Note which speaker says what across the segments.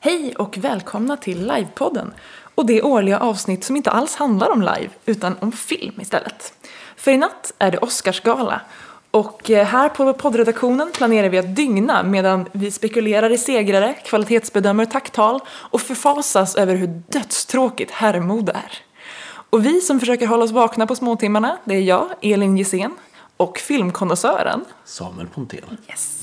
Speaker 1: Hej och välkomna till Livepodden och det årliga avsnitt som inte alls handlar om live utan om film istället. För i natt är det Oscarsgala och eh, här på poddredaktionen planerar vi att dygna medan vi spekulerar i segrare, kvalitetsbedömer tacktal och förfasas över hur dödstråkigt herrmode är. Och vi som försöker hålla oss vakna på småtimmarna, det är jag, Elin Gissén och filmkonnässören
Speaker 2: Samuel Pontén.
Speaker 1: Yes.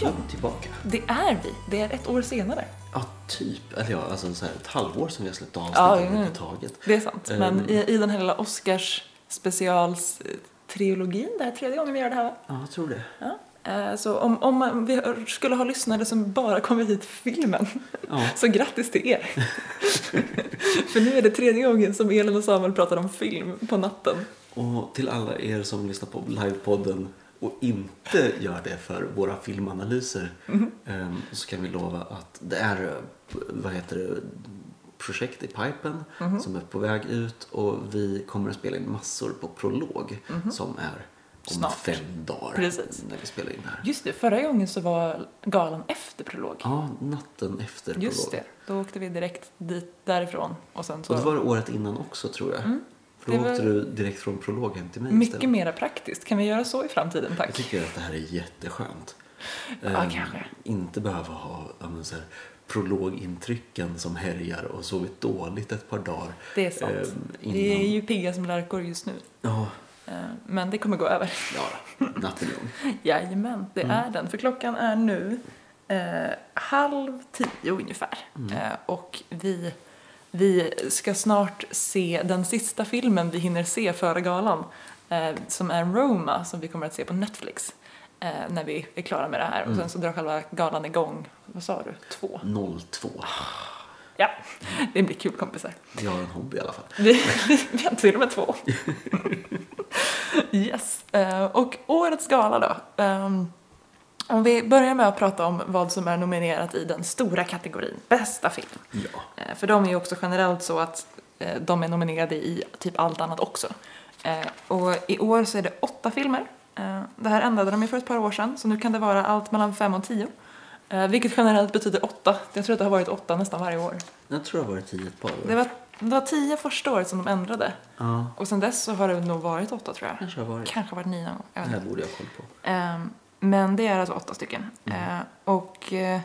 Speaker 2: Ja, tillbaka.
Speaker 1: Det är vi. Det är ett år senare.
Speaker 2: Ja, typ. Eller ja, alltså så här, ett halvår som vi har släppt avsnitt
Speaker 1: Ja, mm.
Speaker 2: överhuvudtaget.
Speaker 1: Det är sant.
Speaker 2: Eh,
Speaker 1: Men i, i den här lilla Oscars specialtrilogin, det här är tredje gången vi gör det här va?
Speaker 2: Ja, jag tror det.
Speaker 1: Ja. Eh, Så om, om man- vi hör- skulle ha lyssnare som bara kommer hit för filmen,
Speaker 2: Ja.
Speaker 1: så grattis till er! för nu är det tredje gången som Elin och Samuel pratar om film på natten.
Speaker 2: Och till alla er som lyssnar på livepodden och inte gör det för våra filmanalyser
Speaker 1: Mm.
Speaker 2: ehm, så kan vi lova att det är eh, vad heter det, projekt i pipen
Speaker 1: Mm-hmm.
Speaker 2: som är på väg ut och vi kommer att spela in massor på prolog som är om
Speaker 1: Mm-hmm. Snart.
Speaker 2: fem dagar
Speaker 1: Precis.
Speaker 2: när vi spelar in det här.
Speaker 1: Just det, förra gången så var galan efter prolog.
Speaker 2: Ja, natten efter
Speaker 1: Just
Speaker 2: prolog.
Speaker 1: det, då åkte vi direkt dit därifrån. Och sen så
Speaker 2: Och det var det året innan också tror jag. För då
Speaker 1: Mm. Det var-
Speaker 2: åkte du direkt från prolog hem till mig
Speaker 1: mycket
Speaker 2: istället.
Speaker 1: mera praktiskt. Kan vi göra så i framtiden,
Speaker 2: Jag
Speaker 1: tack?
Speaker 2: tycker att det här är jätteskönt.
Speaker 1: Ja,
Speaker 2: Ehm,
Speaker 1: kanske.
Speaker 2: Inte behöva ha ja, men så här, prologintrycken som härjar och sovit dåligt ett par dagar.
Speaker 1: Det är sant.
Speaker 2: ehm, innan.
Speaker 1: Vi är ju pigga som lärkor just nu.
Speaker 2: Ja,
Speaker 1: Eh, Men det kommer gå över.
Speaker 2: ja, natten lång.
Speaker 1: Jajamän, det är den. För klockan är nu eh, halv tio ungefär. Eh, och vi, vi ska snart se den sista filmen vi hinner se före galan. Eh, som är Roma, som vi kommer att se på Netflix. Eh, när vi är klara med det här. Och sen så drar själva galan igång, vad sa du, två?
Speaker 2: 02.
Speaker 1: Ja, det blir kul kompisar.
Speaker 2: Jag har en hobby i alla fall.
Speaker 1: Vi, vi har till och med två. Yes. Eh, Och årets gala då. Ehm, Om vi börjar med att prata om vad som är nominerat i den stora kategorin, bästa film.
Speaker 2: Ja.
Speaker 1: Eh, För de är ju också generellt så att eh, de är nominerade i typ allt annat också. Eh, Och i år så är det åtta filmer. Eh, Det här ändrade de ju för ett par år sedan, så nu kan det vara allt mellan fem och tio. Eh, Vilket generellt betyder åtta. Jag tror att det har varit åtta nästan varje år.
Speaker 2: Jag tror det har varit tio ett par år.
Speaker 1: Det var, det var tio första året som de ändrade.
Speaker 2: Ja,
Speaker 1: Och sen dess så har det nog varit åtta tror jag.
Speaker 2: kanske har varit.
Speaker 1: Kanske varit nio någon gång. Jag
Speaker 2: Det
Speaker 1: vet
Speaker 2: här
Speaker 1: inte.
Speaker 2: borde jag ha koll på.
Speaker 1: Ehm, men det är alltså åtta stycken. Ehm, och eh,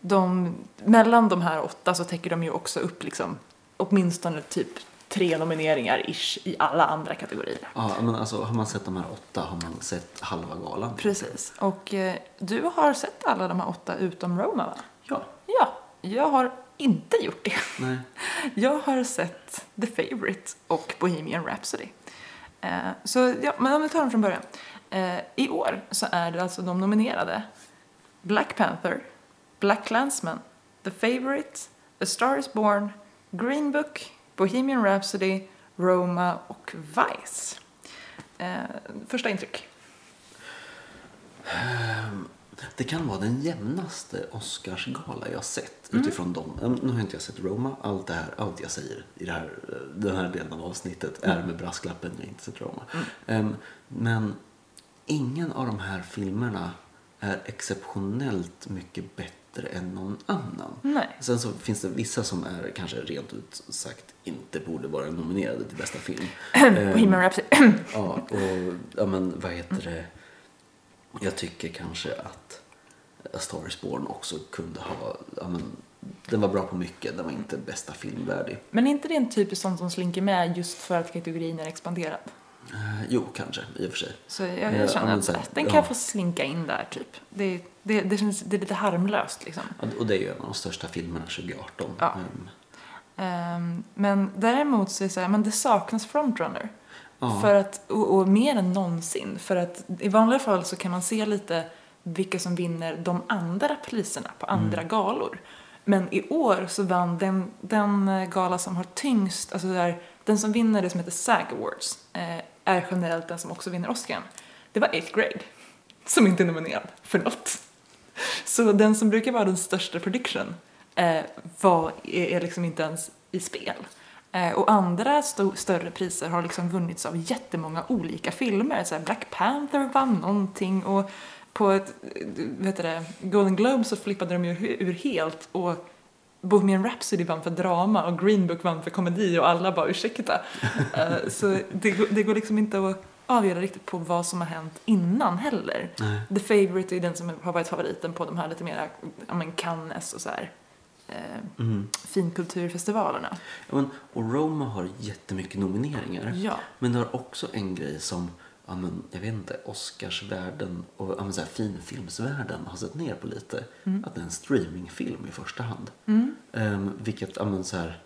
Speaker 1: de, mellan de här åtta så täcker de ju också upp liksom, åtminstone typ tre nomineringar ish i alla andra kategorier.
Speaker 2: Ja, men alltså, har man sett de här åtta har man sett halva galan.
Speaker 1: Precis. Och eh, du har sett alla de här åtta utom Roma va?
Speaker 2: Ja.
Speaker 1: Ja, jag har inte gjort det.
Speaker 2: Nej.
Speaker 1: Jag har sett The Favourite och Bohemian Rhapsody. Eh, så ja, men om vi tar dem från början. Eh, I år så är det alltså de nominerade Black Panther, Black Klansman, The Favourite, A Star Is Born, Green Book, Bohemian Rhapsody, Roma och Vice. Eh, första intryck.
Speaker 2: Ehm, Det kan vara den jämnaste Oscarsgala jag sett utifrån dem. Äm, Nu har inte jag sett Roma. Allt det här, allt jag säger i det här, eh, den här delen av avsnittet är med brasklappen jag har inte sett Roma. Äm, Men ingen av de här filmerna är exceptionellt mycket bättre än någon annan.
Speaker 1: Nej.
Speaker 2: Sen så finns det vissa som är kanske rent ut sagt inte borde vara nominerade till bästa film. Ehm, Äm,
Speaker 1: Bohemian Rhapsody.
Speaker 2: Ja, och ja, men vad heter det? Jag tycker kanske att A Star is Born också kunde ha... Ja, men, den var bra på mycket, den var inte bästa filmvärdig.
Speaker 1: men är inte det en typisk sån som slinker med just för att kategorin är expanderad?
Speaker 2: Eh, jo, kanske, i och för sig.
Speaker 1: Så jag,
Speaker 2: Eh,
Speaker 1: jag
Speaker 2: ja,
Speaker 1: känner
Speaker 2: men
Speaker 1: att
Speaker 2: så här,
Speaker 1: äh, den
Speaker 2: ja.
Speaker 1: kan få slinka in där typ. Det, det, det, känns, det är lite harmlöst liksom.
Speaker 2: Ja, Och det är ju en av de största filmerna 2018.
Speaker 1: Ja.
Speaker 2: Ehm,
Speaker 1: Ehm, men däremot så är det så här, men det saknas frontrunner.
Speaker 2: Ja.
Speaker 1: För att, och, och mer än någonsin. För att i vanliga fall så kan man se lite vilka som vinner de andra priserna på andra galor. Men i år så vann den, den eh, gala som har tyngst, alltså där, den som vinner det som heter SAG Awards, eh, är generellt den som också vinner Oscar. Det var 8th grade, som inte är nominerad för något. Så den som brukar vara den största prediction eh, var, är, är liksom inte ens i spel. Eh, och andra sto- större priser har liksom vunnits av jättemånga olika filmer. Så här Black Panther vann någonting och på ett, eh, vad heter det, Golden Globe så flippade de ju ur helt och Bohemian Rhapsody vann för drama och Green Book vann för komedi och alla bara ursäkta. Eh, så det, går- det går liksom inte att avgöra riktigt på vad som har hänt innan heller.
Speaker 2: Nej.
Speaker 1: The Favourite är den som har varit favoriten på de här lite mer, ja men Cannes och så här eh,
Speaker 2: Mm.
Speaker 1: finkulturfestivalerna.
Speaker 2: Ja, men, och Roma har jättemycket nomineringar.
Speaker 1: Ja.
Speaker 2: Men det har också en grej som ja, men, jag vet inte, Oscarsvärlden och ja, men, så här, finfilmsvärlden har sett ner på lite.
Speaker 1: Mm.
Speaker 2: Att det är en streamingfilm i första hand. Ehm, vilket, ja, men, så här,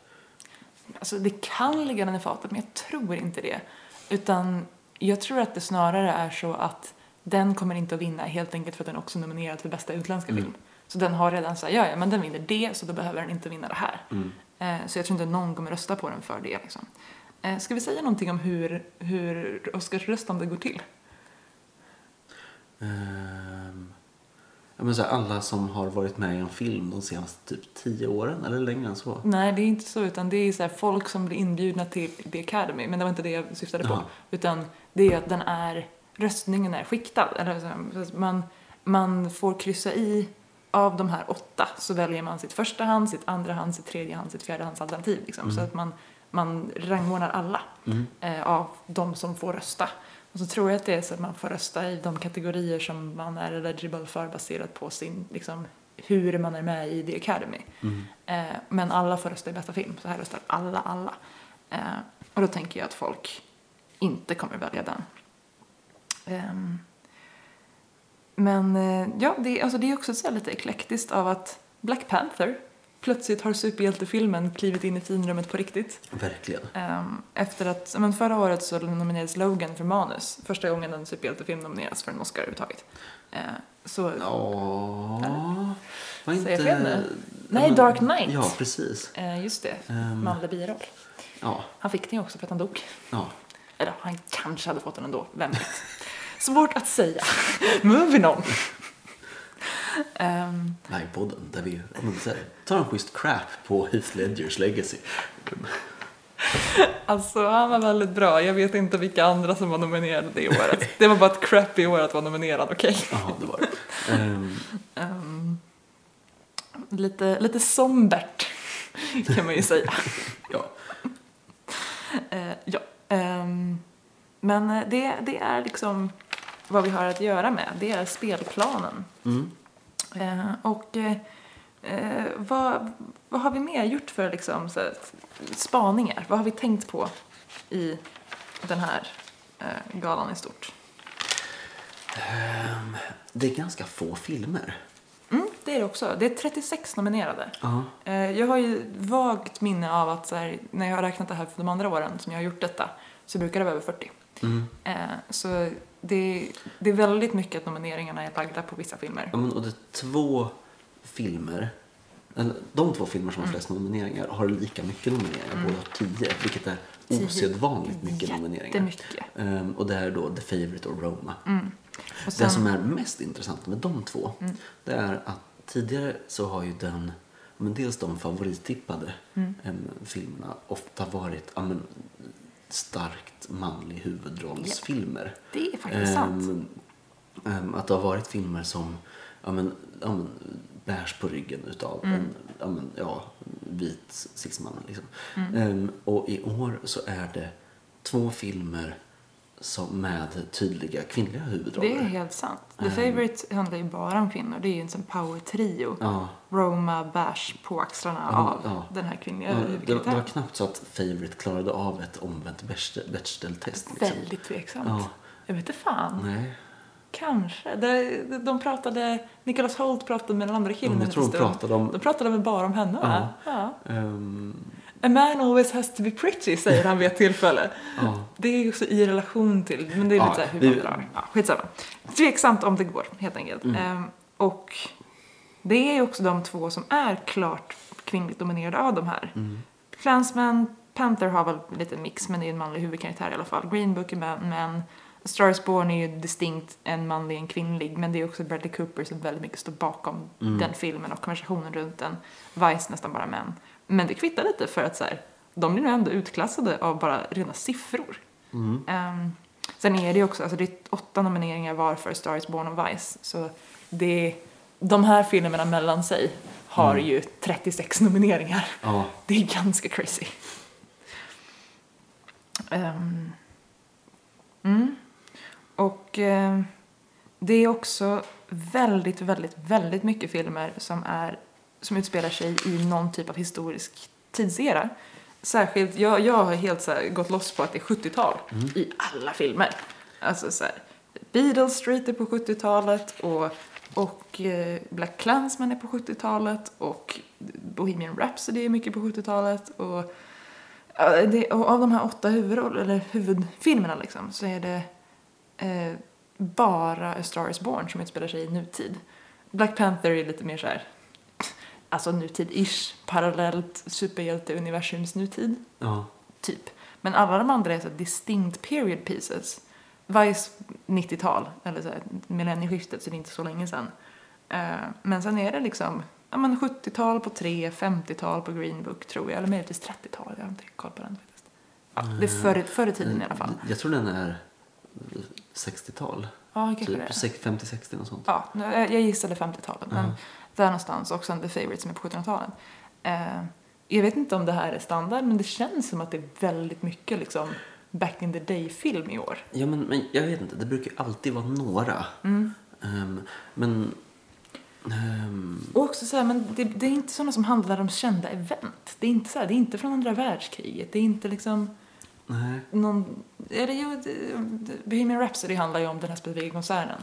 Speaker 1: Alltså det kan ligga den i fatet men jag tror inte det. Utan jag tror att det snarare är så att den kommer inte att vinna helt enkelt för att den också är nominerad för bästa utländska film. Så den har redan sagt ja ja men den vinner det så då behöver den inte vinna det här.
Speaker 2: Mm.
Speaker 1: Eh, så jag tror inte någon kommer rösta på den för det liksom. Eh, ska vi säga någonting om hur, hur Oscarsröstande går till?
Speaker 2: ehm, ja, men, så här, alla som har varit med i en film de senaste typ tio åren eller längre än så.
Speaker 1: Nej, det är inte så, utan det är så här folk som blir inbjudna till The Academy, men det var inte det jag syftade på.
Speaker 2: Jaha.
Speaker 1: Utan det är att den är, röstningen är skiktad. Eller så här, så att man, man får kryssa i, av de här åtta så väljer man sitt första hand, sitt andra hand, sitt tredje hand, sitt fjärde hands alternativ. Liksom, Så att man, man rangordnar alla
Speaker 2: Mm,
Speaker 1: eh, av de som får rösta. Och så tror jag att det är så att man får rösta i de kategorier som man är eligible för baserat på sin, liksom, hur man är med i The Academy.
Speaker 2: mm.
Speaker 1: Eh, men alla får rösta i bästa film, så här röstar alla alla. Eh, och då tänker jag att folk inte kommer välja den. Ehm, men eh, ja, det, är- alltså, det är också så här lite eklektiskt av att Black Panther plötsligt har superhjältefilmen klivit in i finrummet på riktigt.
Speaker 2: Verkligen.
Speaker 1: Ehm, efter att, ja, men förra året så nominerades Logan för manus. Första gången en superhjältefilm nomineras för en Oscar överhuvudtaget. Eh, så
Speaker 2: Ja, var
Speaker 1: Säger
Speaker 2: inte...
Speaker 1: jag fel nu?
Speaker 2: ja,
Speaker 1: Nej,
Speaker 2: men-
Speaker 1: Dark Knight.
Speaker 2: Ja, precis.
Speaker 1: eh, just det,
Speaker 2: Ehm.
Speaker 1: manlig biroll.
Speaker 2: Ja,
Speaker 1: Han fick den ju också för att han dog.
Speaker 2: ja.
Speaker 1: Eller han kanske hade fått den ändå, vem vet. Svårt att säga. Moving on. Ehm,
Speaker 2: livepodden där vi ja, men, så här, tar en schysst crap på Heath Ledgers legacy.
Speaker 1: alltså han var väldigt bra. Jag vet inte vilka andra som var nominerade det året. Det var bara ett crappy år att vara nominerad, okej?
Speaker 2: Jaha, det var det. Ehm,
Speaker 1: Ehm, lite, lite sombert kan man ju säga.
Speaker 2: ja.
Speaker 1: Eh, ja. ehm, men eh, det, det är liksom vad vi har att göra med. Det är spelplanen.
Speaker 2: Mm.
Speaker 1: Eh, och eh, eh, vad, vad har vi mer gjort för liksom, så här, spaningar? Vad har vi tänkt på i den här eh, galan i stort?
Speaker 2: Ehm, det är ganska få filmer.
Speaker 1: Mm, det är det också. Det är 36 nominerade.
Speaker 2: Ja.
Speaker 1: Eh, Jag har ju vagt minne av att så här, när jag har räknat det här för de andra åren som jag har gjort detta så brukar det vara över 40.
Speaker 2: Mm.
Speaker 1: Eh, Så det, det är väldigt mycket att nomineringarna är lagda på vissa filmer.
Speaker 2: Ja, men, och det är två filmer, eller de två filmer
Speaker 1: Mm.
Speaker 2: som har flest nomineringar har lika mycket nomineringar, båda har tio, vilket är
Speaker 1: Tio.
Speaker 2: osedvanligt mycket nomineringar.
Speaker 1: Jättemycket. Mm,
Speaker 2: Ehm, och det är då The Favourite och Roma.
Speaker 1: Och
Speaker 2: Det
Speaker 1: sen, Mm.
Speaker 2: som är mest intressant med de två det är att tidigare så har ju den, men dels de favorittippade
Speaker 1: Mm.
Speaker 2: em, filmerna ofta varit ja, men, starkt manlig huvudrollsfilmer.
Speaker 1: det är faktiskt
Speaker 2: Em,
Speaker 1: sant.
Speaker 2: em, Ehm, att det har varit filmer som ja, men, ja, men, bärs på ryggen utav
Speaker 1: Mm.
Speaker 2: en ja, men, ja, vit cisman. Liksom.
Speaker 1: Mm.
Speaker 2: Em, och i år så är det två filmer som med tydliga kvinnliga huvudroller.
Speaker 1: Det är helt sant. The
Speaker 2: Ehm.
Speaker 1: Favourite handlar ju bara om kvinnor. Det är ju en sån power-trio.
Speaker 2: Ja.
Speaker 1: Roma bärs på axlarna
Speaker 2: Ja,
Speaker 1: av
Speaker 2: ja.
Speaker 1: den här kvinnliga
Speaker 2: Ja, det, det var
Speaker 1: huvudkaraktären.
Speaker 2: knappt så att Favourite klarade av ett omvänt Bechdel- Bechdel-test. Liksom.
Speaker 1: Väldigt tveksamt.
Speaker 2: Ja.
Speaker 1: Jag vet inte fan.
Speaker 2: Nej,
Speaker 1: Kanske. De, de pratade, Nicholas Holt pratade med den andra killen
Speaker 2: jag
Speaker 1: en
Speaker 2: tror de
Speaker 1: liten stund.
Speaker 2: pratade om-
Speaker 1: De pratade väl bara om henne va? Ja.
Speaker 2: ehm,
Speaker 1: A man always has to be pretty, säger han vid ett tillfälle.
Speaker 2: ja.
Speaker 1: Det är ju också i relation till, men det är
Speaker 2: Ja, Mm.
Speaker 1: lite så här hur
Speaker 2: vi-
Speaker 1: man drar. Ja, skitsamma. Tveksamt om det går, helt enkelt. Ehm, och Det är ju också de två som är klart kvinnligt dominerade av de här.
Speaker 2: Mm.
Speaker 1: Klansman, Panther har väl lite mix, men det är ju en manlig huvudkaraktär i alla fall. Green Book är män, men A Star is Born är ju distinkt en manlig, en kvinnlig, men det är också Bradley Cooper som väldigt mycket står bakom
Speaker 2: Mm.
Speaker 1: den filmen och konversationen runt den. Vice nästan bara män. Men det kvittar lite för att så här, de blir nog ändå utklassade av bara rena siffror.
Speaker 2: mm,
Speaker 1: Ehm, sen är det ju också, alltså det är åtta nomineringar var för Star is Born och Vice. Så det, de här filmerna mellan sig har ju 36 nomineringar.
Speaker 2: Ja.
Speaker 1: Det är ganska crazy. Ehm, mm. Och eh, det är också väldigt, väldigt, väldigt mycket filmer som, är, som utspelar sig i någon typ av historisk tidsera. Särskilt, jag, jag har helt så här, gått loss på att det är 70-tal i alla filmer. Alltså så här, Beatles Street är på 70-talet och, och eh, Black Klansman är på 70-talet och Bohemian Rhapsody är mycket på 70-talet och Ja, det, och av de här åtta huvudroll, eller huvudfilmerna liksom, så är det eh, bara A Star Is Born som utspelar sig i nutid. Black Panther är lite mer så här, alltså nutid-ish, parallellt superhjälteuniversums nutid,
Speaker 2: Ja.
Speaker 1: typ. Men alla de andra är så här distinct period pieces. Vice 90-tal, eller så här, millennieskiftet, så det är inte så länge sedan. Eh, men sen är det liksom ja, men 70-tal på 3, 50-tal på Green Book tror jag, eller möjligtvis 30-tal, jag har inte koll på den faktiskt. Ja, det är förr, förr i tiden i alla fall.
Speaker 2: Jag tror den är 60-tal.
Speaker 1: Ja, kanske det är.
Speaker 2: Typ sex- 50-60 något sånt.
Speaker 1: Ja, nu- eh, jag jag gissade 50-talet, men där någonstans. Och sen The Favourite som är på 1700-talet. Eh, jag vet inte om det här är standard, men det känns som att det är väldigt mycket liksom back in the day-film i år.
Speaker 2: Ja, men, men jag vet inte. Det brukar ju alltid vara några.
Speaker 1: Mm.
Speaker 2: Ehm, men... ehm,
Speaker 1: Och också så här, men det, det är inte sådana som handlar om kända event. Det är inte så här, det är inte från andra världskriget. Det är inte liksom
Speaker 2: nej.
Speaker 1: någon... Eller jo, det- det- Bohemian Rhapsody handlar ju om den här specifika konserten.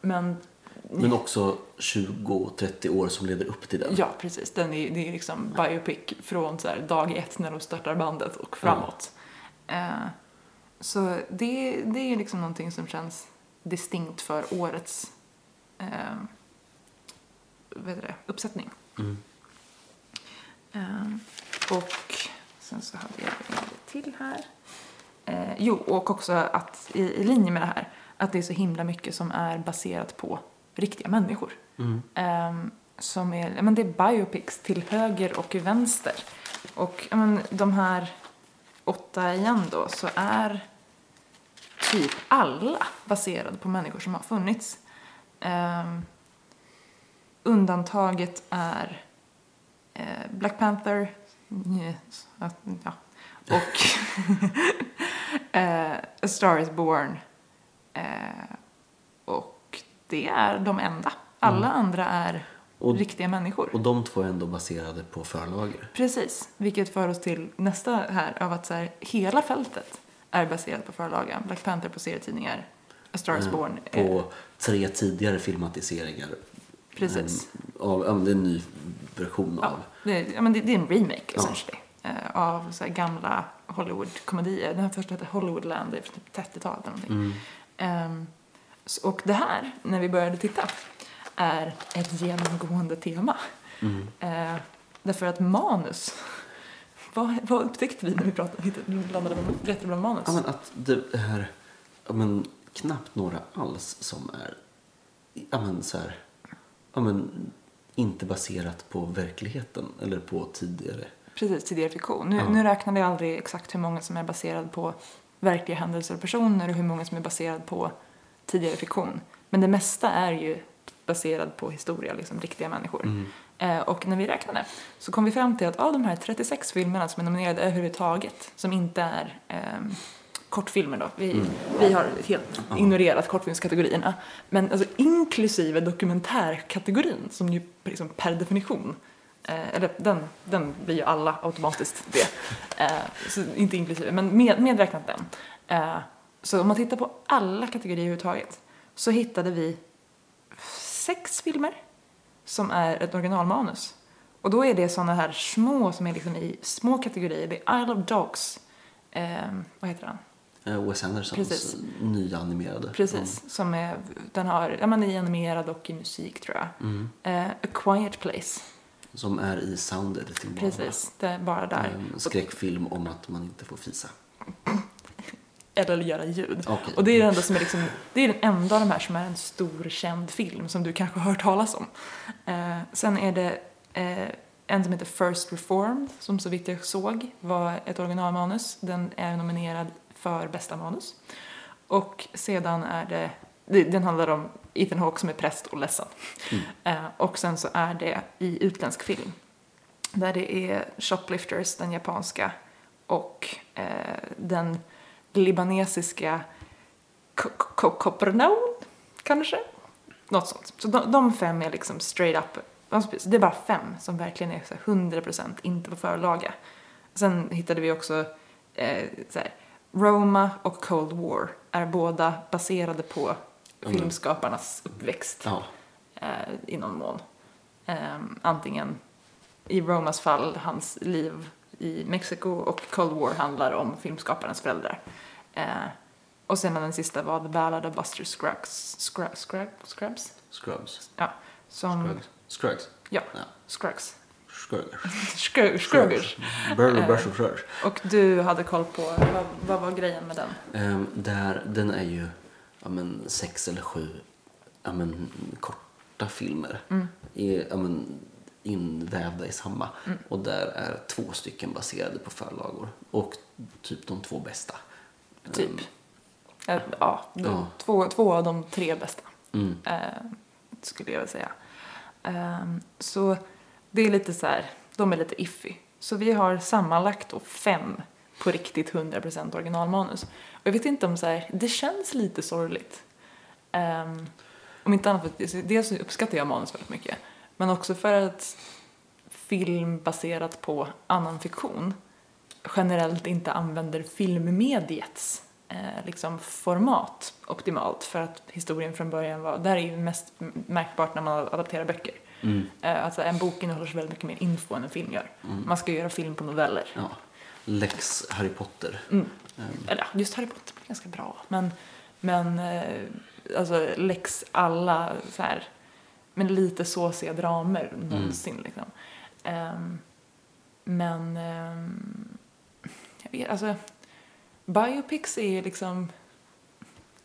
Speaker 1: Men
Speaker 2: Men också 20-30 år som leder upp till den.
Speaker 1: ja, precis. Den är, det är liksom biopic från så här, dag ett när de startar bandet och framåt. Eh, så det, det är liksom någonting som känns distinkt för årets eh, vad heter det, uppsättning.
Speaker 2: Mm.
Speaker 1: Ehm, och sen så hade jag det till här. Eh, jo, och också att i, i linje med det här, att det är så himla mycket som är baserat på riktiga människor.
Speaker 2: Mm.
Speaker 1: Ehm, som är, ja, men det är biopics till höger och vänster. Och ja, men, de här åtta igen då, så är typ alla baserade på människor som har funnits. Ehm, undantaget är eh, Black Panther. Yes, att- ja. Och eh, A Star Is Born. Eh, och det är de enda. Alla andra är
Speaker 2: Mm. Och-
Speaker 1: riktiga människor.
Speaker 2: Och de två är ändå baserade på förlager.
Speaker 1: Precis, vilket för oss till nästa här av att så här, hela fältet är baserat på förlagen. Black Panther på serietidningar, A Star Is Born. eh,
Speaker 2: Mm. På tre tidigare filmatiseringar.
Speaker 1: Precis.
Speaker 2: Ehm, av, ja, men det är en ny version
Speaker 1: Ja,
Speaker 2: av.
Speaker 1: det, är- ja, men det, det är en remake essentially. eh, Av så här gamla Hollywood-komedier. Den här första hette Hollywoodland, det är från typ 30-talet eller någonting.
Speaker 2: Mm.
Speaker 1: Ehm, s- och det här, när vi började titta, är ett genomgående tema.
Speaker 2: Mm.
Speaker 1: Eh, därför att manus, vad, vad upptäckte vi när vi pratade, hittade- blandade med- letade bland manus?
Speaker 2: Ja, men att det är ja, men, knappt några alls som är ja, men, så här, ja, men, inte baserat på verkligheten eller på tidigare.
Speaker 1: Precis, tidigare fiktion. Nu,
Speaker 2: Ja.
Speaker 1: nu räknade jag aldrig exakt hur många som är baserad på verkliga händelser och personer och hur många som är baserad på tidigare fiktion. Men det mesta är ju baserad på historia, liksom riktiga människor. Eh, och när vi räknade så kom vi fram till att av de här 36 filmerna som är nominerade överhuvudtaget, som inte är ehm, kortfilmer då, vi, vi har helt ignorerat kortfilmskategorierna, men alltså inklusive dokumentärkategorin som ju liksom per definition Eh, eller den, den blir ju alla automatiskt det. Eh, så inte inklusive, men med, medräknat den. Eh, så om man tittar på alla kategorier överhuvudtaget så hittade vi sex filmer som är ett originalmanus. Och då är det sådana här små som är liksom i små kategorier. Det är Isle of Dogs, eh, vad heter den?
Speaker 2: Eh, Wes Andersons
Speaker 1: Precis.
Speaker 2: nya animerade.
Speaker 1: Precis, som är, den har, ja men i animerad och i musik tror jag.
Speaker 2: Mm.
Speaker 1: Eh, A Quiet Place,
Speaker 2: Mm. Som är i sound editing.
Speaker 1: precis, det är bara där.
Speaker 2: En skräckfilm om att man inte får fisa.
Speaker 1: Eller göra ljud.
Speaker 2: Okej.
Speaker 1: Och det är den enda som är liksom, det är den enda av de här som är en stor känd film som du kanske har hört talas om. Eh, sen är det eh, en som heter First Reformed som så vitt jag såg var ett originalmanus. Den är nominerad för bästa manus. Och sedan är det, det- den handlar om Ethan Hawke som är präst och ledsen. Eh, och sen så är det i utländsk film. Där det är Shoplifters, den japanska, och eh, den libanesiska Ko- Ko- Kopernaum, kanske? Något sånt. Så de, de fem är liksom straight up. de- Det är bara fem som verkligen är så här 100% inte på förlaga. Sen hittade vi också eh, så här, Roma och Cold War är båda baserade på
Speaker 2: Mm.
Speaker 1: filmskaparnas uppväxt
Speaker 2: Ja.
Speaker 1: eh, i någon mån. Eh, antingen i Romas fall hans liv i Mexiko och Cold War handlar om filmskaparens föräldrar. Eh, och sen den sista var The Ballad of Buster Scruggs, Scruggs, Scruggs, Scruggs?
Speaker 2: Scrubs.
Speaker 1: Ja, som,
Speaker 2: Scruggs. Scruggs.
Speaker 1: ja,
Speaker 2: Ja.
Speaker 1: Scruggs.
Speaker 2: Scruggers.
Speaker 1: Scruggs. Scruggs.
Speaker 2: Burger, brush och scruggs.
Speaker 1: Och du hade koll på, vad, vad var grejen med den?
Speaker 2: Ehm, där, den är ju ja, men, sex eller sju ja, men, korta filmer är, ja, men, invävda i samma. Och där är två stycken baserade på förlagor. Och typ de två bästa. Ehm,
Speaker 1: Typ. Eh, ja,
Speaker 2: Mm. Ja.
Speaker 1: Två, två av de tre bästa.
Speaker 2: Mm.
Speaker 1: eh, skulle jag vilja säga. Ehm, så det är lite så här, de är lite iffy. Så vi har sammanlagt då fem på riktigt 100% originalmanus. Och jag vet inte om så här, det känns lite sorgligt. Ehm, om inte annat för att alltså, dels så uppskattar jag manus väldigt mycket. Men också för att film baserat på annan fiktion generellt inte använder filmmediets eh, liksom format optimalt för att historien från början var, där är ju mest märkbart när man adapterar böcker.
Speaker 2: mm,
Speaker 1: Eh, alltså en bok innehåller så väldigt mycket mer info än en film gör. Man ska göra film på noveller.
Speaker 2: Ja. Lex Harry Potter. Ehm,
Speaker 1: Eller ja, just Harry Potter blev ganska bra. Men, men eh, alltså läx alla så här, men lite såsiga dramer
Speaker 2: Mm.
Speaker 1: någonsin liksom. Ehm, men ehm, jag vet, alltså biopics är ju liksom,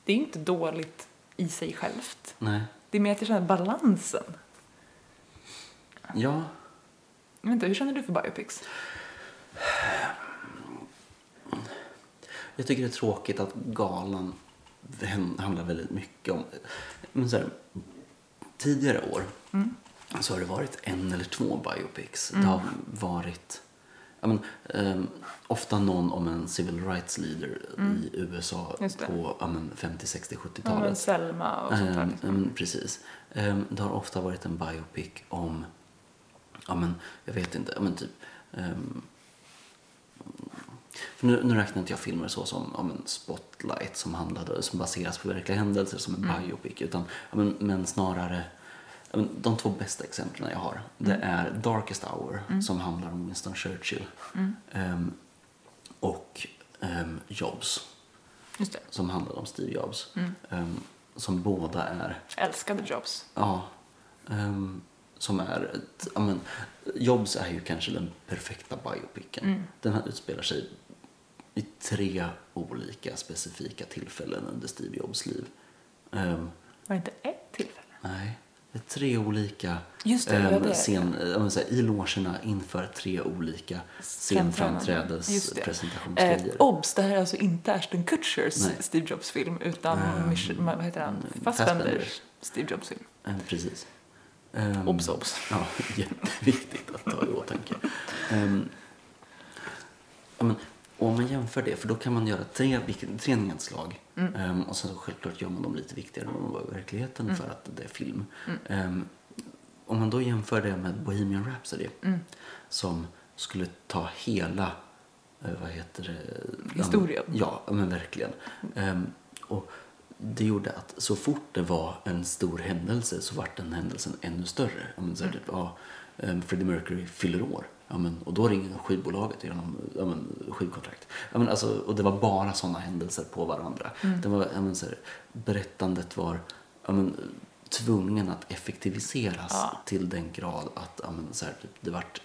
Speaker 1: det är ju inte dåligt i sig självt.
Speaker 2: nej.
Speaker 1: Det är mer att jag känner balansen.
Speaker 2: Ja.
Speaker 1: Jag vet inte, hur känner du för biopics?
Speaker 2: Jag tycker det är tråkigt att galan hen- handlar väldigt mycket om... Men så här, tidigare år
Speaker 1: Mm.
Speaker 2: så har det varit en eller två biopics. Det har varit ja, men, ehm, ofta någon om en civil rights leader i USA
Speaker 1: Mm. Just det.
Speaker 2: på ja, men, 50, 60,
Speaker 1: Ja,
Speaker 2: 70-talet.
Speaker 1: men Selma och sånt där.
Speaker 2: Ehm,
Speaker 1: Liksom.
Speaker 2: ehm, precis. Ehm, det har ofta varit en biopic om, ja men jag vet inte, ja men typ. ehm, för nu, nu räknar inte jag filmer så som ja men, Spotlight som, handlade, som baseras på verkliga händelser som en
Speaker 1: Mm.
Speaker 2: biopic. Utan, ja men, men snarare, ja men, de två bästa exemplen jag har det
Speaker 1: Mm.
Speaker 2: är Darkest Hour som handlar om Winston Churchill.
Speaker 1: Mm.
Speaker 2: Ehm, och ehm, Jobs
Speaker 1: Just det.
Speaker 2: som handlar om Steve Jobs.
Speaker 1: Mm.
Speaker 2: Ehm, som båda är,
Speaker 1: Älskade Jobs.
Speaker 2: ja, ehm, som är, ett, ja, men, Jobs är ju kanske den perfekta biopicen.
Speaker 1: Mm.
Speaker 2: Den här utspelar sig i tre olika specifika tillfällen under Steve Jobs liv. Ehm,
Speaker 1: Var det inte ett tillfälle?
Speaker 2: nej, det är tre olika
Speaker 1: Just det,
Speaker 2: ehm,
Speaker 1: ja, det är det.
Speaker 2: scen, eh, ja, men så här, i logerna inför tre olika
Speaker 1: Just det.
Speaker 2: scenframträdespresentationsgrejer.
Speaker 1: Eh, obs, det här är alltså inte Ashton Kutchers
Speaker 2: Nej.
Speaker 1: Steve Jobs-film utan
Speaker 2: Ehm,
Speaker 1: Mich- ma- vad heter han?
Speaker 2: Fassbender.
Speaker 1: Fassbenders Steve Jobs-film.
Speaker 2: Eh, Precis. Ehm,
Speaker 1: Obs, obs.
Speaker 2: Ja, jätteviktigt att ta i åtanke. Ehm, ja, men, och om man jämför det, för då kan man göra tre, vilk- tre nedslag
Speaker 1: Mm.
Speaker 2: Ehm, och sen så självklart gör man dem lite viktigare än vad de var i verkligheten
Speaker 1: Mm.
Speaker 2: för att det är film. Ehm, om man då jämför det med Bohemian Rhapsody
Speaker 1: Mm.
Speaker 2: som skulle ta hela, eh, vad heter det?
Speaker 1: Historien.
Speaker 2: Ja, men verkligen. Ehm, och det gjorde att så fort det var en stor
Speaker 1: Mm.
Speaker 2: händelse så vart den händelsen ännu större. Om man säger typ, ja, ehm, Freddie Mercury fyller år. Ja, men, och då ringer skivbolaget genom ja, men, skivkontrakt. Ja, men, alltså, och det var bara sådana händelser på varandra.
Speaker 1: Mm.
Speaker 2: Det var, ja, men, så här, berättandet var ja, men, tvungen att effektiviseras
Speaker 1: Ja.
Speaker 2: till den grad att ja, men, så här, typ, det vart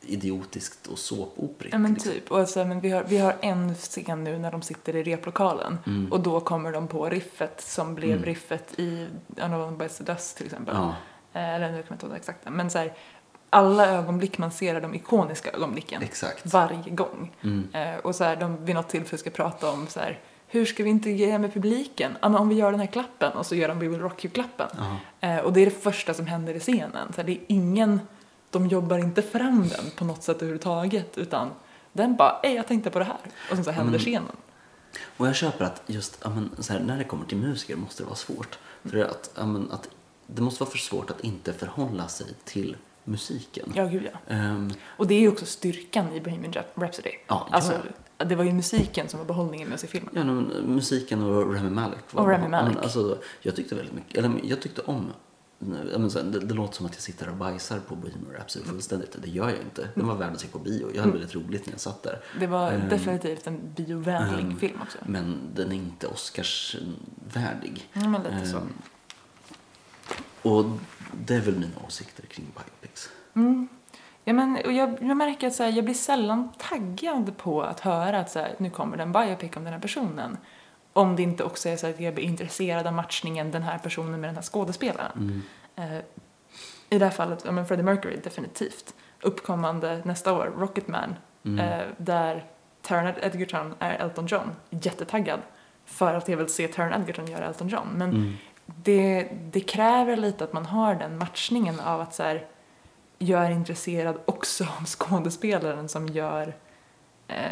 Speaker 2: idiotiskt och såpoperigt.
Speaker 1: Ja, men
Speaker 2: liksom.
Speaker 1: typ. Och alltså, men vi, har, vi har en scen nu när de sitter i replokalen
Speaker 2: Mm.
Speaker 1: och då kommer de på riffet som blev riffet i Another by Dust till exempel.
Speaker 2: Ja.
Speaker 1: Eh, Eller nu kommer jag inte ihåg det exakta. Men så här, alla ögonblick man ser är de ikoniska ögonblicken.
Speaker 2: Exakt.
Speaker 1: Varje gång.
Speaker 2: Mm.
Speaker 1: Eh, och så här, de vid något tillfälle ska prata om så här, hur ska vi interagera med publiken? Ja, men om vi gör den här klappen och så gör de We Will Rock You-klappen. Eh, och det är det första som händer i scenen. Så här, det är ingen, de jobbar inte fram den på något sätt överhuvudtaget utan den bara, ej jag tänkte på det här. Och sen så händer
Speaker 2: Mm.
Speaker 1: scenen.
Speaker 2: Och jag köper att just ja, men, så här, när det kommer till musiker måste det vara svårt. För det, är att, ja, men, att, det måste vara för svårt att inte förhålla sig till musiken.
Speaker 1: Ja, gud ja.
Speaker 2: Ehm,
Speaker 1: Och det är ju också styrkan i Bohemian Rhap- Rhapsody.
Speaker 2: Ja, ja.
Speaker 1: alltså, det var ju musiken som var behållningen med sig i filmen.
Speaker 2: ja, men, musiken och Rami Malek. var-
Speaker 1: Och Rami
Speaker 2: ja,
Speaker 1: Malek.
Speaker 2: Men, alltså, jag tyckte väldigt mycket, eller men, jag tyckte om ja, men, så här, det, det låter som att jag sitter och bajsar på Bohemian Rhapsody
Speaker 1: Mm.
Speaker 2: fullständigt. Det gör jag inte. Den var värd att se på bio. Jag hade väldigt roligt när jag satt där.
Speaker 1: Det var
Speaker 2: Ehm,
Speaker 1: definitivt en biovänlig
Speaker 2: ehm,
Speaker 1: film också.
Speaker 2: Men den är inte Oscarsvärdig.
Speaker 1: Ja, Mm, men lite så.
Speaker 2: Ehm, Och det är väl mina åsikter kring biopics.
Speaker 1: Mm. Ja, men, och jag, jag märker att så här, jag blir sällan taggad på att höra att så här, nu kommer den biopic om den här personen. Om det inte också är så att jag blir intresserad av matchningen den här personen med den här skådespelaren. Eh, I det här fallet, ja, men Freddie Mercury definitivt. Uppkommande nästa år, Rocketman,
Speaker 2: Mm.
Speaker 1: eh, där Taron Edgerton är Elton John. Jättetaggad. För att jag vill se Taron Edgerton göra Elton John. Men det, det kräver lite att man har den matchningen av att så här, jag är intresserad också om skådespelaren som gör eh,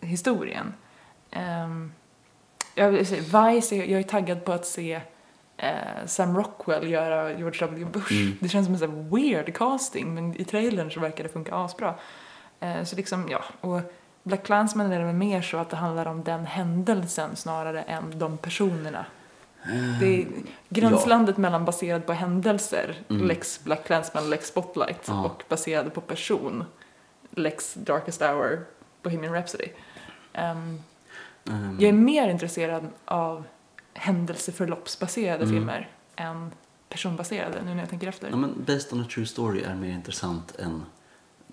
Speaker 1: historien. Ehm, jag, vill säga, Vice, är- jag är taggad på att se eh, Sam Rockwell göra George W. Bush. Det känns som en sån här weird casting, men i trailern så verkar det funka asbra. Eh, så liksom, ja. Och Black Klansman är det väl mer så att det handlar om den händelsen snarare än de personerna.
Speaker 2: Mm.
Speaker 1: Det är
Speaker 2: Ehm,
Speaker 1: gränslandet mellan baserad på händelser, Lex Black Klansman, Lex Spotlight,
Speaker 2: Mm. Ja.
Speaker 1: och baserad på person, Lex Darkest Hour, Bohemian Rhapsody. Ehm,
Speaker 2: Ehm,
Speaker 1: jag är mer intresserad av händelseförloppsbaserade filmer än personbaserade, nu när jag tänker efter.
Speaker 2: Mm. Ja, men based on a true story är mer intressant än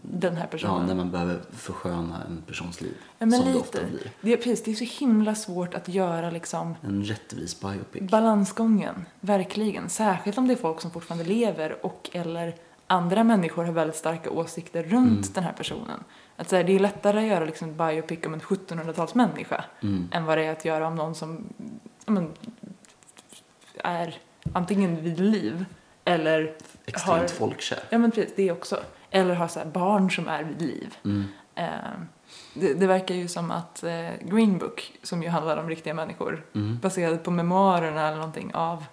Speaker 1: Den här
Speaker 2: ja,
Speaker 1: personen.
Speaker 2: när man behöver försköna en persons liv.
Speaker 1: Ja, men
Speaker 2: som det
Speaker 1: lite.
Speaker 2: ofta blir.
Speaker 1: Det, är, precis, det är så himla svårt att göra liksom
Speaker 2: En rättvis biopic.
Speaker 1: Balansgången, verkligen. Särskilt om det är folk som fortfarande lever och eller andra människor har väldigt starka åsikter runt den här personen. Att så här, det är lättare att göra liksom ett biopic om en 1700-talsmänniska
Speaker 2: Mm.
Speaker 1: än vad det är att göra om någon som ja, men, är antingen vid liv eller
Speaker 2: Extremt
Speaker 1: har,
Speaker 2: folkkär.
Speaker 1: Ja men precis, det också. Eller har så här barn som är vid liv.
Speaker 2: Mm.
Speaker 1: Eh, det, det verkar ju som att eh, Green Book, som ju handlar om riktiga människor,
Speaker 2: Mm.
Speaker 1: baserad på memoarerna eller någonting av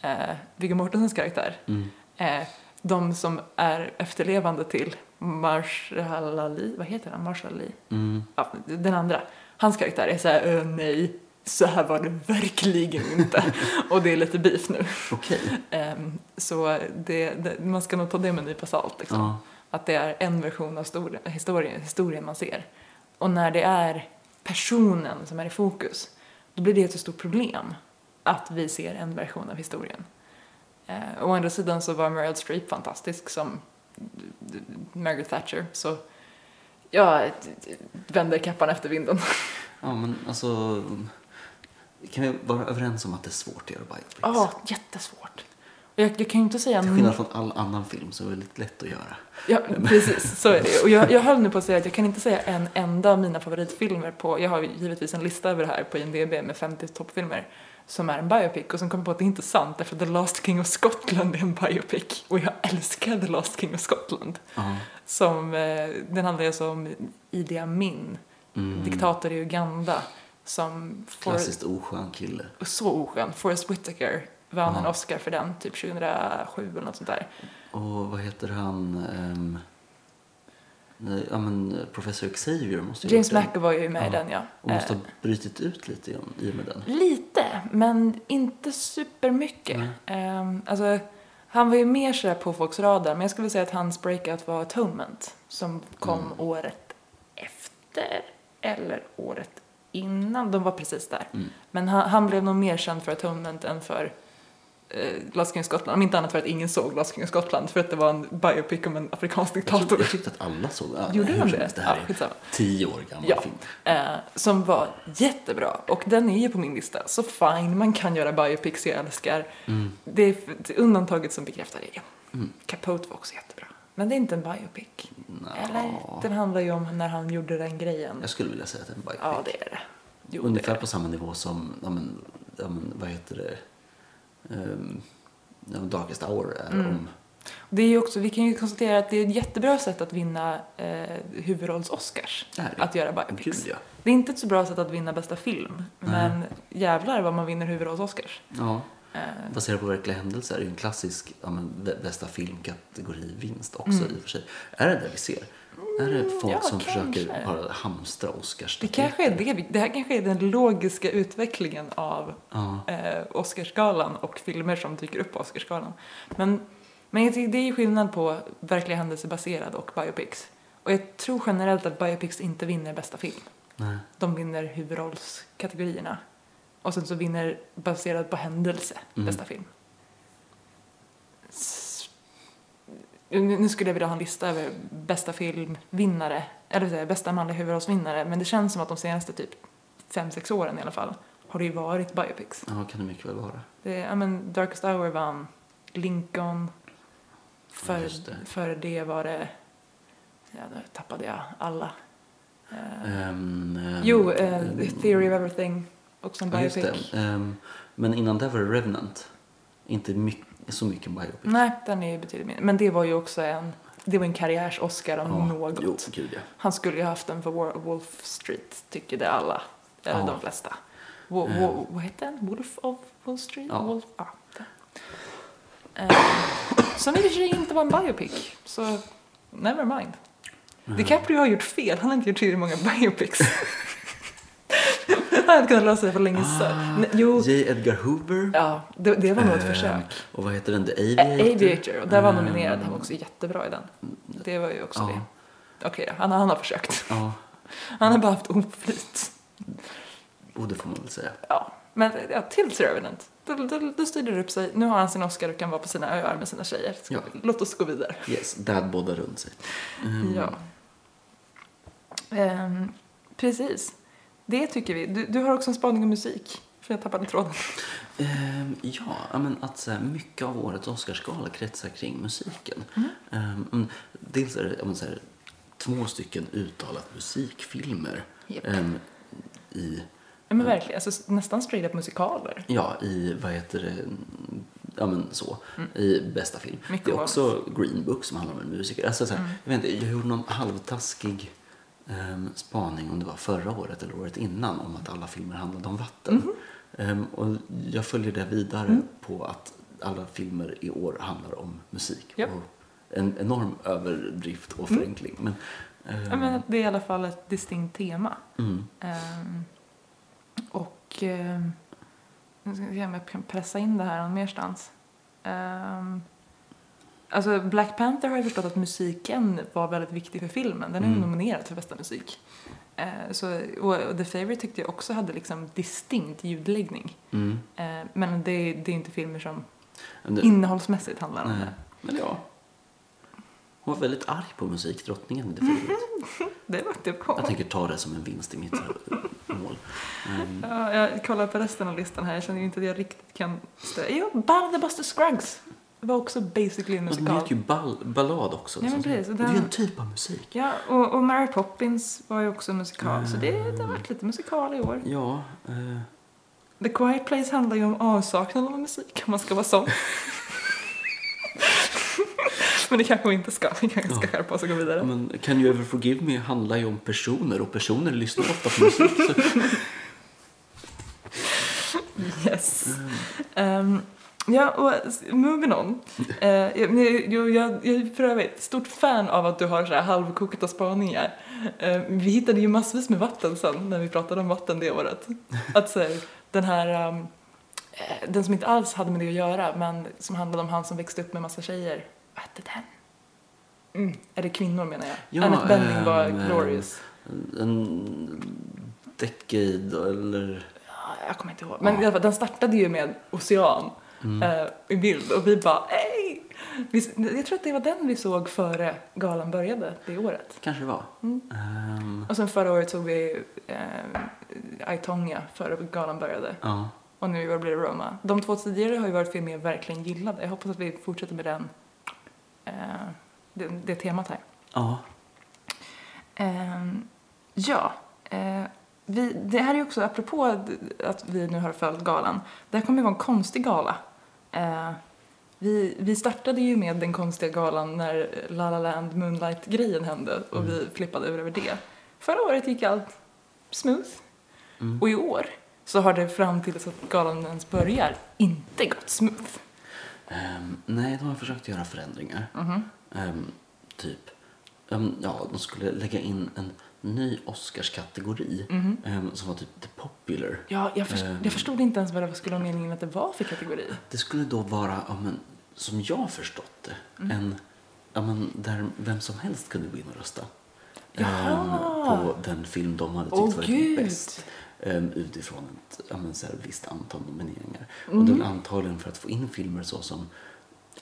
Speaker 1: eh, Viggo Mortensens karaktär.
Speaker 2: Mm.
Speaker 1: Eh, de som är efterlevande till Marshall Ali, vad heter han? Marshall Ali?
Speaker 2: Mm.
Speaker 1: Ja, den andra. Hans karaktär är så här, "Ö, nej, så här var det verkligen inte. Och det är lite beef nu.
Speaker 2: Okej.
Speaker 1: Ehm, så det, det, man ska nog ta det med en nypa salt. Liksom.
Speaker 2: Ja.
Speaker 1: Att det är en version av stor, historien, historien man ser. Och när det är personen som är i fokus, då blir det ett så stort problem att vi ser en version av historien. Eh, å andra sidan så var Meryl Streep fantastisk som d- d- Margaret Thatcher, så jag d- d- vänder kappan efter vinden.
Speaker 2: Ja, men alltså... Kan vi vara överens om att det är svårt att göra biopics?
Speaker 1: Ja, jättesvårt. Och jag, jag kan ju inte säga...
Speaker 2: Till skillnad från all annan film så är det väldigt lätt att göra.
Speaker 1: Ja, precis. Så är det ju. Och jag, jag höll nu på att säga att jag kan inte säga en enda av mina favoritfilmer på... Jag har ju givetvis en lista över det här på IMDB med 50 toppfilmer som är en biopic och som kom jag på att det inte är sant därför att The Last King of Scotland är en biopic och jag älskar The Last King of Scotland.
Speaker 2: Ja.
Speaker 1: Som, eh, den handlar ju alltså om Idi Amin, diktator i Uganda, som får
Speaker 2: Mm. Klassiskt oskön kille.
Speaker 1: så oskön. Forrest Whitaker vann en
Speaker 2: Ja.
Speaker 1: Oscar för den, typ 2007 eller något sånt där.
Speaker 2: Och vad heter han? ehm, nej, ja, men professor Xavier måste ju ha
Speaker 1: James
Speaker 2: gjort den.
Speaker 1: McAvoy är ju med i
Speaker 2: Ja.
Speaker 1: den, ja.
Speaker 2: Och måste
Speaker 1: Eh,
Speaker 2: ha brutit ut lite i- i och med den.
Speaker 1: Lite, men inte supermycket. Mm. alltså, Han var ju mer sådär på folks radar, men jag skulle säga att hans breakout var Atonement som kom
Speaker 2: Mm.
Speaker 1: året efter eller året innan. De var precis där.
Speaker 2: Mm.
Speaker 1: Men han, han blev nog mer känd för Atonement än för eh, Glaskung Skottland. Om inte annat för att ingen såg Glaskung Skottland för att det var en biopic om en afrikansk
Speaker 2: Jag, tyckte,
Speaker 1: diktator.
Speaker 2: jag tyckte att alla såg ja,
Speaker 1: Gjorde
Speaker 2: hur
Speaker 1: de
Speaker 2: som
Speaker 1: det?
Speaker 2: helst, Det
Speaker 1: Ja,
Speaker 2: här är
Speaker 1: skitsamma.
Speaker 2: tio år gammal
Speaker 1: Ja,
Speaker 2: film.
Speaker 1: eh, som var jättebra. Och den är ju på min lista. Så fine, man kan göra biopics, jag älskar.
Speaker 2: Mm.
Speaker 1: Det är f- det är undantaget som bekräftar regeln. Capote var också jättebra. Men det är inte en biopic.
Speaker 2: Nå.
Speaker 1: Eller? Den handlar ju om när han gjorde den grejen.
Speaker 2: Jag skulle vilja säga att det är en biopic.
Speaker 1: Ja, det är det. Jo, det
Speaker 2: Ungefär
Speaker 1: är det.
Speaker 2: på samma nivå som, ja men, ja, men vad heter det, Ehm, ja, Darkest Hour är
Speaker 1: Mm.
Speaker 2: om.
Speaker 1: Det är ju också, vi kan ju konstatera att det är ett jättebra sätt att vinna eh, huvudrolls-Oscars.
Speaker 2: Det här är-
Speaker 1: Att göra biopics.
Speaker 2: Gud ja.
Speaker 1: Det är inte ett så bra sätt att vinna bästa film. Men jävlar vad man vinner huvudrolls-Oscars.
Speaker 2: Ja,
Speaker 1: Eh,
Speaker 2: baserat på verkliga händelser är ju en klassisk ja, men, bä- bästa filmkategori-vinst också i och för sig. Är det det vi ser? är det folk
Speaker 1: Mm. ja,
Speaker 2: som
Speaker 1: kanske.
Speaker 2: försöker bara hamstra
Speaker 1: Det
Speaker 2: Oscarsstatyetter?
Speaker 1: kanske är det, vi- det här kanske är den logiska utvecklingen av
Speaker 2: Ja.
Speaker 1: eh, Oscarsgalan och filmer som dyker upp på Oscarsgalan. Men, men jag tycker det är ju skillnad på verkliga händelser baserad och biopics. Och jag tror generellt att biopics inte vinner bästa film.
Speaker 2: Nej.
Speaker 1: De vinner huvudrollskategorierna. Och sen så vinner baserad på händelse
Speaker 2: Mm.
Speaker 1: bästa film. S- Nu nu skulle jag vilja ha en lista över bästa filmvinnare, eller vad säger jag, bästa manliga huvudrollsvinnare, men det känns som att de senaste typ fem sex åren i alla fall har det ju varit biopics.
Speaker 2: Ja, kan det mycket väl vara.
Speaker 1: Det, ja men Darkest Hour vann, Lincoln, före
Speaker 2: just det.
Speaker 1: det. För det var det, ja nu tappade jag alla. Eh,
Speaker 2: Ehm, ehm,
Speaker 1: Jo, eh,
Speaker 2: ehm,
Speaker 1: The Theory of Everything. Också en
Speaker 2: ja, just
Speaker 1: biopic.
Speaker 2: det. Ehm, men innan det var det Revenant. Inte mycket, så mycket biopic.
Speaker 1: Nej, den är ju betydligt mindre. Men det var ju också en, det var en karriärs-Oscar om
Speaker 2: Ja,
Speaker 1: något.
Speaker 2: Jo, gud ja.
Speaker 1: Han skulle ju ha haft den för War- Wolf Street, tycker det alla. Eller
Speaker 2: Ja.
Speaker 1: de flesta. Wo, wo,
Speaker 2: Eh.
Speaker 1: Vad hette den? Wolf of Wall Street?
Speaker 2: Ja.
Speaker 1: Wolf, ja, den. Eh, som i och för sig inte var en biopic. Så never mind. DiCaprio har gjort fel. Han har inte gjort tillräckligt många biopics. Han hade kunnat lösa det för länge sedan.
Speaker 2: Ah,
Speaker 1: Nej, Jo,
Speaker 2: J. Edgar Hoover.
Speaker 1: Ja, det, det var nog ett
Speaker 2: Ehm,
Speaker 1: försök.
Speaker 2: Och vad heter den? The Aviator.
Speaker 1: Aviator, Aviator och där var han
Speaker 2: Ehm,
Speaker 1: nominerad. Han var också jättebra i den. Det var ju också
Speaker 2: Mm. ja.
Speaker 1: det. Okej då, han, han har försökt.
Speaker 2: Ja,
Speaker 1: Han har bara haft oflyt.
Speaker 2: och Oh, det får man väl säga.
Speaker 1: Ja, men ja, till The Revenant. Då, då, då styrde det upp sig. Nu har han sin Oscar och kan vara på sina öar med sina tjejer. Ska,
Speaker 2: Ja.
Speaker 1: Låt oss gå vidare.
Speaker 2: Yes, dad båda runt sig. Ehm,
Speaker 1: Ja. Ehm, precis. Det tycker vi. Du, du har också en spaning om musik. För jag tappade tråden.
Speaker 2: Ehm, ja, ja, men att så här, mycket av årets Oscarsgala kretsar kring musiken. Ehm, mm, dels är det ja, men, så här, två stycken uttalat musikfilmer.
Speaker 1: Japp.
Speaker 2: ehm, i,
Speaker 1: Ja, men verkligen. Alltså, nästan straight up musikaler.
Speaker 2: ja, i vad heter det? Ja, men så. I bästa film.
Speaker 1: Mm. Mycket Mm.
Speaker 2: det är
Speaker 1: ovanligt.
Speaker 2: också Green Book som handlar om en musiker. Alltså, så här, jag, vet inte, jag gjorde någon halvtaskig ehm, spaning om det var förra året eller året innan om att alla filmer handlade om vatten.
Speaker 1: Mhm.
Speaker 2: Ehm, och jag följer det vidare
Speaker 1: Mm.
Speaker 2: på att alla filmer i år handlar om musik.
Speaker 1: Japp. Mm.
Speaker 2: Och en enorm överdrift och förenkling. Men, ehm,
Speaker 1: Ja, men att det är i alla fall ett distinkt tema.
Speaker 2: mm.
Speaker 1: Ehm, och ehm, nu ska vi se om jag kan pressa in det här någon merstans. Um, alltså Black Panther har jag förstått att musiken var väldigt viktig för filmen. Den är
Speaker 2: Mm.
Speaker 1: nominerad för bästa musik. Eh, så, och, och The Favourite tyckte jag också hade liksom distinkt ljudläggning.
Speaker 2: Mm.
Speaker 1: Eh, men det, det är inte filmer som
Speaker 2: Men det-
Speaker 1: innehållsmässigt handlar om
Speaker 2: Nej,
Speaker 1: det.
Speaker 2: men ja. Hon var väldigt arg på musikdrottningen. Det mm.
Speaker 1: Mhm. Det typ var inte på.
Speaker 2: Jag tänker ta det som en vinst i mitt eh, mål. Ehm,
Speaker 1: Ja, jag kollar på resten av listan här. Jag känner ju inte att jag riktigt kan... stödja. Jo, Band the Buster Scruggs var också basically en
Speaker 2: men de
Speaker 1: musikal.
Speaker 2: heter ju ball, ballad också.
Speaker 1: Ja, men
Speaker 2: Så det-
Speaker 1: precis, och
Speaker 2: Det är ju
Speaker 1: den-
Speaker 2: en typ av musik.
Speaker 1: Ja, och, och Mary Poppins var ju också en musikal. Så det, det har varit lite musikal i år.
Speaker 2: Ah. Ja, eh,
Speaker 1: The Quiet Place handlar ju om avsaknaden av musik, om man ska vara sån. men det kanske vi inte ska. Vi kanske ska
Speaker 2: Ja.
Speaker 1: skärpa oss och gå vidare.
Speaker 2: men Can You Ever Forgive Me handlar ju om personer och personer lyssnar ofta på musik. Så,
Speaker 1: Yes. Ehm, ja, och s- moving on. Eh, jag, men jag, jag, jag är för övrigt stort fan av att du har så här halvkokta spaningar. Eh, vi hittade ju massvis med vatten sen när vi pratade om vatten det året. Att så här, den här um, eh, den som inte alls hade med det att göra, men som handlade om han som växte upp med massa tjejer. Vad hette den? Mm. Är det kvinnor menar jag?
Speaker 2: Ja,
Speaker 1: Annette Bening var
Speaker 2: ehm,
Speaker 1: glorious.
Speaker 2: En, en decade eller...
Speaker 1: Ja, Ah, jag kommer inte ihåg. Men i alla fall, den startade ju med ocean eh, i bild och vi bara ej! Vi, jag tror att det var den vi såg före galan började det året.
Speaker 2: Kanske det var.
Speaker 1: Mm.
Speaker 2: Ehm,
Speaker 1: Och sen förra året såg vi eh, Aitonga före galan började.
Speaker 2: ja.
Speaker 1: Och nu i år blir det Roma. De två tidigare har ju varit filmer jag verkligen gillade. Jag hoppas att vi fortsätter med den, eh, det, det temat här.
Speaker 2: ja.
Speaker 1: Ehm, ja, eh, vi, det här är ju också apropå d- att vi nu har följt galan. Det här kommer ju vara en konstig gala. Eh, vi, vi startade ju med den konstiga galan när La La Land Moonlight-grejen hände och
Speaker 2: Mm.
Speaker 1: vi flippade ur över det. Förra året gick allt smooth.
Speaker 2: Mm.
Speaker 1: Och i år så har det fram till dess att galan ens börjar inte gått smooth.
Speaker 2: Ehm, nej, de har försökt göra förändringar. Ehm, typ. Ehm, ja, de skulle lägga in en ny Oscarskategori
Speaker 1: Mhm.
Speaker 2: ehm, som var typ the popular.
Speaker 1: Ja, jag, förs-
Speaker 2: Ehm.
Speaker 1: jag förstod inte ens vad det skulle vara meningen att det var för kategori.
Speaker 2: Det skulle då vara, ja, men, som jag har förstått det,
Speaker 1: Mm.
Speaker 2: en, ja, men, där vem som helst kunde gå in och rösta.
Speaker 1: Jaha.
Speaker 2: Ehm, på den film de hade tyckt
Speaker 1: Åh,
Speaker 2: varit
Speaker 1: gud.
Speaker 2: bäst. ehm, utifrån ett ja, men, så här, visst antal nomineringar. Och
Speaker 1: Mm.
Speaker 2: det var antagligen för att få in filmer såsom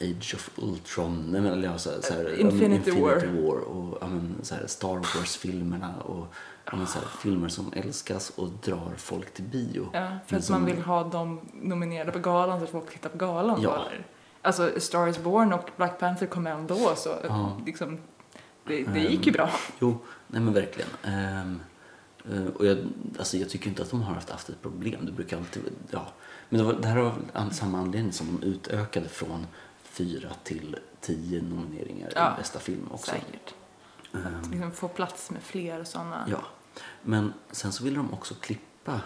Speaker 2: Age of Ultron, nej, men, eller, ja, så, här- så här,
Speaker 1: Eh,
Speaker 2: ja, men,
Speaker 1: Infinity War.
Speaker 2: War och ja, men, så här, Star Wars-filmerna och ja, men, så här, filmer som älskas och drar folk till bio.
Speaker 1: Ja, för
Speaker 2: men
Speaker 1: att
Speaker 2: som-
Speaker 1: man vill ha dem nominerade på galan så att folk tittar på galan.
Speaker 2: Ja.
Speaker 1: bara. Alltså, A Star is Born och Black Panther kom ändå så
Speaker 2: Ja. Ehm,
Speaker 1: liksom, det, det gick ju bra.
Speaker 2: Jo, nej men verkligen. Ehm, eh, och jag, alltså jag tycker inte att de har haft, haft ett problem. Det brukar alltid, ja. Men det, var, det här var väl an, samma anledning som de utökade från fyra till tio nomineringar
Speaker 1: Ja,
Speaker 2: i bästa film också. Ehm.
Speaker 1: Säkert. Att liksom få plats med fler sådana.
Speaker 2: Ja. Men sen så ville de också klippa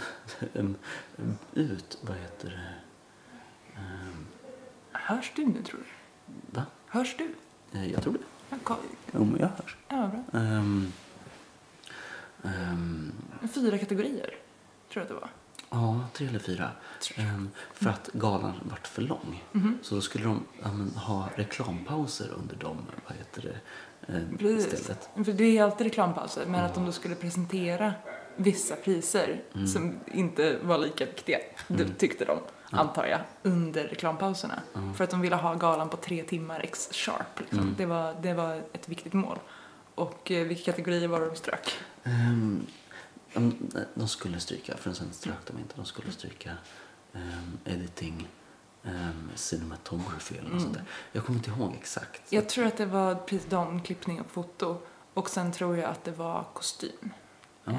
Speaker 2: ehm, ut, vad heter det,
Speaker 1: Hörs du nu tror du?
Speaker 2: va?
Speaker 1: Hörs du?
Speaker 2: Eh, Jag tror det.
Speaker 1: Ja, ko-
Speaker 2: Jo, men jag hörs.
Speaker 1: ja, bra.
Speaker 2: Ehm, ehm,
Speaker 1: Fyra kategorier, tror jag att det var.
Speaker 2: Ja, tre Mhm. eller fyra. Ehm, för att galan vart för lång. Så då skulle de ja, men, ha reklampauser under dem, vad heter det, ehm, istället.
Speaker 1: För det är alltid reklampauser, men att de då skulle presentera vissa priser
Speaker 2: Mm.
Speaker 1: som inte var lika viktiga, det tyckte de, antar jag, under reklampauserna. För att de ville ha galan på tre timmar ex sharp. Liksom. Det, var, det var ett viktigt mål. Och eh, vilka kategorier var det de strök?
Speaker 2: Ehm, ehm, de skulle stryka, för sen strök de inte. De skulle stryka ehm, editing, ehm, cinematography eller något sånt där. Jag kommer inte ihåg exakt.
Speaker 1: Mm. Jag tror att det var precis de, klippning och foto. Och sen tror jag att det var kostym.
Speaker 2: Ja,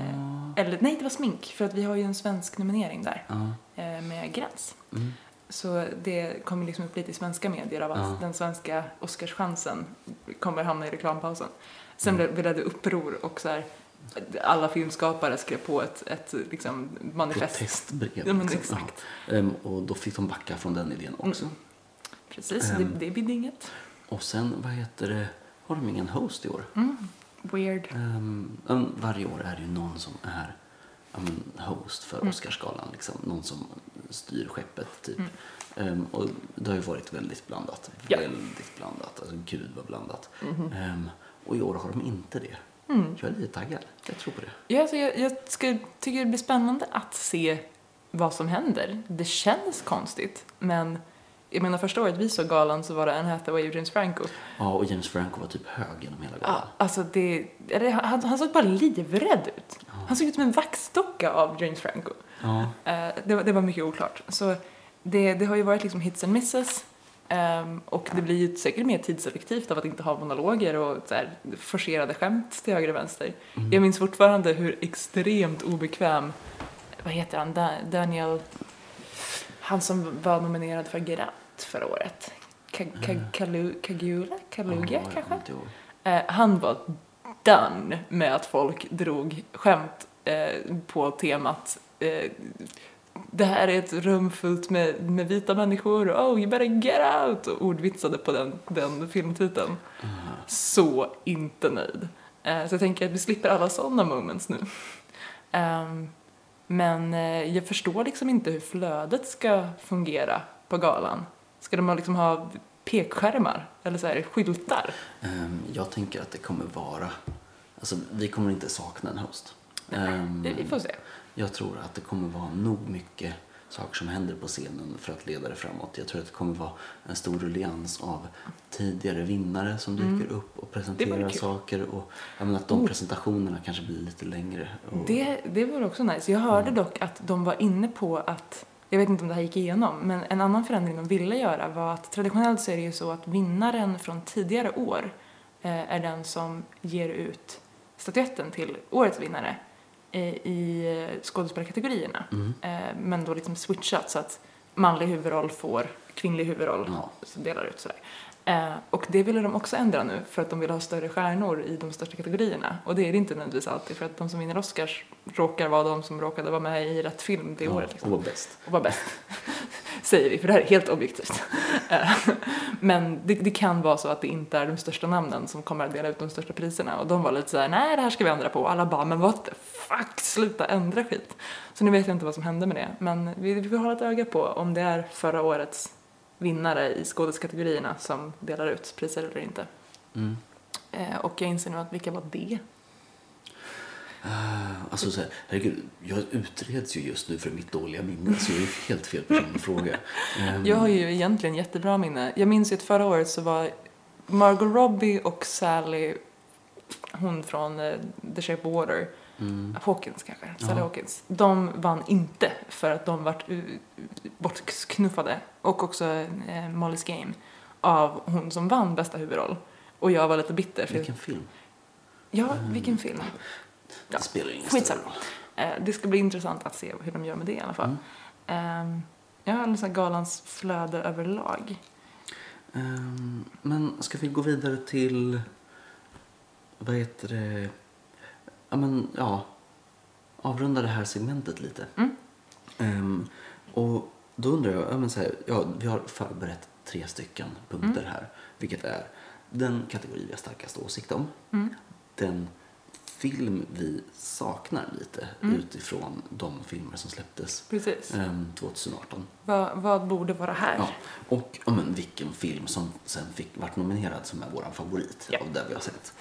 Speaker 1: Eller nej, det var smink, för att vi har ju en svensk nominering där.
Speaker 2: ja,
Speaker 1: eh, med gräns.
Speaker 2: Mm.
Speaker 1: Så det kommer liksom upp lite i svenska medier av att
Speaker 2: Ja.
Speaker 1: den svenska Oscarschansen kommer hamna i reklampausen. Sen blev- blev det uppror och så här, alla filmskapare skrev på ett, ett liksom manifest.
Speaker 2: protestbrev.
Speaker 1: Ja, men
Speaker 2: liksom.
Speaker 1: exakt.
Speaker 2: Ja. Ehm, och då fick de backa från den idén också.
Speaker 1: Mm. Precis, det,
Speaker 2: Ehm.
Speaker 1: det bidde inget.
Speaker 2: Och sen, vad heter det, har de ingen host i år?
Speaker 1: Weird.
Speaker 2: Ehm, ehm, varje år är det ju någon som är ja, men, host för Oscarsgalan. Liksom. Någon som styr skeppet. Typ. Ehm, och det har ju varit väldigt blandat.
Speaker 1: Ja.
Speaker 2: Väldigt blandat. Alltså, gud vad blandat. Ehm, och i år har de inte det. Jag är lite taggad. Jag tror på det.
Speaker 1: Ja, alltså, jag jag ska, tycker det blir spännande att se vad som händer. Det känns konstigt, men jag menar första året vi såg galan så var det Anne Hathaway och James Franco.
Speaker 2: Ja, och James Franco var typ hög genom hela
Speaker 1: Ja,
Speaker 2: galan.
Speaker 1: alltså det, eller han, han såg bara livrädd ut. Han såg ut som en vaxdocka av James Franco.
Speaker 2: Ja.
Speaker 1: Eh, det, var- det var mycket oklart. Så det, det har ju varit liksom hits and misses. ehm, och det blir ju säkert mer tidseffektivt av att inte ha monologer och så här, forcerade skämt till höger och vänster. Jag minns fortfarande hur extremt obekväm, vad heter han, Da- Daniel, han som var nominerad för Geraint förra året. Ka- ka- Kalu- Kagula? Kaluga
Speaker 2: jag
Speaker 1: kanske?
Speaker 2: kommer inte ihåg.
Speaker 1: Eh, han var done med att folk drog skämt eh, på temat eh, det här är ett rum fullt med, med vita människor, oh you better get out! Och ordvitsade på den, den filmtiteln. Så inte nöjd. Eh, så jag tänker att vi slipper alla sådana moments nu. Ehm, Men eh, jag förstår liksom inte hur flödet ska fungera på galan. Ska de ha liksom ha pekskärmar eller så här, skyltar?
Speaker 2: Ehm, Jag tänker att det kommer vara... Alltså, vi kommer inte sakna en host. Ehm,
Speaker 1: Vi vi får se.
Speaker 2: Jag tror att det kommer vara nog mycket saker som händer på scenen för att leda det framåt. Jag tror att det kommer vara en stor ruljans av tidigare vinnare som dyker upp och presenterar
Speaker 1: Mm. kul. Oh.
Speaker 2: saker. Och, jag menar att de presentationerna kanske blir lite längre. Och,
Speaker 1: Det, det vore också nice. Jag hörde dock att de var inne på att, jag vet inte om det här gick igenom, men en annan förändring de ville göra var att traditionellt så är det ju så att vinnaren från tidigare år eh, är den som ger ut statyetten till årets vinnare eh, i eh, skådespelarkategorierna.
Speaker 2: Mm.
Speaker 1: Eh, men då liksom switchat så att manlig huvudroll får kvinnlig huvudroll
Speaker 2: Ja.
Speaker 1: som delar ut sådär. Eh, och det ville de också ändra nu för att de ville ha större stjärnor i de största kategorierna. Och det är det inte nödvändigtvis alltid för att de som vinner Oscars råkar vara de som råkade vara med i rätt film det
Speaker 2: ja,
Speaker 1: året. Liksom.
Speaker 2: och var bäst.
Speaker 1: Och var bäst. Säger vi, för det här är helt objektivt. Eh, Men det, det kan vara så att det inte är de största namnen som kommer att dela ut de största priserna. Och de var lite såhär, nej det här ska vi ändra på. Och alla bara, men what the fuck, sluta ändra skit. Så nu vet jag inte vad som hände med det. Men vi, vi får hålla ett öga på om det är förra årets vinnare i skådeskategorierna som delar ut priser eller inte.
Speaker 2: Mm.
Speaker 1: Eh, Och jag inser nu att vilka var det?
Speaker 2: Eh, Alltså så här, herregud, jag utreds ju just nu för mitt dåliga minne så jag är helt fel person att fråga. Ehm,
Speaker 1: Jag har ju egentligen jättebra minne. Jag minns ju att förra året så var Margot Robbie och Sally, hon från eh, The Shape of Water,
Speaker 2: mm.
Speaker 1: Hawkins kanske, Sally
Speaker 2: Ja.
Speaker 1: Hawkins. De vann inte för att de vart u- u- bortknuffade. Och också eh, Molly Game av hon som vann bästa huvudroll. Och jag var lite bitter. För
Speaker 2: Vilken Mm. film?
Speaker 1: Ja, vilken film. Ja,
Speaker 2: Det spelar ingen
Speaker 1: skitsamma.
Speaker 2: större roll.
Speaker 1: Eh, det ska bli intressant att se hur de gör med det i alla
Speaker 2: Mm.
Speaker 1: fall. Mm. ja, liksom galans flöde överlag.
Speaker 2: Ehm, men ska vi gå vidare till... Vad heter det? Ja, men ja. Avrunda det här segmentet lite. Ehm, och då undrar jag, ja, men så här, ja, vi har förberett tre stycken punkter här. Vilket är den kategori vi har starkast åsikt om. Den film vi saknar lite utifrån de filmer som släpptes
Speaker 1: Precis.
Speaker 2: ehm, 2018.
Speaker 1: Vad, vad borde vara här?
Speaker 2: Ja, och ja, men, vilken film som sen fick, vart nominerad som är vår favorit
Speaker 1: Ja.
Speaker 2: av det vi har sett.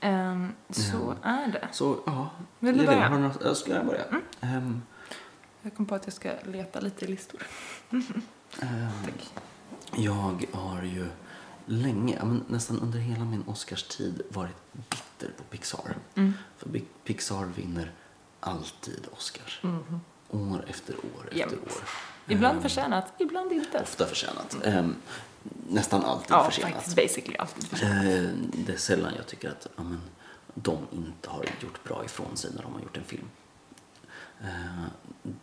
Speaker 1: Ehm, så
Speaker 2: Mm.
Speaker 1: är det.
Speaker 2: Så ja,
Speaker 1: Vill du
Speaker 2: Elin,
Speaker 1: börja? Mm.
Speaker 2: har du några- jag skulle börja. Ehm,
Speaker 1: Jag kom på att jag ska leta lite i listor.
Speaker 2: ehm, jag har ju länge, ja, men, nästan under hela min Oscarstid varit bitter på Pixar.
Speaker 1: Mm.
Speaker 2: För Pi- Pixar vinner alltid Oscars. År efter år efter
Speaker 1: Mm-hmm. Jämt.
Speaker 2: år.
Speaker 1: Ibland förtjänat, ibland inte.
Speaker 2: Mm. Ofta försenat. Ehm, nästan alltid
Speaker 1: Ja,
Speaker 2: försenat.
Speaker 1: faktiskt basically alltid försenat.
Speaker 2: Eh, Det är sällan jag tycker att ja, men, de inte har gjort bra ifrån sig när de har gjort en film. Eh,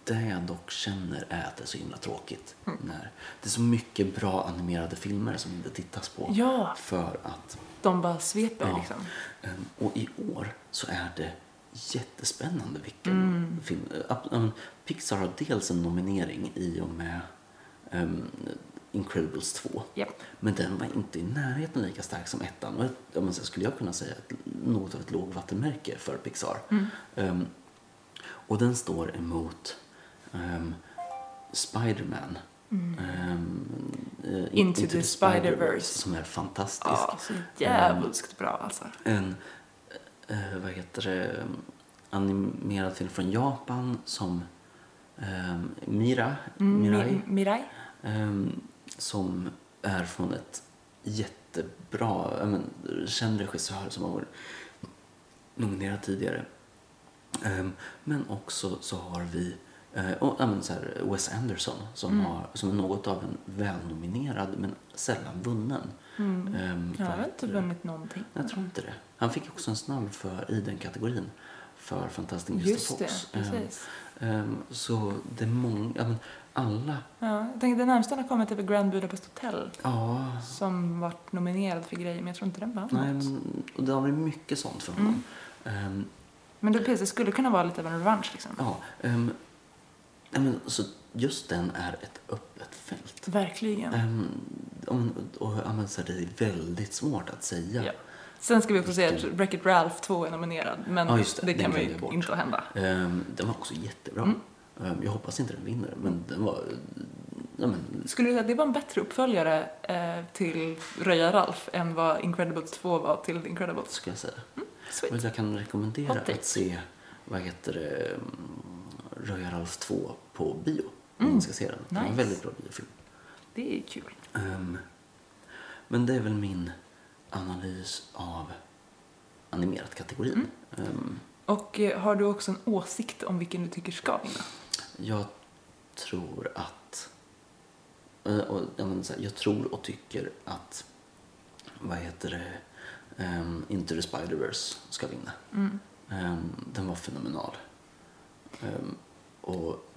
Speaker 2: Det jag dock känner är att det är så himla tråkigt. När det är så mycket bra animerade filmer som inte tittas på.
Speaker 1: Ja.
Speaker 2: För att,
Speaker 1: De bara sveper
Speaker 2: ja.
Speaker 1: liksom.
Speaker 2: Eh, Och i år så är det jättespännande vilken film. eh, ab- ja, men, Pixar har dels en nominering i och med ehm, Incredibles 2.
Speaker 1: Japp.
Speaker 2: Men den var inte i närheten lika stark som ettan. Och ett, ja, men så skulle jag kunna säga att något av ett lågvattenmärke för Pixar.
Speaker 1: Mm.
Speaker 2: Ehm, och den står emot ehm, Spider-Man. Ehm, eh, In-
Speaker 1: Mm. Into the Spider-Verse.
Speaker 2: Som är fantastisk.
Speaker 1: Ja, så jävligt bra alltså.
Speaker 2: En, eh, vad heter det, animerad film från Japan som ehm, Mira,
Speaker 1: Mm,
Speaker 2: Mirai.
Speaker 1: Mi- Mirai?
Speaker 2: Ehm, som är från ett jättebra, jag men, känd regissör som har varit nominerad tidigare. Ehm, men också så har vi eh, och, ja, men, så här, Wes Anderson som,
Speaker 1: Mm.
Speaker 2: har, som är något av en välnominerad men sällan vunnen.
Speaker 1: Mm.
Speaker 2: ehm,
Speaker 1: Jag
Speaker 2: vad
Speaker 1: har
Speaker 2: heter
Speaker 1: inte
Speaker 2: det?
Speaker 1: vunnit någonting.
Speaker 2: Jag tror inte det. Han fick också en snabb för, i den kategorin för Fantastic Mr.
Speaker 1: Just det,
Speaker 2: Fox. Ehm,
Speaker 1: precis.
Speaker 2: ehm, så det är många, ja, men, alla,
Speaker 1: Ja, jag tänkte det närmsta har kommit typ Grand Budapest Hotel
Speaker 2: ja,
Speaker 1: som vart nominerad för grejer men jag tror inte den vann
Speaker 2: Nej,
Speaker 1: något. Mm.
Speaker 2: men, och det har varit mycket sånt för honom. Ehm,
Speaker 1: Men det, precis, det skulle kunna vara lite av en revansch liksom.
Speaker 2: ja, ehm, nej, men, så just den är ett öppet fält.
Speaker 1: Verkligen.
Speaker 2: Ehm, om- och, ja, men, så här, det är väldigt svårt att säga.
Speaker 1: Ja. Sen ska vi också säga att Wreck-It Ralph 2 är nominerad, men
Speaker 2: Ja, just
Speaker 1: det,
Speaker 2: det. Den
Speaker 1: kan man
Speaker 2: glömde
Speaker 1: ju
Speaker 2: jag bort.
Speaker 1: inte hända.
Speaker 2: Ehm, Den var också jättebra.
Speaker 1: Mm.
Speaker 2: Ehm, Jag hoppas inte den vinner, men den var... Nej, men,
Speaker 1: Skulle du säga att det var en bättre uppföljare eh, till Röja Ralf än vad Incredibles 2 var till Incredibles?
Speaker 2: ska jag säga.
Speaker 1: Sweet.
Speaker 2: Och jag kan rekommendera
Speaker 1: Hot take.
Speaker 2: att se, vad heter det, mm, Röja Ralf 2 på bio. Om man ska se den. Det var en
Speaker 1: Mm. Nice.
Speaker 2: väldigt bra biofilm.
Speaker 1: Det är kul.
Speaker 2: Ehm, men det är väl min analys av animerat-kategorin. Ehm,
Speaker 1: Och eh, har du också en åsikt om vilken du tycker ska vinna?
Speaker 2: jag tror att... eh, och, jag, menar, så här, jag tror och tycker att, vad heter det, um, Into the Spider-Verse ska vinna. Ehm, den var fenomenal. Ehm, och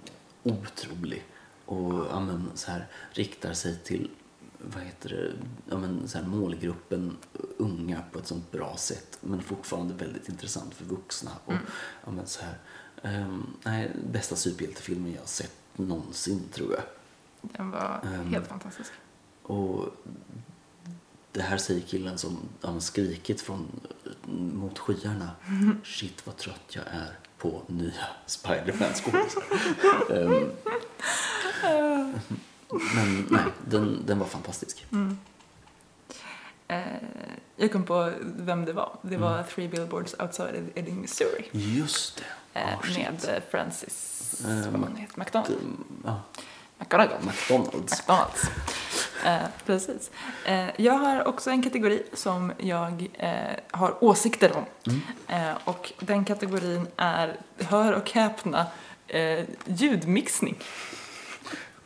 Speaker 2: otrolig. Och ja, men, så här, riktar sig till vad heter det, ja, men, så här, målgruppen unga på ett sånt bra sätt men fortfarande väldigt intressant för vuxna. Och, ja, men, så här, ehm, nej, bästa superhjältefilmen jag har sett någonsin tror jag.
Speaker 1: Den var
Speaker 2: Ehm.
Speaker 1: helt fantastisk.
Speaker 2: Och det här säger killen som har skrikit från, mot skyarna. Shit vad trött jag är på nya Spiderman-skådisar. Ehm, Men nej, den, den var fantastisk.
Speaker 1: Mm. Eh, jag kom på vem det var. Det var
Speaker 2: Mm.
Speaker 1: Three Billboards Outside Ebbing, Missouri.
Speaker 2: Just det.
Speaker 1: Eh,
Speaker 2: Ah, shit.
Speaker 1: med eh, Francis,
Speaker 2: Ehm,
Speaker 1: vad hon heter, McDonald.
Speaker 2: Ehm, ja,
Speaker 1: McGonagall.
Speaker 2: McDonalds.
Speaker 1: McDonalds. Eh, precis. Eh, jag har också en kategori som jag eh, har åsikter om. Eh, och den kategorin är, hör och häpna, eh, ljudmixning.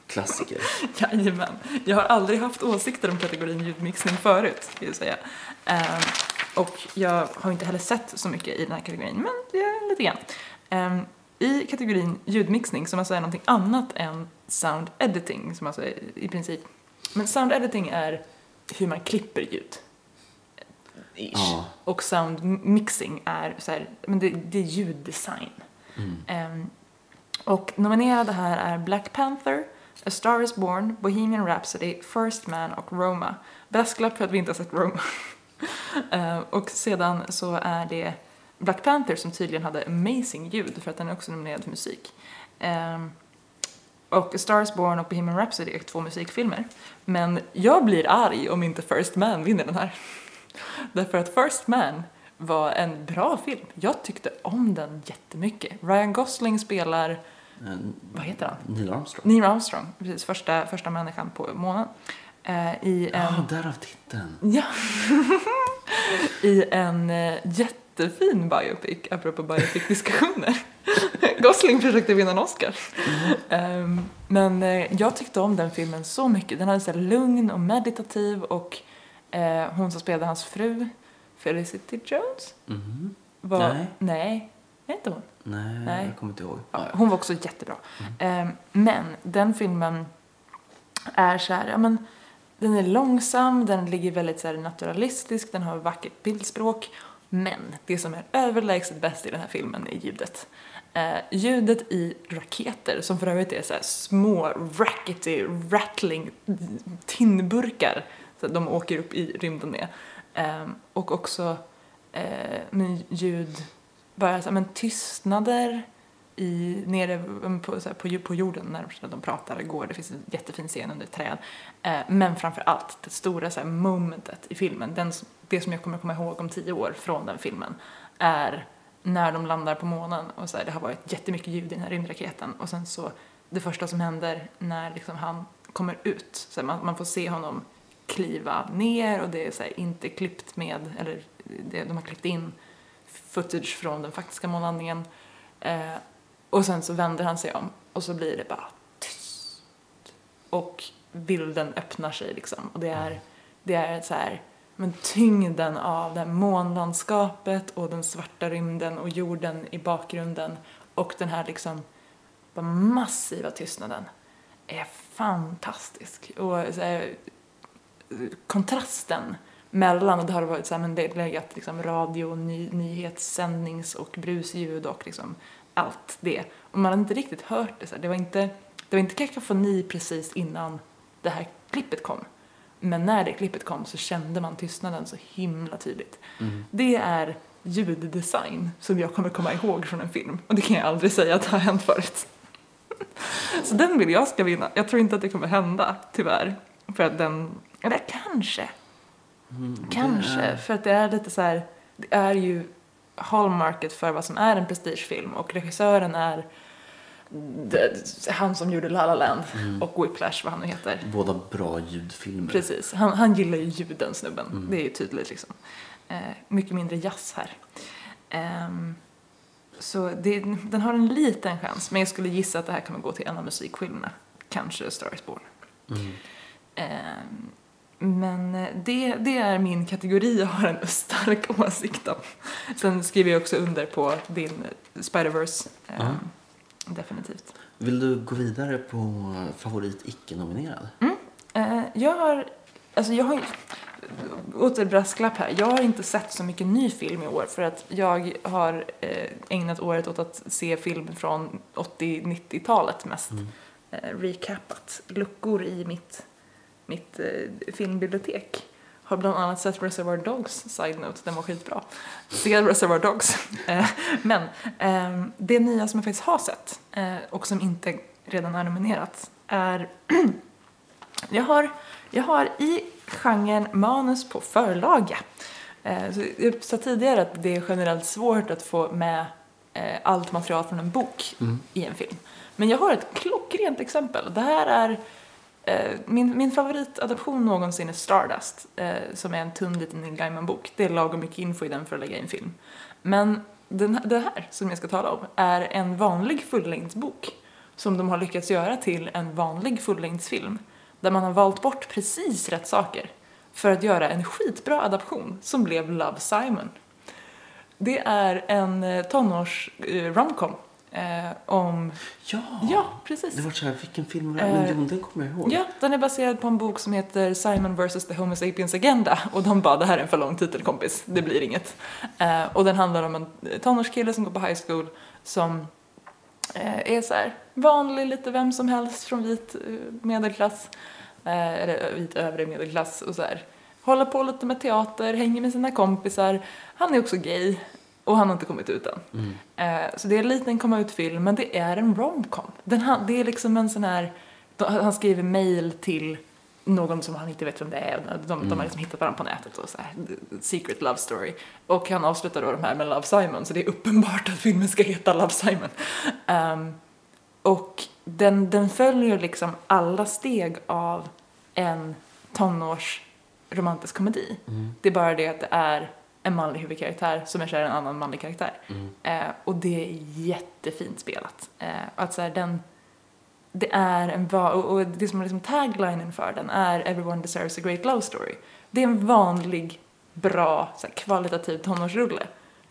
Speaker 2: Klassiker.
Speaker 1: Jajamän. Jag har aldrig haft åsikter om kategorin ljudmixning förut, ska jag säga. Ehm, och jag har inte heller sett så mycket i den här kategorin, men det är lite grann. Ehm, I kategorin ljudmixning, som alltså är någonting annat än sound editing, som alltså är i princip... Men sound editing är hur man klipper ljud. Ish.
Speaker 2: Ja.
Speaker 1: Och sound mixing är så här, men det, det är ljuddesign.
Speaker 2: mm.
Speaker 1: Ehm, och nominerade här är Black Panther, A Star Is Born, Bohemian Rhapsody, First Man och Roma. Brasklapp för att vi inte har sett Roma. Eh, och sedan så är det Black Panther som tydligen hade amazing ljud för att den är också nominerad för musik. Ehm, och A Star Is Born och Bohemian Rhapsody är två musikfilmer. Men jag blir arg om inte First Man vinner den här. Därför att First Man var en bra film. Jag tyckte om den jättemycket. Ryan Gosling spelar
Speaker 2: Ehm,
Speaker 1: vad heter han?
Speaker 2: Neil Armstrong.
Speaker 1: Neil Armstrong, precis, första, första människan på månen. Eh, I en,
Speaker 2: Ja, därav titeln.
Speaker 1: ja, i en eh, jättefin biopic, apropå biopic-diskussioner. Gosling försökte vinna en Oscar. Ehm, men eh, jag tyckte om den filmen så mycket. Den hade så här lugn och meditativ och eh, hon som spelade hans fru, Felicity Jones,
Speaker 2: Mhm.
Speaker 1: var...
Speaker 2: Nej.
Speaker 1: Nej, är inte hon?
Speaker 2: Nej,
Speaker 1: Nej.
Speaker 2: jag kommer inte ihåg.
Speaker 1: Ja, hon var också jättebra. Eh, men den filmen är så här, ja men den är långsam, den ligger väldigt så här naturalistisk, den har vackert bildspråk. Men det som är överlägset bäst i den här filmen är ljudet. Eh, ljudet i raketer, som för övrigt är så här små rackety, rattling tinnburkar så att de åker upp i rymden med. Eh, och också eh, men ljud, bara så här, men tystnader i, nere mm, på, så här, på, ju- på jorden när de- de pratar och går. Det finns en jättefin scen under ett träd. Eh, men framför allt det stora så här, momentet i filmen, den, s- det som jag kommer komma ihåg om tio år från den filmen, är när de landar på månen och så här, det har varit jättemycket ljud i den här rymdraketen och sen så det första som händer när liksom han kommer ut, så här, man, man får se honom kliva ner och det är så här, inte klippt med, eller det, de har klippt in footage från den faktiska månlandningen. Eh, och sen så vänder han sig om och så blir det bara tyst. Och bilden öppnar sig liksom. Och det är, det är så här, men tyngden av det här månlandskapet och den svarta rymden och jorden i bakgrunden och den här liksom bara massiva tystnaden är fantastisk. Och så här, kontrasten mellan, och det har varit så här, men det har legat liksom radio, ny, nyhetssändnings och brusljud och liksom allt det. Och man hade inte riktigt hört det så här. Det var inte, det var inte kakafoni precis innan det här klippet kom. Men när det klippet kom så kände man tystnaden så himla tydligt. Det är ljuddesign som jag kommer komma ihåg från en film. Och det kan jag aldrig säga att det har hänt förut. Så den vill jag ska vinna. Jag tror inte att det kommer hända, tyvärr. För att den, eller kanske.
Speaker 2: Mhm.
Speaker 1: Kanske, för att det är lite så här, det är ju hallmarket för vad som är en prestigefilm och regissören är det- han som gjorde La La Land och Whiplash, vad han nu heter.
Speaker 2: Båda bra ljudfilmer.
Speaker 1: Precis, han, han gillar ju ljuden snubben. Det är ju tydligt liksom. Eh, mycket mindre jazz här. Ehm, så det, den har en liten chans, men jag skulle gissa att det här kommer gå till en av musikfilmerna. Kanske A Star is Born.
Speaker 2: Mm.
Speaker 1: Ehm, men eh, det, det är min kategori jag har en stark åsikt om. Sen skriver jag också under på din Spider-Verse. ehm,
Speaker 2: Ja.
Speaker 1: Definitivt.
Speaker 2: Vill du gå vidare på favorit icke-nominerad?
Speaker 1: Eh, jag har, alltså jag har ju- åter brasklapp här, jag har inte sett så mycket ny film i år för att jag har eh, ägnat året åt att se film från 80-90-talet mest. Eh, recapat luckor i mitt, mitt eh, filmbibliotek. Har bland annat sett Reservoir Dogs, side-note, den var skitbra. Se Reservoir Dogs. Eh, Men eh, det nya som jag faktiskt har sett eh, och som inte redan är nominerat är jag har, jag har i genren manus på förlaga. Eh, så jag sa tidigare att det är generellt svårt att få med eh, allt material från en bok i en film. Men jag har ett klockrent exempel. Det här är eh, min, min favoritadaption någonsin är Stardust, eh, som är en tunn liten Neil Gaiman-bok. Det är lagom mycket info i den för att lägga i en film. Men den, det här som jag ska tala om är en vanlig fullängdsbok som de har lyckats göra till en vanlig fullängdsfilm där man har valt bort precis rätt saker för att göra en skitbra adaption som blev Love Simon. Det är en eh, tonårs eh, romcom eh, om...
Speaker 2: Ja!
Speaker 1: Ja, precis.
Speaker 2: Det var så här, vilken film var det? Men
Speaker 1: Eh,
Speaker 2: jo, den kommer jag ihåg.
Speaker 1: Ja, den är baserad på en bok som heter Simon vs. The Homo Sapiens Agenda och de bara det här är en för lång titel kompis, det blir inget. Eh, och den handlar om en tonårskille som går på high school som eh, är så här vanlig, lite vem som helst från vit eh, medelklass, eh, eller ö- vit övre medelklass och så här. Håller på lite med teater, hänger med sina kompisar. Han är också gay och han har inte kommit ut än. Eh, Så det är en liten komma ut-film, men det är en romcom. Den, han- det är liksom en sån här, de- han skriver mail till någon som han inte vet vem det är. De, de, de har liksom hittat varandra på nätet och så här, secret love story. Och han avslutar då de här med Love Simon, så det är uppenbart att filmen ska heta Love Simon. Ehm, och den, den följer liksom alla steg av en tonårs romantisk komedi. Det är bara det att det är en manlig huvudkaraktär som är kär i en annan manlig karaktär. Eh, och det är jättefint spelat. Eh, att så här, den, det är en va- och, och det som är liksom taglinen för den är “Everyone deserves a great love story”. Det är en vanlig, bra, så här, kvalitativ tonårsrulle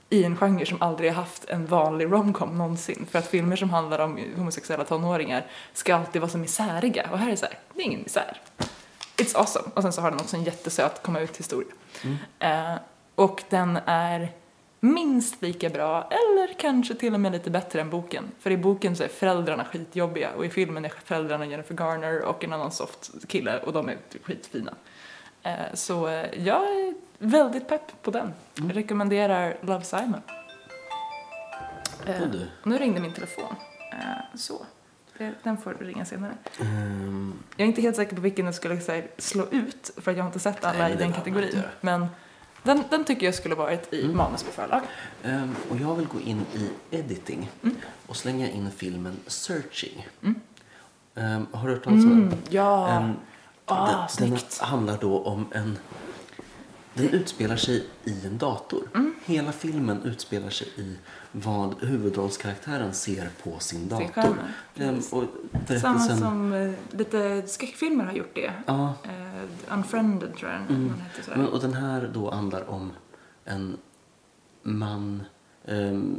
Speaker 1: i en genre som aldrig har haft en vanlig romcom någonsin. För att filmer som handlar om homosexuella tonåringar ska alltid vara så misäriga. Och här är det så här, det är ingen misär. It's awesome. Och sen så har den också en jättesöt komma ut-historia. Eh, och den är minst lika bra, eller kanske till och med lite bättre än boken. För i boken så är föräldrarna skitjobbiga och i filmen är föräldrarna Jennifer Garner och en annan soft kille och de är typ skitfina. Eh, Så eh, jag är väldigt pepp på den. Jag rekommenderar Love Simon. Eh,
Speaker 2: Och du?
Speaker 1: Nu ringde min telefon. Eh, Så. Eh, Den får ringa senare.
Speaker 2: Ehm,
Speaker 1: Jag är inte helt säker på vilken jag skulle så här, slå ut för att jag har inte sett alla
Speaker 2: Nej,
Speaker 1: i
Speaker 2: det
Speaker 1: den
Speaker 2: behöver man
Speaker 1: kategorin.
Speaker 2: inte Mm.
Speaker 1: Men
Speaker 2: göra.
Speaker 1: den, den tycker jag skulle varit i manus på förlag.
Speaker 2: ehm, och jag vill gå in i editing
Speaker 1: Mm.
Speaker 2: och slänga in filmen Searching. Ehm, har du hört talas om
Speaker 1: Mm.
Speaker 2: den?
Speaker 1: ja.
Speaker 2: Ehm,
Speaker 1: Ah,
Speaker 2: den,
Speaker 1: snyggt.
Speaker 2: den handlar då om en... Den utspelar sig i en dator.
Speaker 1: Mm.
Speaker 2: Hela filmen utspelar sig i vad huvudrollskaraktären ser på sin dator.
Speaker 1: skärmen.
Speaker 2: Ehm, och
Speaker 1: Samma
Speaker 2: berättelsen...
Speaker 1: som eh, lite skräckfilmer har gjort det.
Speaker 2: Ja, Mm.
Speaker 1: Eh, Unfriended tror jag den heter. Så
Speaker 2: Men, och den här då handlar om en man, ehm,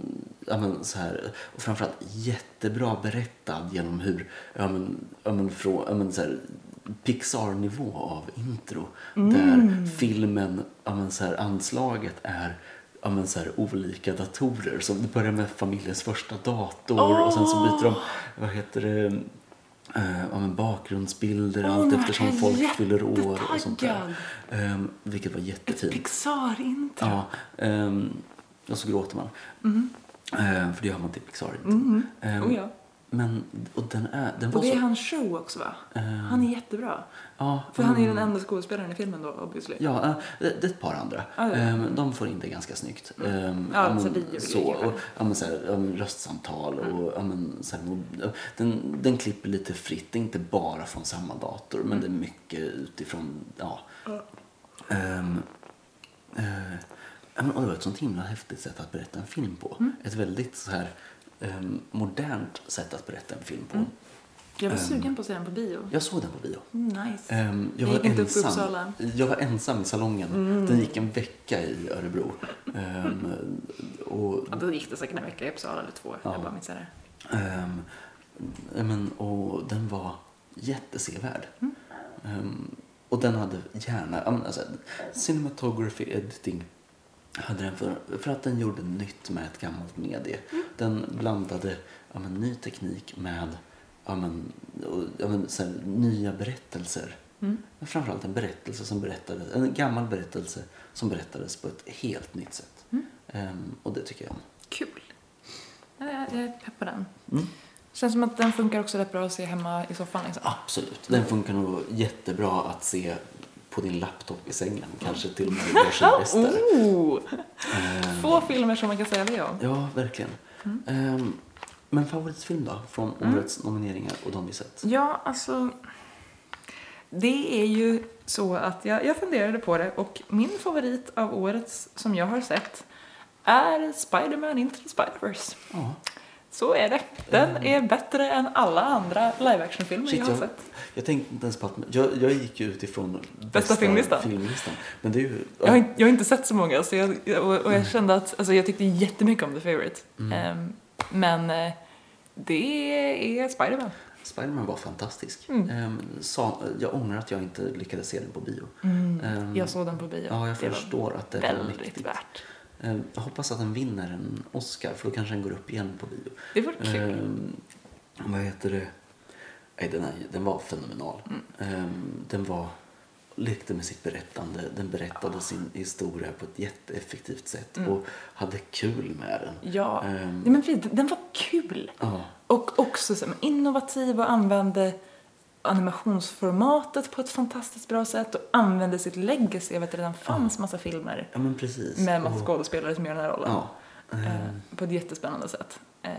Speaker 2: ja men så här, och framförallt jättebra berättad genom hur, ja men, ja men, från, ja men så här, Pixar-nivå av intro.
Speaker 1: Mm.
Speaker 2: Där filmen, ja men så här, anslaget är ja men så här, olika datorer. Så det börjar med familjens första dator och sen så byter de, vad heter det, Eh, ja, men bakgrundsbilder
Speaker 1: Åh,
Speaker 2: allt
Speaker 1: nu
Speaker 2: eftersom
Speaker 1: vart jag
Speaker 2: folk fyller år och sånt där.
Speaker 1: jättetaggad.
Speaker 2: Ehm, vilket var
Speaker 1: Ett
Speaker 2: jättefint.
Speaker 1: Pixar-intro.
Speaker 2: Ja, ehm, och så gråter man. Ehm, för det gör man till Pixar. inte. Ehm,
Speaker 1: Mm-hmm. Oh, ja.
Speaker 2: Men och den, är, den var
Speaker 1: Och det är
Speaker 2: så...
Speaker 1: hans show också va?
Speaker 2: Eh.
Speaker 1: Han är jättebra.
Speaker 2: Ja,
Speaker 1: För han är den enda skådespelaren i filmen då obviously.
Speaker 2: Mm. Ja, eh, det det är ett par andra.
Speaker 1: Ja, ja.
Speaker 2: Ehm, De får in det ganska snyggt. Ehm,
Speaker 1: Ja,
Speaker 2: men
Speaker 1: så vi gör det
Speaker 2: så,
Speaker 1: kanske.
Speaker 2: och, ja, men så här, ja, men röstsamtal och ja, men så här, och- den, den klipper lite fritt. Det är inte bara från samma dator, men det
Speaker 1: Mm.
Speaker 2: är mycket utifrån, ja. Ehm, eh, ja, men, och det var ett sånt himla häftigt sätt att berätta en film på.
Speaker 1: Mm.
Speaker 2: Ett väldigt så här ehm, modernt sätt att berätta en film på.
Speaker 1: Mm. Jag var
Speaker 2: Mm.
Speaker 1: sugen på att se den på bio. Mm,
Speaker 2: Jag såg den på bio.
Speaker 1: Nice.
Speaker 2: Ehm, jag
Speaker 1: Vi
Speaker 2: var
Speaker 1: gick inte upp i
Speaker 2: ensam.
Speaker 1: Uppsala. Mm.
Speaker 2: Jag var ensam i salongen. Den gick en vecka i Örebro. Ehm, och,
Speaker 1: Ja, då gick det säkert en vecka i Uppsala eller två.
Speaker 2: Ja.
Speaker 1: Jag bara missade det.
Speaker 2: ehm, ja, men, och den var jättesevärd. Ehm, och den hade gärna, ja, men alltså, cinematography editing hade den för, för att den gjorde nytt med ett gammalt medie. Den blandade ja, men, ny teknik med ja, men, och, ja, men, så här, nya berättelser. Men framförallt en berättelse som berättades, en gammal berättelse som berättades på ett helt nytt sätt. Ehm, och det tycker jag om.
Speaker 1: Kul. Ja, Jag jag är pepp på den. Känns som att den funkar också rätt bra att se hemma i soffan liksom.
Speaker 2: Absolut. Den funkar nog jättebra att se på din laptop i sängen.
Speaker 1: Mm.
Speaker 2: Kanske till och med gör sig bäst där.
Speaker 1: Oh! Få filmer som man kan säga det om.
Speaker 2: Eh, Ja, verkligen.
Speaker 1: Mm.
Speaker 2: Ehm, men favoritfilm då? Från årets nomineringar och de vi sett?
Speaker 1: Ja, alltså. Det är ju så att jag, jag funderade på det och min favorit av årets som jag har sett är Spider-Man Into the Spider-Verse.
Speaker 2: Ja.
Speaker 1: Så är det. Den är bättre än alla andra live action-filmer jag
Speaker 2: Shit,
Speaker 1: har
Speaker 2: jag,
Speaker 1: sett.
Speaker 2: jag tänkte inte ens på att... Jag, jag gick ju utifrån
Speaker 1: filmlistan.
Speaker 2: filmlistan. Men det är ju...
Speaker 1: Jag har, inte, jag har inte sett så många så jag, och, och
Speaker 2: Mm.
Speaker 1: jag kände att alltså, jag tyckte jättemycket om The Favourite. Ehm, men eh, det är Spider-Man.
Speaker 2: Spiderman var fantastisk.
Speaker 1: Mm.
Speaker 2: Ehm, sa, jag ångrar att jag inte lyckades se den på bio. Ehm,
Speaker 1: Mm. Jag såg den på bio.
Speaker 2: Ja, jag
Speaker 1: det var
Speaker 2: förstår att det var
Speaker 1: väldigt
Speaker 2: mäktigt.
Speaker 1: värt.
Speaker 2: Eh, Jag hoppas att den vinner en Oscar för då kanske den går upp igen på bio.
Speaker 1: Det vore
Speaker 2: Ehm.
Speaker 1: kul.
Speaker 2: Eh, vad heter det? Nej, den, är, den var fenomenal.
Speaker 1: Mm.
Speaker 2: Eh, den var, lekte med sitt berättande. Den berättade sin historia på ett jätteeffektivt sätt och hade kul med den.
Speaker 1: Mm. Ja,
Speaker 2: Ehm.
Speaker 1: Nej, men precis, den var kul.
Speaker 2: Ja.
Speaker 1: Och också så, här, innovativ och använde animationsformatet på ett fantastiskt bra sätt och använde sitt legacy av att det redan fanns massa filmer
Speaker 2: Ja, men precis.
Speaker 1: med massa
Speaker 2: Och-
Speaker 1: skådespelare som gör den här rollen.
Speaker 2: Ja. Eh,
Speaker 1: Eh, på ett jättespännande sätt. Eh,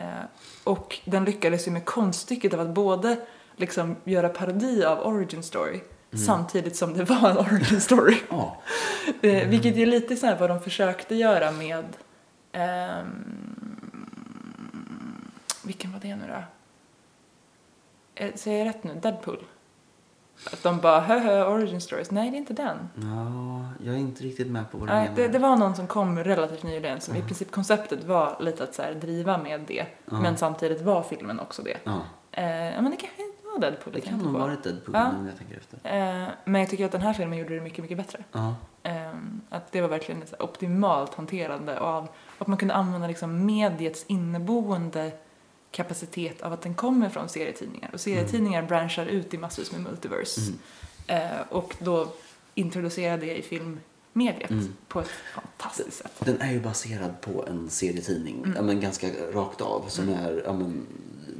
Speaker 1: och den lyckades ju med konststycket av att både liksom göra parodi av origin story
Speaker 2: Mm.
Speaker 1: samtidigt som det var en origin story.
Speaker 2: ja. Mm.
Speaker 1: Eh, vilket är lite så här vad de försökte göra med... ehm, vilken var det nu då? Eh, Säger jag rätt nu? Deadpool? Att de bara höhö, origin stories. Nej, det är inte den.
Speaker 2: ja, jag är inte riktigt med på vad du
Speaker 1: Nej,
Speaker 2: menar. Mm.
Speaker 1: det, det var någon som kom relativt nyligen som i princip konceptet var lite att så här, driva med det men samtidigt var filmen också det.
Speaker 2: Ja,
Speaker 1: Eh, ja, men det kanske inte var Deadpool.
Speaker 2: det
Speaker 1: jag
Speaker 2: kan
Speaker 1: tänkte
Speaker 2: nog
Speaker 1: på.
Speaker 2: ha varit Deadpool
Speaker 1: Ja.
Speaker 2: nu när jag tänker efter.
Speaker 1: Eh, men jag tycker att den här filmen gjorde det mycket, mycket bättre.
Speaker 2: Ja.
Speaker 1: Ehm, Att det var verkligen ett så här optimalt hanterande av att man kunde använda liksom mediets inneboende kapacitet av att den kommer från serietidningar. Och serietidningar
Speaker 2: Mm.
Speaker 1: branchar ut i massvis med multiverse. Eh, och då introducera det i filmmediet
Speaker 2: Mm.
Speaker 1: på ett fantastiskt sätt.
Speaker 2: Den är ju baserad på en serietidning,
Speaker 1: Mm.
Speaker 2: ja, men ganska rakt av, som är ja, men,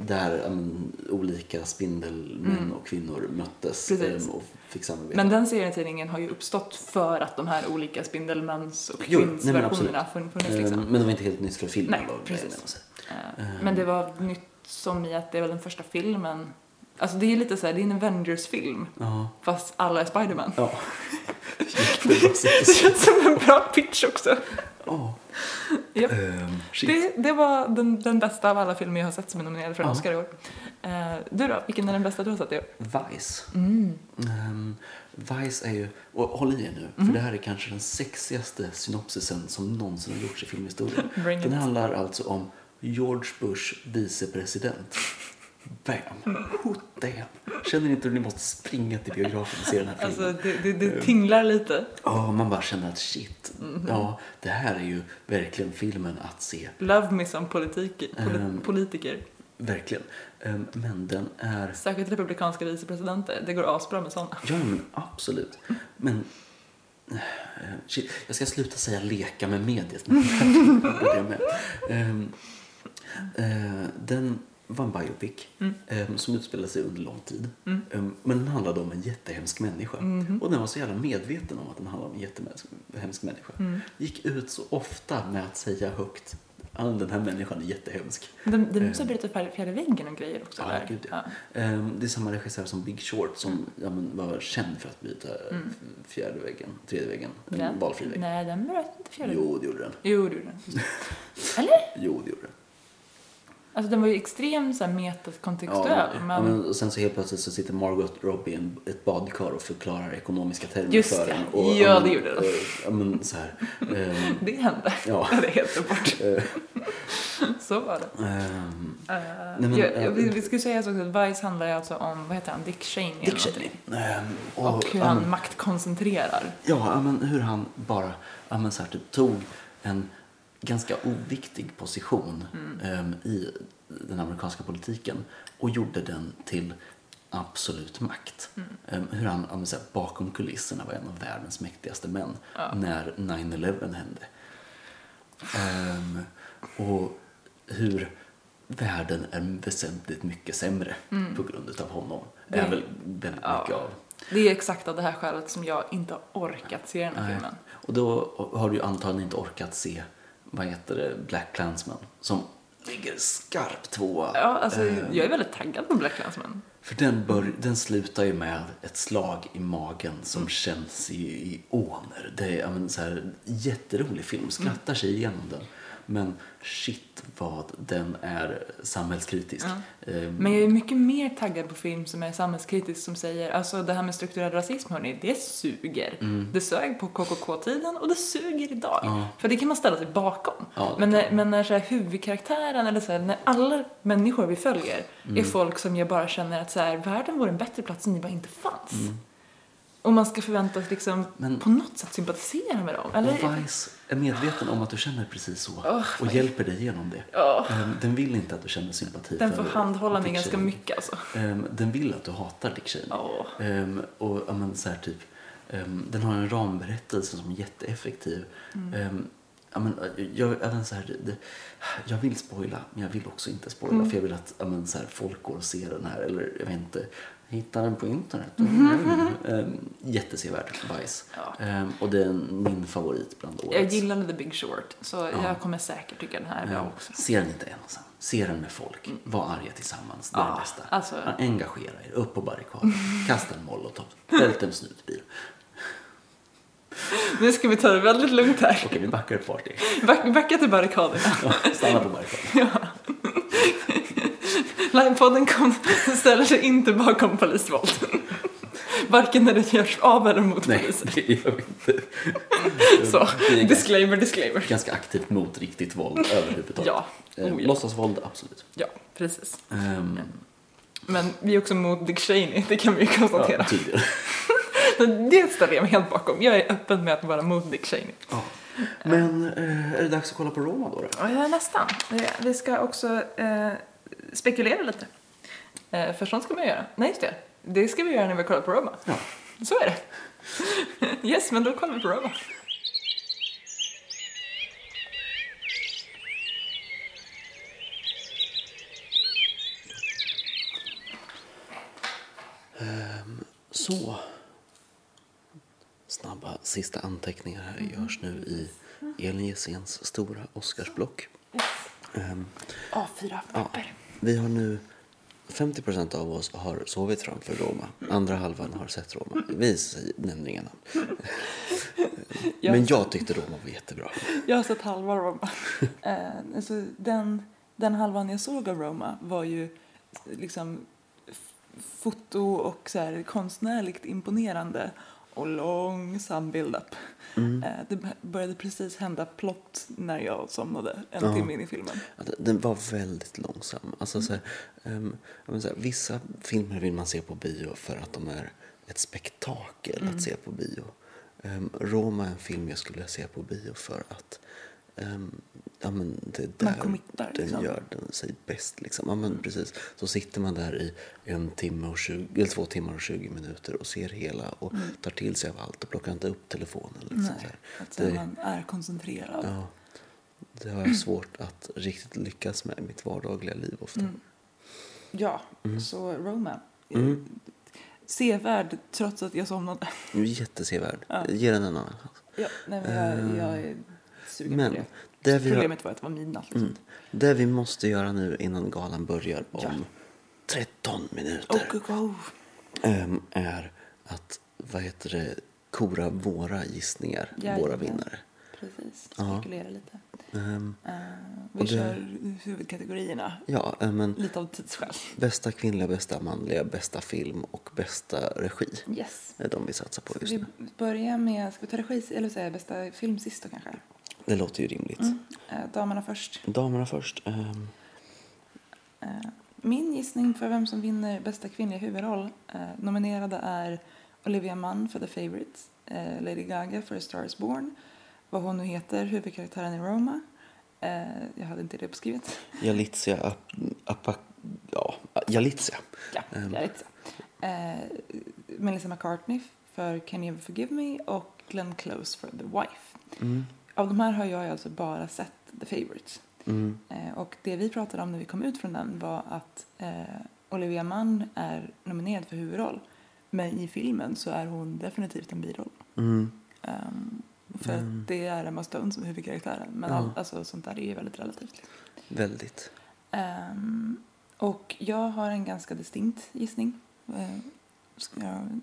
Speaker 2: där ja, men, olika spindelmän och kvinnor möttes
Speaker 1: Mm. Precis.
Speaker 2: em, och fick samarbeta.
Speaker 1: Men den serietidningen har ju uppstått för att de här olika Spindelmans och
Speaker 2: Jo, nej, men absolut.
Speaker 1: Kvinns-versionerna har fun- funnits
Speaker 2: Em,
Speaker 1: liksom.
Speaker 2: Ehm, men det var inte helt nytt för filmen.
Speaker 1: Nej,
Speaker 2: var det
Speaker 1: precis.
Speaker 2: jag menade att säga. Ehm,
Speaker 1: Eh, Men det var nytt som i att det var den första filmen. Alltså det är lite såhär, det är en Avengers-film.
Speaker 2: Ja.
Speaker 1: Fast alla är Spiderman.
Speaker 2: Ja. Jättebra
Speaker 1: Det
Speaker 2: sätt.
Speaker 1: känns som en bra pitch också.
Speaker 2: Ja.
Speaker 1: Ja.
Speaker 2: Em, shit.
Speaker 1: Det, det var den, den bästa av alla filmer jag har sett som är nominerade för en
Speaker 2: Ja.
Speaker 1: Oscar i år. Eh, du då, vilken är den bästa du har sett i år?
Speaker 2: Vice.
Speaker 1: Mm.
Speaker 2: Ehm, Vice är ju, och håll i er nu,
Speaker 1: Mm.
Speaker 2: för det här är kanske den sexigaste synopsisen som någonsin har gjorts i filmhistorien.
Speaker 1: Bring
Speaker 2: den
Speaker 1: it.
Speaker 2: handlar alltså om George Bush vicepresident. Bam! Hot damn! Känner ni inte hur ni måste springa till biografen och se den här filmen?
Speaker 1: Alltså det, det, det tinglar lite.
Speaker 2: Ja, man bara känner att shit, ja, det här är ju verkligen filmen att se
Speaker 1: Love me som politik, poli,
Speaker 2: Ehm.
Speaker 1: politiker.
Speaker 2: Verkligen. Ehm, Men den är...
Speaker 1: Särskilt republikanska vicepresidenter. Det går asbra med sådana.
Speaker 2: Ja, men absolut. Men... eh, Shit, jag ska sluta säga leka med mediet. men det borde jag med. Ehm, eh, Den var en biopic ehm, som utspelade sig under lång tid. Ehm, Men den handlade om en jättehemsk människa. Och den var så jävla medveten om att den handlade om en jättehemsk människa. Gick ut så ofta med att säga högt att den här människan är jättehemsk.
Speaker 1: De, de som bryter fjär- fjärde väggen och grejer också.
Speaker 2: Eh. Ja,
Speaker 1: där.
Speaker 2: gud, ja. Ehm, Det är samma regissör som Big Short som
Speaker 1: Mm.
Speaker 2: ja, men, var känd för att byta mm. fjärde väggen, tredje väggen, en
Speaker 1: Den-
Speaker 2: valfri vägg.
Speaker 1: Nej, den bröt inte fjärde väggen.
Speaker 2: Jo, det gjorde den.
Speaker 1: Jo, du gjorde den. Eller?
Speaker 2: Jo, det gjorde den.
Speaker 1: Alltså den var ju extremt så här, metakontextuell.
Speaker 2: ja,
Speaker 1: men,
Speaker 2: men, och sen så helt plötsligt så sitter Margot Robbie i en- ett badkar och förklarar ekonomiska termer
Speaker 1: Just
Speaker 2: för
Speaker 1: det.
Speaker 2: en. Och,
Speaker 1: Ja,
Speaker 2: men,
Speaker 1: det gjorde den.
Speaker 2: eh, Ja, men så här. ehm,
Speaker 1: det hände.
Speaker 2: Ja.
Speaker 1: det är helt bort.
Speaker 2: eh,
Speaker 1: Så var det.
Speaker 2: ehm,
Speaker 1: Eh,
Speaker 2: Nej, men,
Speaker 1: jag, jag,
Speaker 2: eh,
Speaker 1: vi, vi skulle säga så också att Vice handlar ju alltså om, vad heter han, Dick Cheney? eller
Speaker 2: Dick Cheney.
Speaker 1: någonting.
Speaker 2: Ehm,
Speaker 1: Och hur
Speaker 2: ja,
Speaker 1: han
Speaker 2: men-
Speaker 1: maktkoncentrerar.
Speaker 2: Ja, ja, men hur han bara ja, men så här, typ, tog en ganska oviktig position em, i den amerikanska politiken och gjorde den till absolut makt. Em, hur han ja, men så här, bakom kulisserna var en av världens mäktigaste män när 9-11 hände. Em, och hur världen är väsentligt mycket sämre på grund av honom. Det är
Speaker 1: Det-
Speaker 2: väl väldigt
Speaker 1: Ja.
Speaker 2: mycket av
Speaker 1: Det är exakt av det här skälet som jag inte har orkat se den här
Speaker 2: Nej.
Speaker 1: filmen.
Speaker 2: Och då har du ju antagligen inte orkat se, vad heter det, Black Clansman som ligger skarpt tvåa. Eh,
Speaker 1: Ja, alltså, jag är väldigt taggad på Black Clansman.
Speaker 2: För den, bör, den slutar ju med ett slag i magen som
Speaker 1: Mm.
Speaker 2: känns i, i åner. Det är ja, men, så här, jätterolig
Speaker 1: Mm.
Speaker 2: film, skrattar sig igenom den. Men shit vad den är samhällskritisk. Ehm,
Speaker 1: Men jag är mycket mer taggad på film som är samhällskritisk som säger alltså det här med strukturell rasism hörni, det suger. Det sög på KKK-tiden och det suger idag.
Speaker 2: Mm. Ja.
Speaker 1: För det kan man ställa sig bakom.
Speaker 2: Ja, det
Speaker 1: men, när, men när så här, huvudkaraktären eller så här, när alla människor vi följer
Speaker 2: Mm.
Speaker 1: är folk som jag bara känner att så här, världen vore en bättre plats om ni bara inte fanns. Och man ska förväntas liksom
Speaker 2: Mm. Men-
Speaker 1: på något sätt sympatisera med dem. Eller?
Speaker 2: Och Vice är medveten om att du känner precis så
Speaker 1: Åh,
Speaker 2: och hjälper dig genom det.
Speaker 1: Ja,
Speaker 2: Ehm, Den vill inte att du känner sympati
Speaker 1: den
Speaker 2: för
Speaker 1: får handhålla mig
Speaker 2: Dick
Speaker 1: ganska
Speaker 2: Cheney.
Speaker 1: mycket alltså.
Speaker 2: Ehm, den vill att du hatar Dick Cheney.
Speaker 1: Ja.
Speaker 2: Ehm, och ja, men, så här, typ, ehm, den har en ramberättelse som är jätteeffektiv.
Speaker 1: Mm.
Speaker 2: Ehm, ja, men, jag, även så här, det, jag vill spoila, men jag vill också inte spoila.
Speaker 1: Mm.
Speaker 2: För jag vill att ja, men, så här, folk går och ser den här. Eller jag vet inte, hittar den på internet. Ehm, jättesevärd, Vice.
Speaker 1: Mm. Ja.
Speaker 2: Ehm, och det är min favorit bland årets.
Speaker 1: Jag gillade The Big Short, så
Speaker 2: Ja.
Speaker 1: jag kommer säkert tycka den här är bra
Speaker 2: Ja,
Speaker 1: också. Mm.
Speaker 2: se den inte ensam. Se den med folk. Var arga tillsammans. Det är
Speaker 1: Ja,
Speaker 2: det bästa.
Speaker 1: alltså-
Speaker 2: Engagera er. Upp på barrikaden. Kasta en molotov. Vält en snutbil.
Speaker 1: Nu ska vi ta det väldigt lugnt här.
Speaker 2: Okej, vi backar ett party.
Speaker 1: Back, backa till barrikaderna.
Speaker 2: Ja, stanna på barrikaden.
Speaker 1: Livepodden kom, ställer sig inte bakom polisvåld. Varken när det görs av eller mot
Speaker 2: Nej,
Speaker 1: polisen.
Speaker 2: det gör vi inte.
Speaker 1: Så,
Speaker 2: Vi är ganska,
Speaker 1: disclaimer, disclaimer.
Speaker 2: ganska aktivt mot riktigt våld överhuvudtaget.
Speaker 1: Ja,
Speaker 2: Eh,
Speaker 1: Oh, ja.
Speaker 2: Låtsasvåld, absolut.
Speaker 1: ja, precis.
Speaker 2: Ehm,
Speaker 1: Men vi är också mot Dick Cheney, det kan vi ju konstatera.
Speaker 2: ja, tydligen.
Speaker 1: Det ställer jag mig helt bakom. Jag är öppen med att vara mot Dick Cheney.
Speaker 2: Ja. Men eh, är det dags att kolla på Roma då? då?
Speaker 1: Ja, nästan. Vi ska också eh, spekulera lite. Eh, för sånt ska man göra. Nej, just det. Det ska vi göra när vi kollar på Roma.
Speaker 2: Ja.
Speaker 1: Så är det. Yes, men då kollar vi på Roma.
Speaker 2: Så. Snabba sista anteckningar här görs nu i Elin Jessens stora Oscarsblock. Ehm,
Speaker 1: A4
Speaker 2: ja,
Speaker 1: papper.
Speaker 2: vi har nu 50 av oss har sovit framför Roma. Andra halvan har sett Roma. Vi säger- nämner inga namn. Men jag tyckte Roma var jättebra.
Speaker 1: Jag har sett halva Roma. eh, alltså, den, den halvan jag såg av Roma var ju liksom f- foto och så här, konstnärligt imponerande och långsam build-up.
Speaker 2: Mm.
Speaker 1: Eh, det b- började precis hända plott när jag somnade en
Speaker 2: Ja.
Speaker 1: timme in i filmen.
Speaker 2: Ja, den- Den var väldigt långsam. Alltså, så här, ehm, jag menar så här, vissa filmer vill man se på bio för att de är ett spektakel
Speaker 3: Mm.
Speaker 2: att se på bio. Ehm, Roma är en film jag skulle se på bio för att ehm, ja, men det är
Speaker 3: Man
Speaker 2: där
Speaker 3: committar,
Speaker 2: den
Speaker 3: liksom.
Speaker 2: gör den sig bäst. Liksom. Ja, men precis. Så sitter man där i en timme och 20, eller två timmar och 20 minuter och ser hela och
Speaker 3: Mm.
Speaker 2: tar till sig av allt och plockar inte upp telefonen. Liksom, så
Speaker 1: Nej,
Speaker 2: här.
Speaker 1: att
Speaker 2: det,
Speaker 1: man är koncentrerad.
Speaker 2: ja, det har jag svårt att riktigt lyckas med i mitt vardagliga liv ofta.
Speaker 1: Mm. Ja, så Roma. Eh,
Speaker 2: Mm.
Speaker 1: Sevärd trots att jag somnade.
Speaker 2: Jättesevärd.
Speaker 1: Ja.
Speaker 2: Ge den en annan chans.
Speaker 1: Ja, nej, men jag, jag är sugen
Speaker 2: Men
Speaker 1: på det.
Speaker 2: där vi har-
Speaker 1: Problemet var att det var midnatt. Liksom.
Speaker 2: Mm. Det vi måste göra nu innan galan börjar om
Speaker 1: Ja.
Speaker 2: 13 minuter.
Speaker 1: Oh, oh, oh.
Speaker 2: ehm, är att vad heter det, kora våra gissningar,
Speaker 1: Jajamän.
Speaker 2: våra vinnare.
Speaker 1: Precis,
Speaker 2: Ja.
Speaker 1: spekulera lite.
Speaker 2: Ehm,
Speaker 1: Eh, vi
Speaker 2: Och det-
Speaker 1: kör huvudkategorierna.
Speaker 2: ja, eh, men
Speaker 1: Lite av tidsskäl.
Speaker 2: bästa kvinnliga, bästa manliga, bästa film och bästa regi
Speaker 1: Yes.
Speaker 2: är de vi satsar på just
Speaker 1: Vi
Speaker 2: nu.
Speaker 1: börjar med, ska vi ta regi, eller säga bästa film sist då kanske?
Speaker 2: Det låter ju rimligt.
Speaker 1: Eh, damerna först. Eh,
Speaker 2: Damerna först. ehm,
Speaker 1: Min gissning för vem som vinner bästa kvinnliga huvudroll eh, nominerade är Olivia Munn för The Favourite, eh, Lady Gaga för A Star Is Born, vad hon nu heter, huvudkaraktären i Roma. Eh, jag hade inte det uppskrivet.
Speaker 2: Jalizia Ap- Apa... Ja, Jalizia.
Speaker 1: Ja,
Speaker 2: Ehm.
Speaker 1: jag vet inte. Eh, Melissa McCartney för Can You Ever Forgive Me och Glenn Close för The Wife.
Speaker 2: Mm,
Speaker 1: Av de här har jag alltså bara sett The Favourite.
Speaker 2: mm,
Speaker 1: Eh, och det vi pratade om när vi kom ut från den var att eh, Olivia Munn är nominerad för huvudroll. Men i filmen så är hon definitivt en biroll.
Speaker 2: mm.
Speaker 1: Ehm, för
Speaker 2: Mm.
Speaker 1: att det är Emma Stone som är huvudkaraktären. Men
Speaker 2: Ja.
Speaker 1: all, alltså, sånt där är ju väldigt relativt. Liksom.
Speaker 2: Väldigt.
Speaker 1: Ehm, och jag har en ganska distinkt gissning. Uh, ska, jag,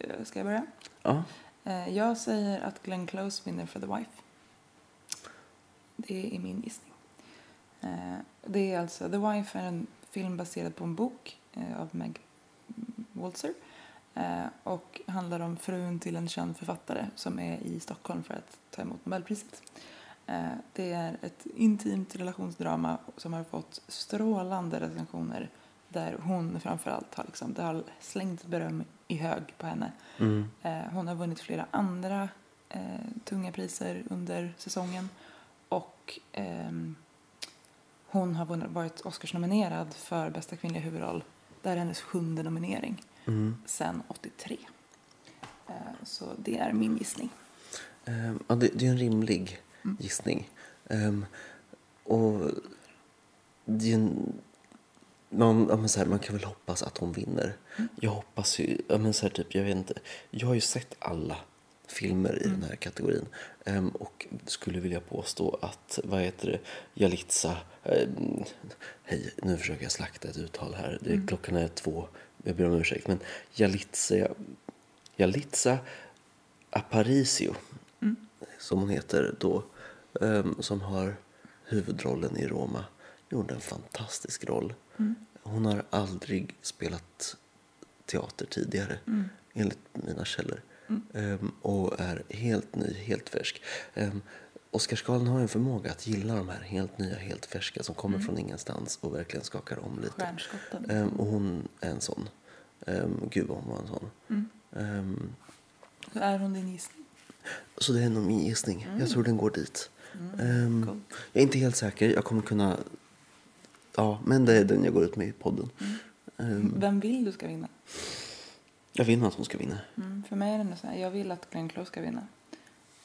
Speaker 1: eh, ska jag börja?
Speaker 2: Ja,
Speaker 1: Eh, jag säger att Glenn Close vinner för The Wife. Det är min gissning. Eh, det är alltså The Wife är en film baserad på en bok eh, av Meg Walzer. Eh, och handlar om frun till en känd författare som är i Stockholm för att ta emot Nobelpriset. Eh, det är ett intimt relationsdrama som har fått strålande recensioner där hon framförallt har liksom, det har slängt beröm i hög på henne.
Speaker 2: mm,
Speaker 1: Eh, Hon har vunnit flera andra eh, tunga priser under säsongen. Och ehm, hon har vunnit, varit Oscarsnominerad för bästa kvinnliga huvudroll. Det här är hennes sjunde nominering
Speaker 2: mm.
Speaker 1: sedan 83. Eh, så det är min gissning.
Speaker 2: Ehm, ja, det, det är en rimlig gissning. Ehm, och det är en, man, ja, men så här, man kan väl hoppas att hon vinner. Jag hoppas ju, ja, men så här, typ, jag vet inte. Jag har ju sett alla filmer i den här kategorin Ehm, och skulle vilja påstå att, vad heter det, Jalitza, ehm, hej, nu försöker jag slakta ett uttal här, det, klockan är två, jag ber om ursäkt, men Jalitza, Jalitza Aparicio, som hon heter då, ehm, som har huvudrollen i Roma, gjorde en fantastisk roll. Hon har aldrig spelat teater tidigare, enligt mina källor. Ehm, och är helt ny, helt färsk. Um, Oscarsgalan har en förmåga att gilla de här helt nya, helt färska som kommer från ingenstans och verkligen skakar om lite.
Speaker 1: Stjärnskotten.
Speaker 2: Ehm, och hon är en sån. Um, gud vad hon var en sån. Ehm,
Speaker 1: Så är hon din gissning?
Speaker 2: så det är nog min gissning. Jag tror den går dit. Ehm,
Speaker 1: cool.
Speaker 2: Jag är inte helt säker. Jag kommer kunna... Ja, men det är den jag går ut med i podden. Ehm,
Speaker 1: Vem vill du ska vinna?
Speaker 2: jag vill nog att hon ska vinna.
Speaker 1: Mm, för mig är det nog så här, jag vill att Glenn Close ska vinna.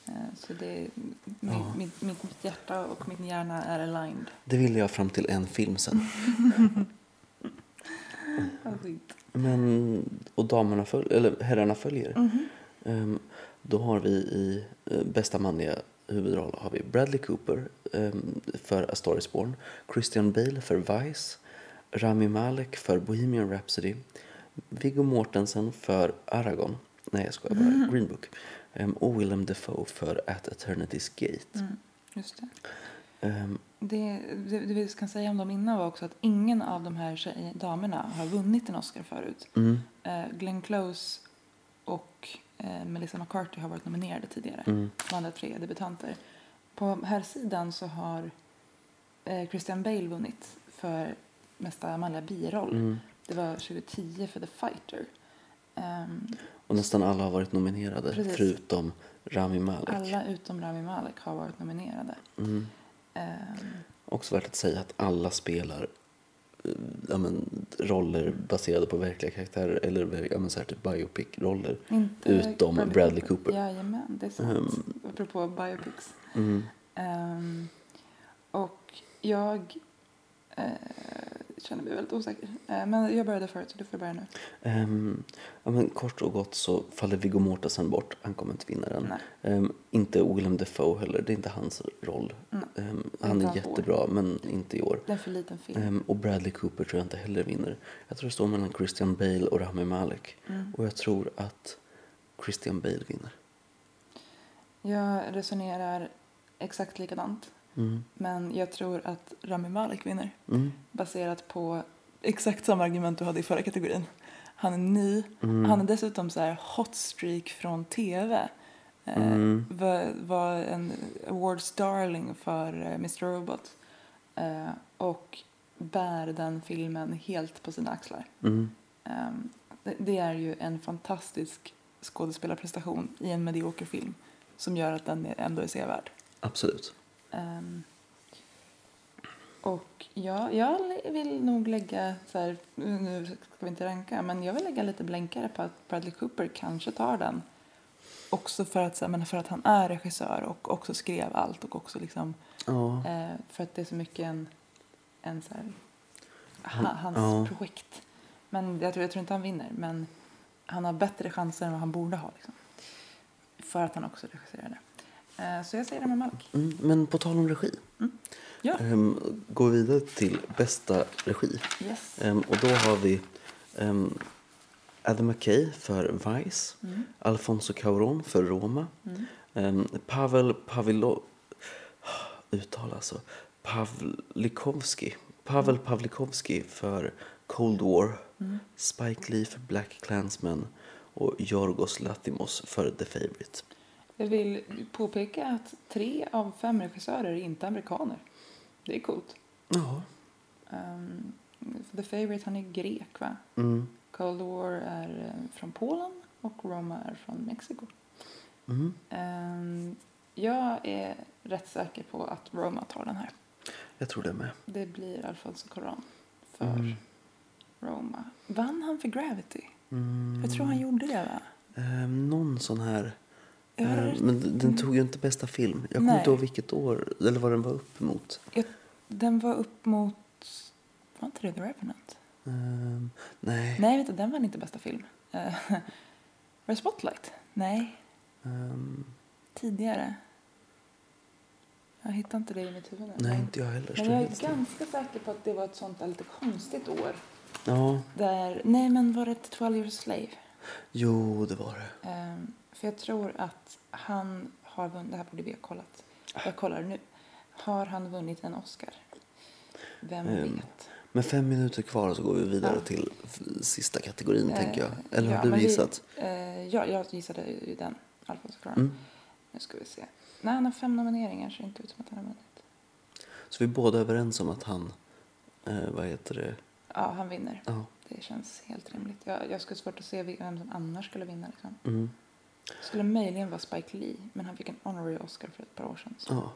Speaker 1: Eh, Så det är,
Speaker 2: Ja.
Speaker 1: min, mitt, mitt, mitt hjärta och min hjärna är aligned.
Speaker 2: Det ville jag fram till en film sen.
Speaker 1: Alltså,
Speaker 2: Men, och damerna föl- eller herrarna följer.
Speaker 1: Mm.
Speaker 2: Ehm, då har vi i eh, bästa manliga huvudroll har vi Bradley Cooper ehm, för A Star Is Born, Christian Bale för Vice, Rami Malek för Bohemian Rhapsody, Viggo Mortensen för Aragon, nej jag skojar bara, Green Book, Ehm, och Willem Dafoe för At Eternity's Gate.
Speaker 1: mm, just det.
Speaker 2: Ehm,
Speaker 1: Det, det, det vi kan säga om dem innan var också att ingen av de här tjej, damerna har vunnit en Oscar förut.
Speaker 2: mm,
Speaker 1: Eh, Glenn Close och eh, Melissa McCarthy har varit nominerade tidigare.
Speaker 2: mm,
Speaker 1: De andra tre är debutanter. På herrsidan så har eh, Christian Bale vunnit för mesta manliga biroll.
Speaker 2: mm.
Speaker 1: Det var 2010 för The Fighter. Ehm,
Speaker 2: Och nästan alla har varit nominerade
Speaker 1: Precis.
Speaker 2: förutom Rami Malek.
Speaker 1: alla utom Rami Malek har varit nominerade.
Speaker 2: Mm.
Speaker 1: Eh, Ehm,
Speaker 2: Också värt att säga att alla spelar eh, ja, men, roller baserade på verkliga karaktärer eller ja, men, så här, typ biopic-roller.
Speaker 1: inte
Speaker 2: Utom Bradley Cooper. Ehm.
Speaker 1: Jajamän, det är sant. Apropå biopics.
Speaker 2: Mm.
Speaker 1: Ehm, och jag eh, känner mig väldigt osäker. Eh, men jag började förut så du får börja nu.
Speaker 2: Ehm, ja, men, kort och gott så faller Viggo Mortensen bort. Han kommer inte vinna den.
Speaker 1: Nej.
Speaker 2: Ehm, inte Willem Dafoe heller. Det är inte hans roll.
Speaker 1: Nej.
Speaker 2: Ehm, han
Speaker 1: Inte
Speaker 2: är
Speaker 1: hans år.
Speaker 2: jättebra men inte i år.
Speaker 1: Det är en för liten film.
Speaker 2: Ehm, och Bradley Cooper tror jag inte heller vinner. Jag tror det står mellan Christian Bale och Rami Malek.
Speaker 1: Mm.
Speaker 2: Och jag tror att Christian Bale vinner.
Speaker 1: Jag resonerar exakt likadant.
Speaker 2: Mm.
Speaker 1: Men jag tror att Rami Malek vinner.
Speaker 2: Mm.
Speaker 1: Baserat på exakt samma argument du hade i förra kategorin. Han är ny.
Speaker 2: Mm.
Speaker 1: Han är dessutom så här hot streak från tv. Eh,
Speaker 2: Mm.
Speaker 1: var, var en awards darling för eh, Mr Robot. Eh, och bär den filmen helt på sina axlar.
Speaker 2: Mm.
Speaker 1: Eh, det, det är ju en fantastisk skådespelarprestation i en medioker film som gör att den är- ändå är sevärd.
Speaker 2: Absolut.
Speaker 1: Ehm, och jag, jag vill nog lägga, så här, nu- nu ska vi inte ranka, men jag vill lägga lite blänkare på att Bradley Cooper kanske tar den. Också för att, så här, men för att han är regissör och också skrev allt och också liksom,
Speaker 2: Ja.
Speaker 1: eh, för att det är så mycket en, en så här,
Speaker 2: Han-
Speaker 1: ha, hans
Speaker 2: ja.
Speaker 1: projekt. Men jag tror, jag tror inte han vinner, men han har bättre chanser än vad han borde ha. Liksom. För att han också regisserade. Eh, så jag säger det med Malk.
Speaker 2: Mm. Men på tal om regi.
Speaker 1: Ja,
Speaker 2: Ehm, går vi vidare till bästa regi.
Speaker 1: yes.
Speaker 2: Ehm, och då har vi ehm, Adam McKay för Vice.
Speaker 1: Mm.
Speaker 2: Alfonso Cuarón för Roma. Ehm, Pavel Pavilo... Uttal alltså. Pavlikovski. Pavel Pavlikovski för Cold War. Spike Lee för Black Klansman. Och Yorgos Lathimos för The Favourite.
Speaker 1: Jag vill påpeka att tre av fem regissörer är inte amerikaner. Det är coolt.
Speaker 2: Ja.
Speaker 1: Ehm, The Favourite, han är grek va?
Speaker 2: Mm.
Speaker 1: Cold War är eh, från Polen och Roma är från Mexiko.
Speaker 2: Mm.
Speaker 1: Ehm, jag är rätt säker på att Roma tar den här.
Speaker 2: Jag tror det med.
Speaker 1: Det blir Alfonso Cuarón för Roma. Vann han för Gravity?
Speaker 2: Mm.
Speaker 1: Jag tror han gjorde det va?
Speaker 2: Ehm, någon sån här.
Speaker 1: Ja, det
Speaker 2: Ehm,
Speaker 1: är-
Speaker 2: men d- den tog ju inte bästa film. Jag kommer
Speaker 1: Nej.
Speaker 2: inte ihåg vilket år eller vad den var upp emot.
Speaker 1: Den var upp mot... Var inte det The Revenant?
Speaker 2: Ehm, nej.
Speaker 1: Nej, vänta, den vann inte bästa film. Eh, Var det Spotlight? Nej,
Speaker 2: Ehm,
Speaker 1: tidigare. Jag hittar inte det i mitt huvud nu.
Speaker 2: nej, inte jag heller.
Speaker 1: Men jag
Speaker 2: så det vet
Speaker 1: är ganska säker på att det var ett sånt där lite konstigt år.
Speaker 2: Ja,
Speaker 1: Där, nej, men var det 12 years a slave?
Speaker 2: jo det var det.
Speaker 1: Eh, För jag tror att han har vunnit, det här borde vi ha kollat. Jag kollar nu. Har han vunnit en Oscar? Vem
Speaker 2: Ehm,
Speaker 1: vet?
Speaker 2: Med fem minuter kvar så går vi vidare
Speaker 1: Ja.
Speaker 2: till f- sista kategorin
Speaker 1: Eh,
Speaker 2: tänker jag. Eller
Speaker 1: ja,
Speaker 2: har du
Speaker 1: men vi-
Speaker 2: gissat?
Speaker 1: Eh, Ja, jag gissade ju den, Alfonso Cuarón.
Speaker 2: Mm.
Speaker 1: Nu ska vi se. Nej, han har fem nomineringar så det är inte ut som att han har vunnit.
Speaker 2: Så vi är båda överens om att han, eh, vad heter det?
Speaker 1: Ja, han vinner.
Speaker 2: Ja.
Speaker 1: Det känns helt rimligt. Jag, jag skulle svårt att se vem som annars skulle vinna. Liksom.
Speaker 2: Mm.
Speaker 1: Skulle möjligen vara Spike Lee, men han fick en honorary Oscar för ett par år sedan. Så.
Speaker 2: ja.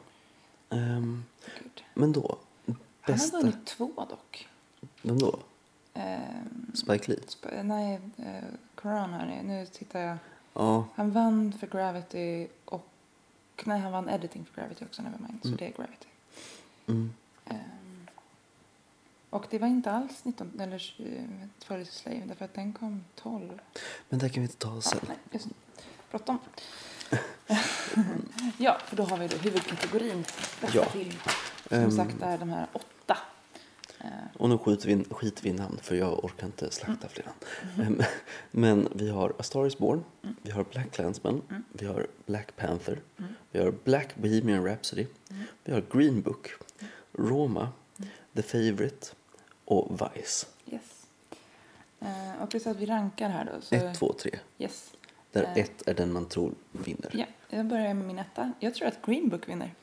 Speaker 2: Ehm,
Speaker 1: gud.
Speaker 2: men då,
Speaker 1: Han har
Speaker 2: bästa,
Speaker 1: vunnit två dock.
Speaker 2: vem då?
Speaker 1: Ehm,
Speaker 2: Spike Lee?
Speaker 1: Sp- nej, eh, Corona är det. Nu tittar jag.
Speaker 2: Ja,
Speaker 1: Han vann för Gravity och... Nej, han vann editing för Gravity också, Nevermind. Så
Speaker 2: Mm.
Speaker 1: det är Gravity.
Speaker 2: mm.
Speaker 1: Ehm, och det var inte alls 19, eller 20 Twilight Slave därför att den kom 12.
Speaker 2: men det kan vi inte ta
Speaker 1: Ja,
Speaker 2: sen.
Speaker 1: nej, just det. Bråttom. ja, för då har vi då huvudkategorin bästa
Speaker 2: Ja.
Speaker 1: film. Som
Speaker 2: Ehm.
Speaker 1: sagt är de här åtta. Eh,
Speaker 2: Och nu skiter vi, in- skiter vi i namn för jag orkar inte slakta fler
Speaker 1: mhm.
Speaker 2: namn. Ehm, Men vi har A Star Is Born,
Speaker 1: Mm.
Speaker 2: vi har Black Clansman, vi har Black Panther, vi har Black Bohemian Rhapsody, vi har Green Book,
Speaker 1: Mm.
Speaker 2: Roma, The Favourite och Vice.
Speaker 1: yes. Eh, och det är så att vi rankar här då. Så,
Speaker 2: 1, 2, 3.
Speaker 1: Yes.
Speaker 2: Där
Speaker 1: Eh.
Speaker 2: 1 är den man tror vinner.
Speaker 1: Ja, jag börjar med min etta. Jag tror att Green Book vinner.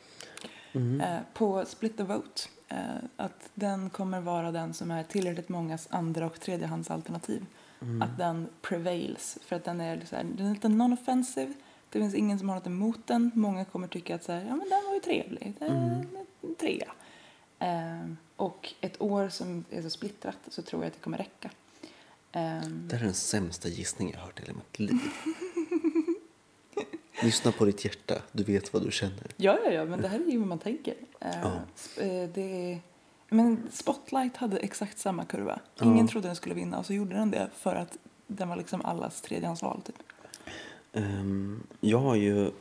Speaker 2: Mm.
Speaker 1: Eh, på Split the Vote. Eh, att den kommer vara den som är tillräckligt mångas andra och
Speaker 2: Mm.
Speaker 4: Mm.
Speaker 1: tredjehandsalternativ. Att den prevails. För att den är, så här, den är lite non-offensive. Det finns ingen som har något emot den. Många kommer tycka att så här, ja, men den var ju trevlig. Den,
Speaker 4: Mm.
Speaker 1: en Trea. Ehm, och ett år som är så splittrat så tror jag att det kommer räcka. Ehm,
Speaker 4: Det här är den sämsta gissning jag hört i hela mitt liv. Lyssna på ditt hjärta, du vet vad du känner.
Speaker 1: Ja, ja, ja, men det här är ju hur man tänker. Eh,
Speaker 4: Ja.
Speaker 1: sp- eh, det är, men Spotlight hade exakt samma kurva. Ingen trodde den skulle vinna och så gjorde den det för att den var liksom allas tredjehandsval. Typ.
Speaker 4: Ehm, jag har ju...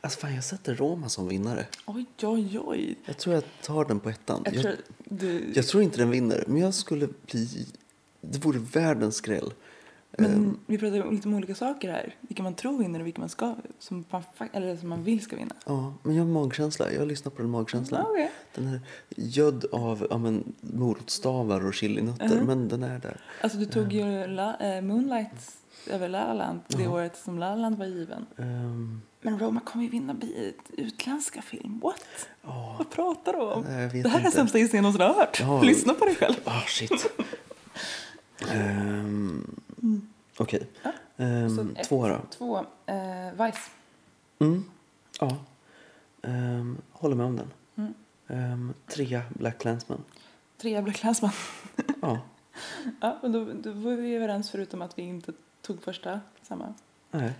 Speaker 4: Alltså fan, jag sätter Roma som vinnare.
Speaker 1: Oj, oj, oj.
Speaker 4: Jag tror jag tar den på ettan.
Speaker 1: Jag tror du...
Speaker 4: jag tror inte den vinner, men jag skulle bli... Det vore världens skräll. Ehm,
Speaker 1: men vi pratar ju om lite om olika saker här. Vilka man tror vinner och vilka man ska... Som man, fa- eller som man vill ska vinna.
Speaker 4: Ja, men jag har magkänsla. Jag lyssnar på den magkänslan.
Speaker 1: Ja, okej.
Speaker 4: Den är gödd av ja, men, morotstavar och chilinötter, men den är där.
Speaker 1: Alltså du tog ju la, eh, Moonlight över La La Land det året som La La Land var given.
Speaker 4: Ehm,
Speaker 1: Men Roma kommer ju vinna bi- utländska film. What?
Speaker 4: Ja.
Speaker 1: Vad pratar du om?
Speaker 4: Nej, jag vet
Speaker 1: det här är den
Speaker 4: inte.
Speaker 1: sämsta gissningen jag någonsin har hört.
Speaker 4: Ja.
Speaker 1: Lyssna på dig själv.
Speaker 4: Ah, shit. Ehm, Okej. Ehm,
Speaker 1: Mm. Så ett,
Speaker 4: två då.
Speaker 1: Två. Eh, Vice.
Speaker 4: Mm. Ja. Ehm, håller med om den.
Speaker 1: Mm.
Speaker 4: Ehm, trea, Black Clansman.
Speaker 1: Trea Black Clansman.
Speaker 4: Ja.
Speaker 1: ja, men då, då var vi överens förutom att vi inte tog första samma.
Speaker 4: Nej.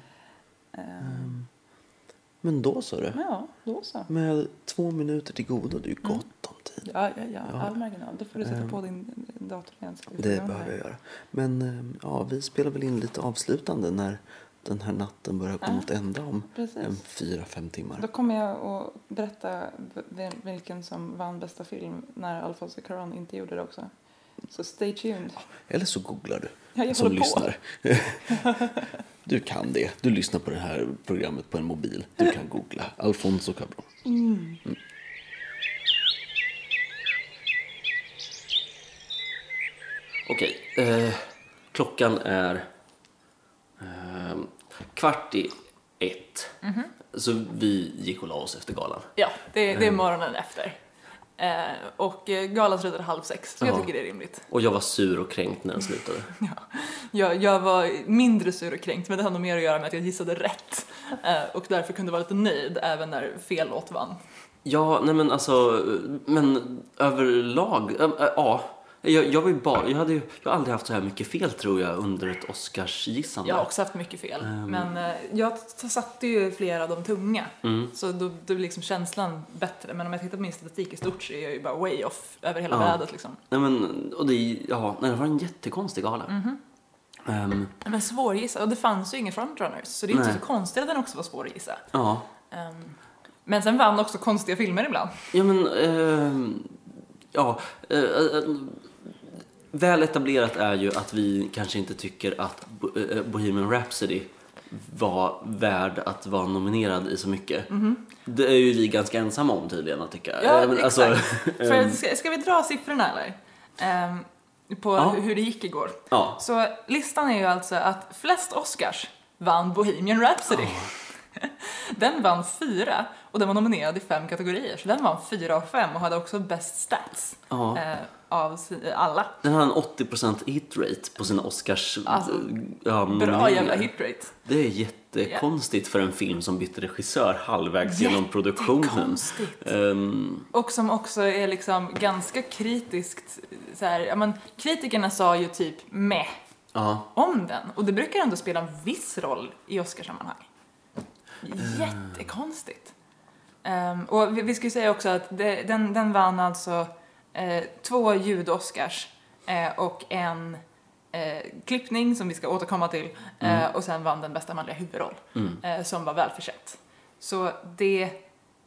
Speaker 4: Ehm,
Speaker 1: Eh,
Speaker 4: Men då så du.
Speaker 1: men ja, då så.
Speaker 4: Med två minuter till godo, det är
Speaker 1: Mm.
Speaker 4: ju gott om tid.
Speaker 1: Ja, ja, ja. All marginal. Då får du sätta på din dator igen. så vi får
Speaker 4: Ehm. Det
Speaker 1: glömma
Speaker 4: behöver jag
Speaker 1: här.
Speaker 4: göra. Men ehm, ja, vi spelar väl in lite avslutande när den här natten börjar gå mot ända om
Speaker 1: precis.
Speaker 4: en fyra, fem timmar.
Speaker 1: Då kommer jag att berätta v- vilken som vann bästa film när Alfonso Cuarón inte gjorde det också. Så stay tuned.
Speaker 4: Eller så googlar du
Speaker 1: Ja, jag
Speaker 4: som
Speaker 1: håller på.
Speaker 4: lyssnar. du kan det. Du lyssnar på det här programmet på en mobil. Du kan googla. Alfonso Cabron.
Speaker 1: Mm.
Speaker 2: Okej, eh, klockan är eh, kvart i ett. Så vi gick och la oss efter galan.
Speaker 5: Ja, det,
Speaker 4: Ehm.
Speaker 5: det är morgonen efter. Eh, och eh, galan slutade halv sex, så jag
Speaker 2: Ja.
Speaker 5: tycker det är rimligt.
Speaker 2: Och jag var sur och kränkt när den slutade.
Speaker 5: Ja. Jag, jag var mindre sur och kränkt, men det hade nog mer att göra med att jag gissade rätt. Eh, och därför kunde vara lite nöjd även när fel låt vann.
Speaker 2: Ja, nej men alltså, men överlag, äh, äh, ja. Jag, jag, var ju bara, jag, hade ju, jag har aldrig haft så här mycket fel tror jag under ett Oscarsgissande. Ehm,
Speaker 5: Jag har också haft mycket fel, men eh, jag t- satte ju flera av de tunga.
Speaker 2: mm.
Speaker 5: Så då, då blir liksom känslan bättre. Men om jag tittar på min statistik i stort så är jag ju bara way off över hela
Speaker 2: Ja.
Speaker 5: brädet liksom.
Speaker 2: Nej men, och det, ja, nej, det var en jättekonstig gala. Ehm,
Speaker 5: Men svårgissa, och det fanns ju inga frontrunners, så det är inte
Speaker 2: Nej.
Speaker 5: så konstigt att den också var svår att gissa.
Speaker 2: ja.
Speaker 5: Ehm, men sen vann också konstiga filmer ibland.
Speaker 2: Ja, men... ehm, ja. eh, eh, väl etablerat är ju att vi kanske inte tycker att Bo- eh, Bohemian Rhapsody var värd att vara nominerad i så mycket. Det är ju vi ganska ensamma om tydligen att tycka.
Speaker 5: Mhm. Ja,
Speaker 2: Eh, men
Speaker 5: exakt. För
Speaker 2: ehm,
Speaker 5: att- ska, ska vi dra siffrorna eller? Ehm, på
Speaker 2: Ja.
Speaker 5: hur det gick igår.
Speaker 2: ja.
Speaker 5: Så listan är ju alltså att flest Oscars vann Bohemian Rhapsody. Den vann fyra och den var nominerad i fem kategorier. Så den vann fyra av fem och hade också bäst stats
Speaker 2: Ja.
Speaker 5: eh, av si- alla.
Speaker 2: Den har en 80% hitrate på sina Oscars... eh,
Speaker 5: Alltså,
Speaker 2: ja,
Speaker 5: Bra
Speaker 2: nomineringar.
Speaker 5: jävla hitrate.
Speaker 2: Det är jättekonstigt för en film som bytte regissör halvvägs genom produktionen.
Speaker 5: Jättekonstigt.
Speaker 2: Ehm,
Speaker 5: Och som också är liksom ganska kritiskt så här, ja men kritikerna sa ju typ meh
Speaker 2: ja.
Speaker 5: om den och det brukar ändå spela en viss roll i Oscarsammanhang. Jättekonstigt. Ehm, och vi, vi ska ju säga också att det, den, den vann alltså eh, två ljud-Oscars eh, och en eh, klippning som vi ska återkomma till eh, och sen vann den bästa manliga huvudroll
Speaker 2: Mm.
Speaker 5: eh, som var välförsett. Så det,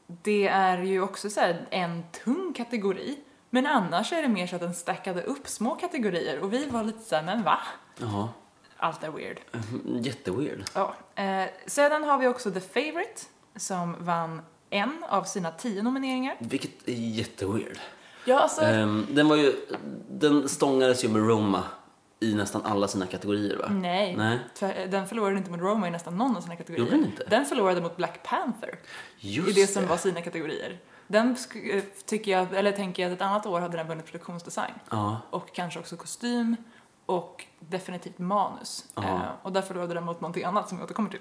Speaker 5: det är ju också så här en tung kategori men annars är det mer så att den stackade upp små kategorier och vi var lite så här, men va?
Speaker 2: Ja,
Speaker 5: Allt är weird.
Speaker 2: Mm, jätteweird.
Speaker 5: Ja. Eh, sedan har vi också The Favourite som vann en av sina tio nomineringar.
Speaker 2: Vilket är jätteweird.
Speaker 5: Ja, alltså,
Speaker 2: Ehm, den var ju, den stångades ju med Roma i nästan alla sina kategorier va?
Speaker 5: Mm. nej.
Speaker 2: Nej.
Speaker 5: Tvär- Den förlorade inte mot Roma i nästan någon av sina kategorier.
Speaker 2: Gjorde den inte?
Speaker 5: Den förlorade mot Black Panther
Speaker 2: Just
Speaker 5: i det som var sina kategorier. Den sk- eh, tycker jag, eller tänker jag att ett annat år hade den vunnit produktionsdesign
Speaker 2: Ja,
Speaker 5: och kanske också kostym och definitivt manus.
Speaker 2: Ja.
Speaker 5: Eh, och där förlorade den mot någonting annat som vi återkommer till.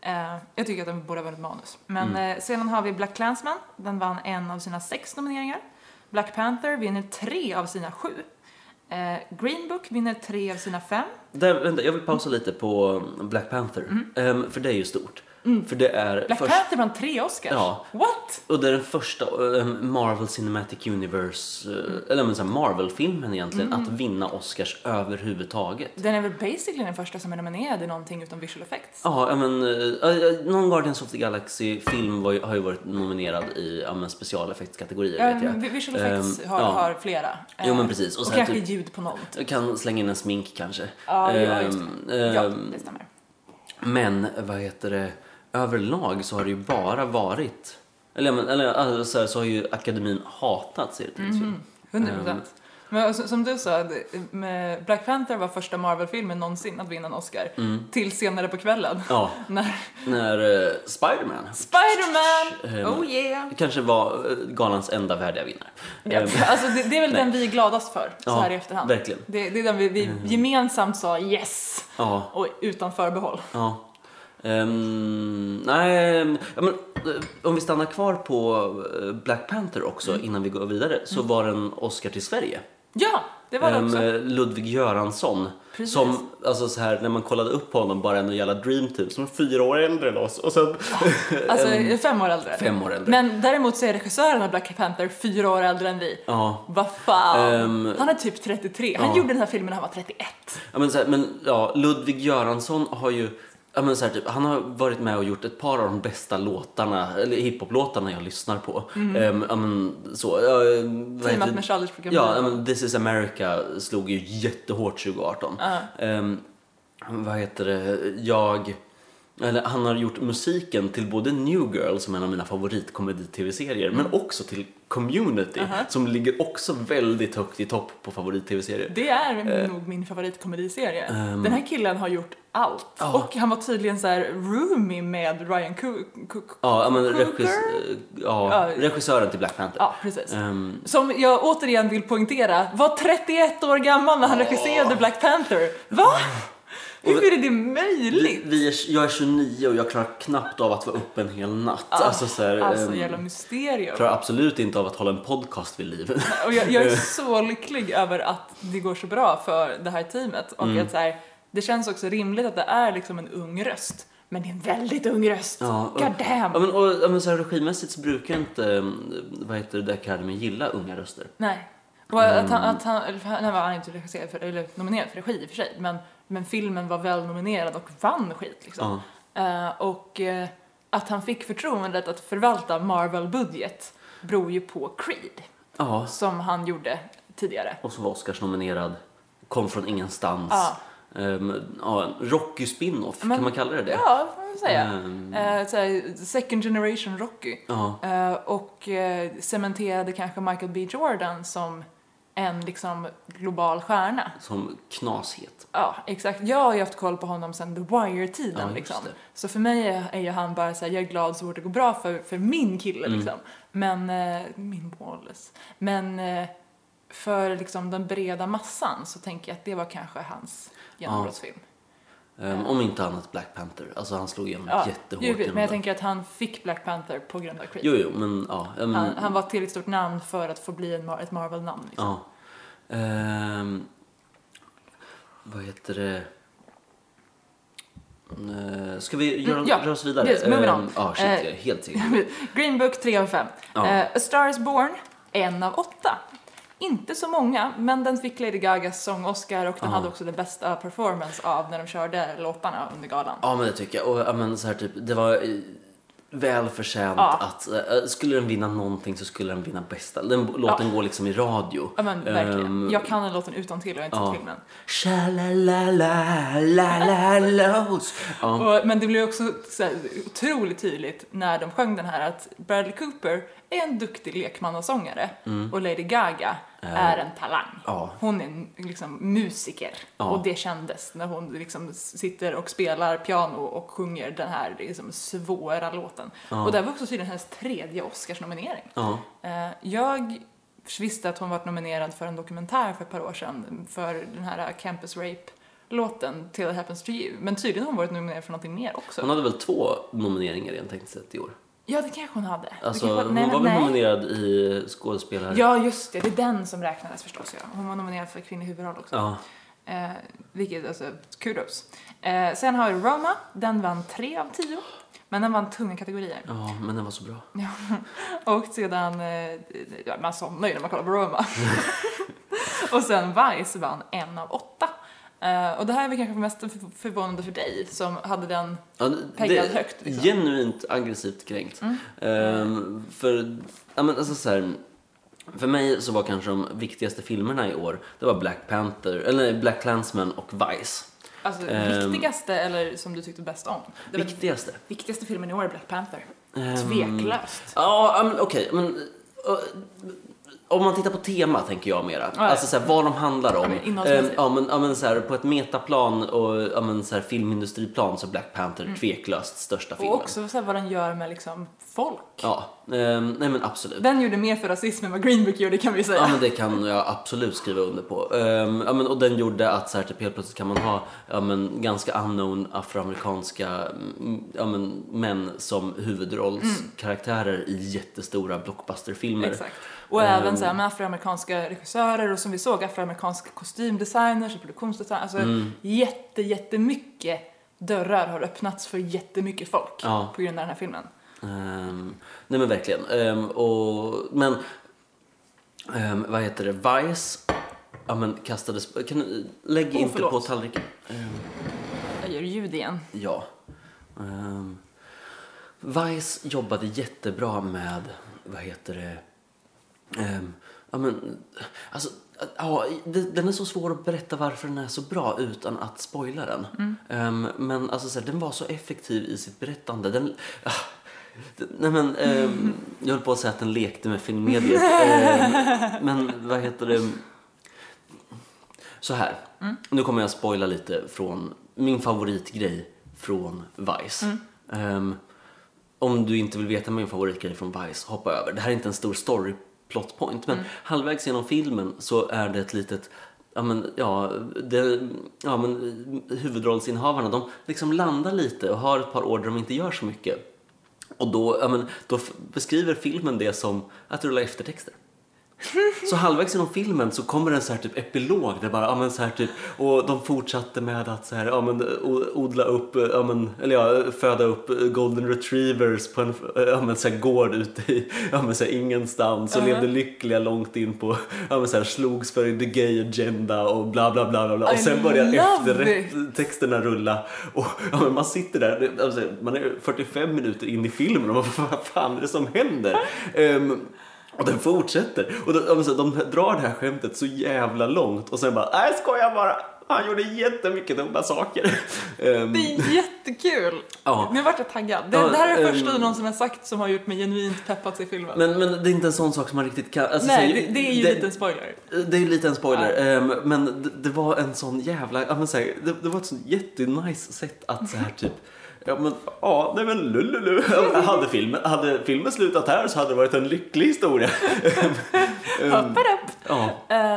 Speaker 5: Eh, jag tycker att den borde ha vunnit manus. Men
Speaker 2: Mm.
Speaker 5: eh, sedan har vi Black Clansman. Den vann en av sina sex nomineringar. Black Panther vinner tre av sina sju. Eh, Green Book vinner tre av sina fem.
Speaker 2: Där, vänta, jag vill pausa lite på um, Black Panther. Ehm, för det är ju stort. Mm, För det är
Speaker 5: Mm. Black
Speaker 2: först,
Speaker 5: Panther vann tre Oscars.
Speaker 2: Ja.
Speaker 5: What?
Speaker 2: och det är den första ehm, Marvel Cinematic Universe, eh,
Speaker 5: Mm.
Speaker 2: eller men så här Marvel-filmen egentligen, att vinna Oscars överhuvudtaget.
Speaker 5: Den är väl basically den första som är nominerad i någonting utom visual effects.
Speaker 2: Ja, ja, men eh, eh, någon Guardians of the Galaxy-film var ju- har ju varit nominerad i ja, men specialeffektskategorier
Speaker 5: Ja,
Speaker 2: vet jag.
Speaker 5: vi- visual effects
Speaker 2: Ehm,
Speaker 5: har,
Speaker 2: ja.
Speaker 5: har flera. Eh,
Speaker 2: Jo, men precis. Och
Speaker 5: Um, Och,
Speaker 2: sen
Speaker 5: kanske
Speaker 2: typ-
Speaker 5: ljud på något.
Speaker 2: Jag kan slänga in en smink kanske.
Speaker 5: Ja, ja, just
Speaker 2: Ehm,
Speaker 5: det. Ja,
Speaker 2: ehm,
Speaker 5: det stämmer.
Speaker 2: Men vad heter det, överlag så har det ju bara varit, eller, ja, men- eller alltså, så, här, så har ju akademin hatat serietidningsfilm.
Speaker 5: 100 procent. Mhm. Ehm. Men s- som du sa, det- med Black Panther var första Marvel-filmen någonsin att vinna en Oscar. Till senare på kvällen.
Speaker 2: Mm. Ja,
Speaker 5: När
Speaker 2: när eh, Spiderman
Speaker 5: Spiderman!
Speaker 2: Ehm,
Speaker 5: oh yeah!
Speaker 2: kanske var eh, galans enda värdiga vinnare.
Speaker 5: Ja,
Speaker 2: Ehm,
Speaker 5: alltså det, det är väl
Speaker 2: nej.
Speaker 5: den vi är gladast för, så
Speaker 2: Ja,
Speaker 5: här i efterhand.
Speaker 2: verkligen. Ehm.
Speaker 5: Det, det är den vi, vi gemensamt sa yes!
Speaker 2: ja,
Speaker 5: Och utan förbehåll.
Speaker 2: ja. Ehm, nej, ja, men, eh, om vi stannar kvar på eh, Black Panther också
Speaker 5: Mm.
Speaker 2: innan vi går vidare så var det en Oscar till Sverige.
Speaker 5: Ja, Mm. det var det
Speaker 2: Ehm,
Speaker 5: också.
Speaker 2: eh, Ludvig Göransson.
Speaker 5: Precis.
Speaker 2: Som, alltså så här, när man kollade upp på honom, bara en jävla dream typ, som var fyra år äldre än oss. Och sen,
Speaker 5: Alltså fem år äldre.
Speaker 2: fem år äldre.
Speaker 5: Men däremot så är regissören av Black Panther fyra år äldre än vi.
Speaker 2: ja,
Speaker 5: Vad fan!
Speaker 2: Ehm,
Speaker 5: han är typ 33. Han
Speaker 2: ja.
Speaker 5: gjorde den här filmen när han var 31.
Speaker 2: ja, men, så här, men ja, Ludvig Göransson har ju, ja, men, så här, typ, han har varit med och gjort ett par av de bästa låtarna, eller hiphop-låtarna jag lyssnar på.
Speaker 5: Mm.
Speaker 2: Ehm, ja, men, så, ja, ehm, vad heter
Speaker 5: Teamat
Speaker 2: det?
Speaker 5: med Charlies program.
Speaker 2: Ja, men This is America slog ju jättehårt 2018. Ehm, vad heter det? Jag... Eller, han har gjort musiken till både New Girl, som är en av mina favoritkomedi-tv-serier, men också till Community, som ligger också väldigt högt i topp på favorit-tv-serier.
Speaker 5: Det är
Speaker 2: Eh.
Speaker 5: nog min favoritkomediserie. den här killen har gjort allt.
Speaker 2: Ehm. Ja.
Speaker 5: Och han var tydligen så här roomie med Ryan Cook.
Speaker 2: Ja, ja, men
Speaker 5: Cougar?
Speaker 2: regis, ja,
Speaker 5: Ja.
Speaker 2: regissören till Black Panther.
Speaker 5: Ja, precis.
Speaker 2: Ehm,
Speaker 5: Som jag återigen vill poängtera, var 31 år gammal när han regisserade Black Panther. Va? Hur är det
Speaker 2: vi,
Speaker 5: möjligt?
Speaker 2: vi är, jag är 29 och jag klarar knappt av att vara uppe en hel natt. alltså, så här,
Speaker 5: Alltså
Speaker 2: ehm,
Speaker 5: jävla mysterium.
Speaker 2: klarar absolut inte av att hålla en podcast vid liv.
Speaker 5: Och jag, jag är så lycklig över att det går så bra för det här teamet. Och
Speaker 2: Mm.
Speaker 5: att så här, det känns också rimligt att det är liksom en ung röst. Men det är en väldigt ung röst.
Speaker 2: Ja, och-
Speaker 5: God damn.
Speaker 2: Ja men, och, ja, men så här, regimässigt så brukar inte mm, vad heter det, Academy gilla unga röster.
Speaker 5: Nej. Och
Speaker 2: Mm.
Speaker 5: att han, att han, eller han var inte regisserad för, eller nominerad för regi i och för sig, men, men filmen var väl nominerad och vann skit liksom.
Speaker 2: Ja.
Speaker 5: Eh, och eh, att han fick förtroendet att förvalta Marvel-budget beror ju på Creed,
Speaker 2: Ja.
Speaker 5: som han gjorde tidigare.
Speaker 2: Och så var Oscars nominerad, kom från ingenstans.
Speaker 5: Ja.
Speaker 2: Ehm, ja, Rocky spin-off,
Speaker 5: Men-
Speaker 2: kan man kalla det det?
Speaker 5: Ja, får man säga.
Speaker 2: Ehm,
Speaker 5: Eh, såhär, second generation Rocky.
Speaker 2: ja.
Speaker 5: Eh, och eh, cementerade kanske Michael B Jordan som en liksom global stjärna.
Speaker 2: Som knashet.
Speaker 5: Ja, exakt. Jag har ju haft koll på honom sedan The Wire-tiden.
Speaker 2: Ja, just
Speaker 5: liksom.
Speaker 2: det.
Speaker 5: Så för mig är- är ju han bara såhär, jag är glad så fort det går bra för, för min kille
Speaker 2: Mm.
Speaker 5: liksom. Men, eh, min Wallace. Men eh, för liksom den breda massan så tänker jag att det var kanske hans genombrottsfilm.
Speaker 2: Ehm, Om inte annat Black Panther. Alltså han slog igenom
Speaker 5: Ja,
Speaker 2: jättehårt.
Speaker 5: givetvis.
Speaker 2: genom
Speaker 5: men jag
Speaker 2: det.
Speaker 5: tänker att han fick Black Panther på grund av Creed.
Speaker 2: Jo, mm. jo, men ja. ja, men-
Speaker 5: Han, han var ett tillräckligt stort namn för att få bli en, Mar- ett Marvel-namn. Liksom.
Speaker 2: Ja. Ehm, vad heter det? Uh, ska vi göra,
Speaker 5: Mm, ja.
Speaker 2: röra oss vidare?
Speaker 5: Yes, moving
Speaker 2: Ehm,
Speaker 5: on.
Speaker 2: Ja, shit,
Speaker 5: Eh,
Speaker 2: jag är helt säker.
Speaker 5: Green Book 3 av 5.
Speaker 2: Ja.
Speaker 5: Eh, A Star is Born, en av åtta. Inte så många, men den fick Lady Gagas sång-Oscar och den
Speaker 2: Ja.
Speaker 5: hade också den bästa performance av när de körde låtarna under galan.
Speaker 2: Ja, men det tycker jag. Och, ja, men, så här, typ, det var eh, väl förtjänt
Speaker 5: Ja.
Speaker 2: att... eh, skulle den vinna någonting så skulle den vinna bästa. Den låten går liksom i radio.
Speaker 5: Ja men verkligen.
Speaker 2: Ehm,
Speaker 5: jag kan den låten utan till och jag har inte
Speaker 2: ja.
Speaker 5: sett filmen.
Speaker 2: Sha-la-la-la-la-la-los. Ja.
Speaker 5: Och, men det blev också så här, otroligt tydligt när de sjöng den här att Bradley Cooper är en duktig lekmannasångare
Speaker 2: Mm.
Speaker 5: och Lady Gaga är en talang.
Speaker 2: ja.
Speaker 5: Hon är en liksom, musiker
Speaker 2: Ja.
Speaker 5: och det kändes när hon liksom, sitter och spelar piano och sjunger den här liksom, svåra låten. Och det här var också tydligen hennes tredje Oscarsnominering.
Speaker 2: Ja.
Speaker 5: Eh, jag visste att hon varit nominerad för en dokumentär för ett par år sedan för den här Campus Rape-låten Till It Happens To You. Men tydligen har hon varit nominerad för någonting mer också.
Speaker 2: Hon hade väl två nomineringar rent tekniskt sett i år?
Speaker 5: Ja, det kanske hon hade. Det
Speaker 2: Alltså,
Speaker 5: kanske
Speaker 2: hon
Speaker 5: nej,
Speaker 2: var väl
Speaker 5: nej.
Speaker 2: nominerad i skådespelare...
Speaker 5: Ja, just det. Det är den som räknades förstås, ja. Hon var nominerad för kvinnlig huvudroll också.
Speaker 2: Ja.
Speaker 5: Eh, vilket, alltså, kudos. Eh, sen har vi Roma. Den vann tre av tio. Men den vann tunga kategorier.
Speaker 2: ja, men den var så bra.
Speaker 5: Och sedan, eh, ja, man somnar ju när man kollar på Roma. och sen Vice vann en av åtta. Eh, och det här är väl kanske mest förv- förvånande för dig som hade den,
Speaker 2: Ja,
Speaker 5: Peggad högt, liksom. Mm.
Speaker 2: Genuint aggressivt kränkt. Ehm, för, ja, men alltså så här, för mig så var kanske de viktigaste filmerna i år, det var Black Panther, eller nej, Black Clansman och Vice.
Speaker 5: alltså
Speaker 2: Ehm.
Speaker 5: viktigaste eller som du tyckte bäst om. Det var
Speaker 2: Viktigaste.
Speaker 5: viktigaste filmen i år är Black Panther.
Speaker 2: Ehm,
Speaker 5: Tveklöst.
Speaker 2: Ja, men okej. men, eh, om man tittar på tema tänker jag mera.
Speaker 5: ja.
Speaker 2: Alltså såhär, vad de handlar om.
Speaker 5: men
Speaker 2: Eh,
Speaker 5: innehållsmässigt.
Speaker 2: Ja men, ja, men såhär, på ett metaplan och ja, men, såhär, filmindustriplan så är Black Panther tveklöst största filmen.
Speaker 5: Mm. Och också så här, vad den gör med liksom folk.
Speaker 2: Ja, eh, nej men absolut.
Speaker 5: Den gjorde mer för rasism än vad Green Book gjorde kan vi säga.
Speaker 2: Ja men det kan jag absolut skriva under på. Ehm, ja, men, och den gjorde att så här, typ, helt plötsligt kan man ha ja, men, ganska unknown afroamerikanska mm, ja, men, män som huvudrollskaraktärer i jättestora blockbusterfilmer.
Speaker 5: Exakt. Och
Speaker 2: Ehm.
Speaker 5: även så här med afroamerikanska regissörer och som vi såg afroamerikanska kostymdesigners och produktionsdesigners. Alltså
Speaker 2: Mm.
Speaker 5: jätte, jättemycket dörrar har öppnats för jättemycket folk
Speaker 2: Ja.
Speaker 5: på grund av den här filmen.
Speaker 2: Ehm, nej men verkligen. Ehm, och, men ehm, vad heter det? Vice ja, men, kastades... Kan, du- lägg
Speaker 5: Oh,
Speaker 2: inte på
Speaker 5: förlåt.
Speaker 2: tallriken.
Speaker 5: Jag gör ljud igen.
Speaker 2: Ja. Ehm, Vice jobbade jättebra med, vad heter det, Ehm, ja men, alltså, ja, det- den är så svår att berätta varför den är så bra utan att spoila den. Ehm, men alltså så här, den var så effektiv i sitt berättande. Den, ah, den- nej men, ehm, jag höll på att säga att den lekte med filmmediet. Ehm, men vad heter det? Så här, nu kommer jag spoila lite från min favoritgrej från Vice. Ehm, om du inte vill veta min favoritgrej från Vice, hoppa över. Det här är inte en stor story plot point, men halvvägs genom filmen så är det ett litet Ja men, ja, det, ja men eh, huvudrollsinnehavarna de liksom landar lite och har ett par år där de inte gör så mycket. Och då, ja men, då f- beskriver filmen det som att rulla eftertexter. Så halvvägs genom filmen så kommer en så här typ epilog där bara, ja men så här typ, och de fortsatte med att så här, ja men o- odla upp, ja men, eller ja, föda upp golden retrievers på en, ja men så här gård ute i, ja men så här ingenstans och levde lyckliga långt in på, ja men så här slogs för the gay agenda och bla bla bla bla, bla. och
Speaker 5: I
Speaker 2: sen börjar
Speaker 5: love
Speaker 2: efterrätt
Speaker 5: it.
Speaker 2: texterna rulla och ja, men man sitter där, det- alltså, man är 45 minuter in i filmen och man bara, vad fan är det som händer? Ehm, och den fortsätter. Och de, ja, men så de drar det här skämtet så jävla långt och sen bara, nej skojar bara. Han gjorde jättemycket dumma saker. Ehm,
Speaker 5: Det är jättekul!
Speaker 2: Ja.
Speaker 5: Nu vart jag taggad. Det,
Speaker 2: Ja,
Speaker 5: det här är det första
Speaker 2: ehm.
Speaker 5: någon som har sagt som har gjort mig genuint peppad till filmen.
Speaker 2: men, men det är inte en sån sak som man riktigt kan... Alltså,
Speaker 5: Nej,
Speaker 2: så här,
Speaker 5: det, det är ju lite en spoiler.
Speaker 2: Det är ju lite en spoiler, ehm, men det, det var en sån jävla, ja men så här, det, det var ett sånt jättenice sätt att så här typ Ja men, ja, nej men lululu. Hade filmen, hade filmen slutat här så hade det varit en lycklig historia. Ehm,
Speaker 5: Hoppar upp!
Speaker 2: Ja,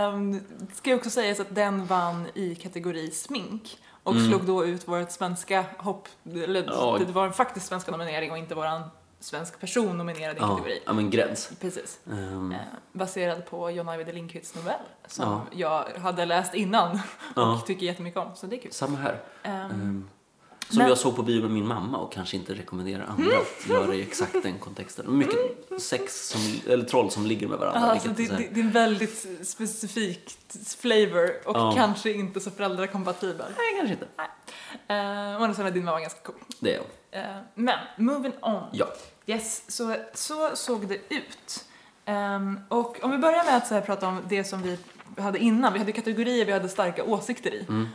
Speaker 5: Um, ska jag också säga så att den vann i kategori smink och slog då ut vårt svenska hopp, eller
Speaker 2: Mm. Ja.
Speaker 5: det var en faktisk svenska nominering och inte våran svensk person nominerad i en
Speaker 2: ja,
Speaker 5: kategori.
Speaker 2: ja men gräns.
Speaker 5: Precis.
Speaker 2: Ehm,
Speaker 5: Eh, baserad på John Ajvide Lindqvists novell som
Speaker 2: Ja.
Speaker 5: jag hade läst innan och
Speaker 2: Ja.
Speaker 5: tycker jättemycket om, så det är kul.
Speaker 2: samma här.
Speaker 5: Ehm,
Speaker 2: Ehm, som
Speaker 5: Men- Mm.
Speaker 2: jag såg på bio med min mamma och kanske inte rekommenderar andra att göra i exakt den kontexten. Mycket sex, som, eller troll som ligger med varandra.
Speaker 5: Alltså, Mm. det,
Speaker 2: vilket är så här-
Speaker 5: det, det är en väldigt specifikt flavor och
Speaker 2: Ja.
Speaker 5: kanske inte så föräldrakompatibel.
Speaker 2: Nej, kanske inte.
Speaker 5: Uh, å andra sidan är din mamma ganska cool.
Speaker 2: Det är jag.
Speaker 5: Eh, men, moving on.
Speaker 2: Ja.
Speaker 5: Yes, så, så såg det ut. Ehm, och om vi börjar med att så här, prata om det som vi hade innan. Vi hade kategorier vi hade starka åsikter i.
Speaker 2: Mm.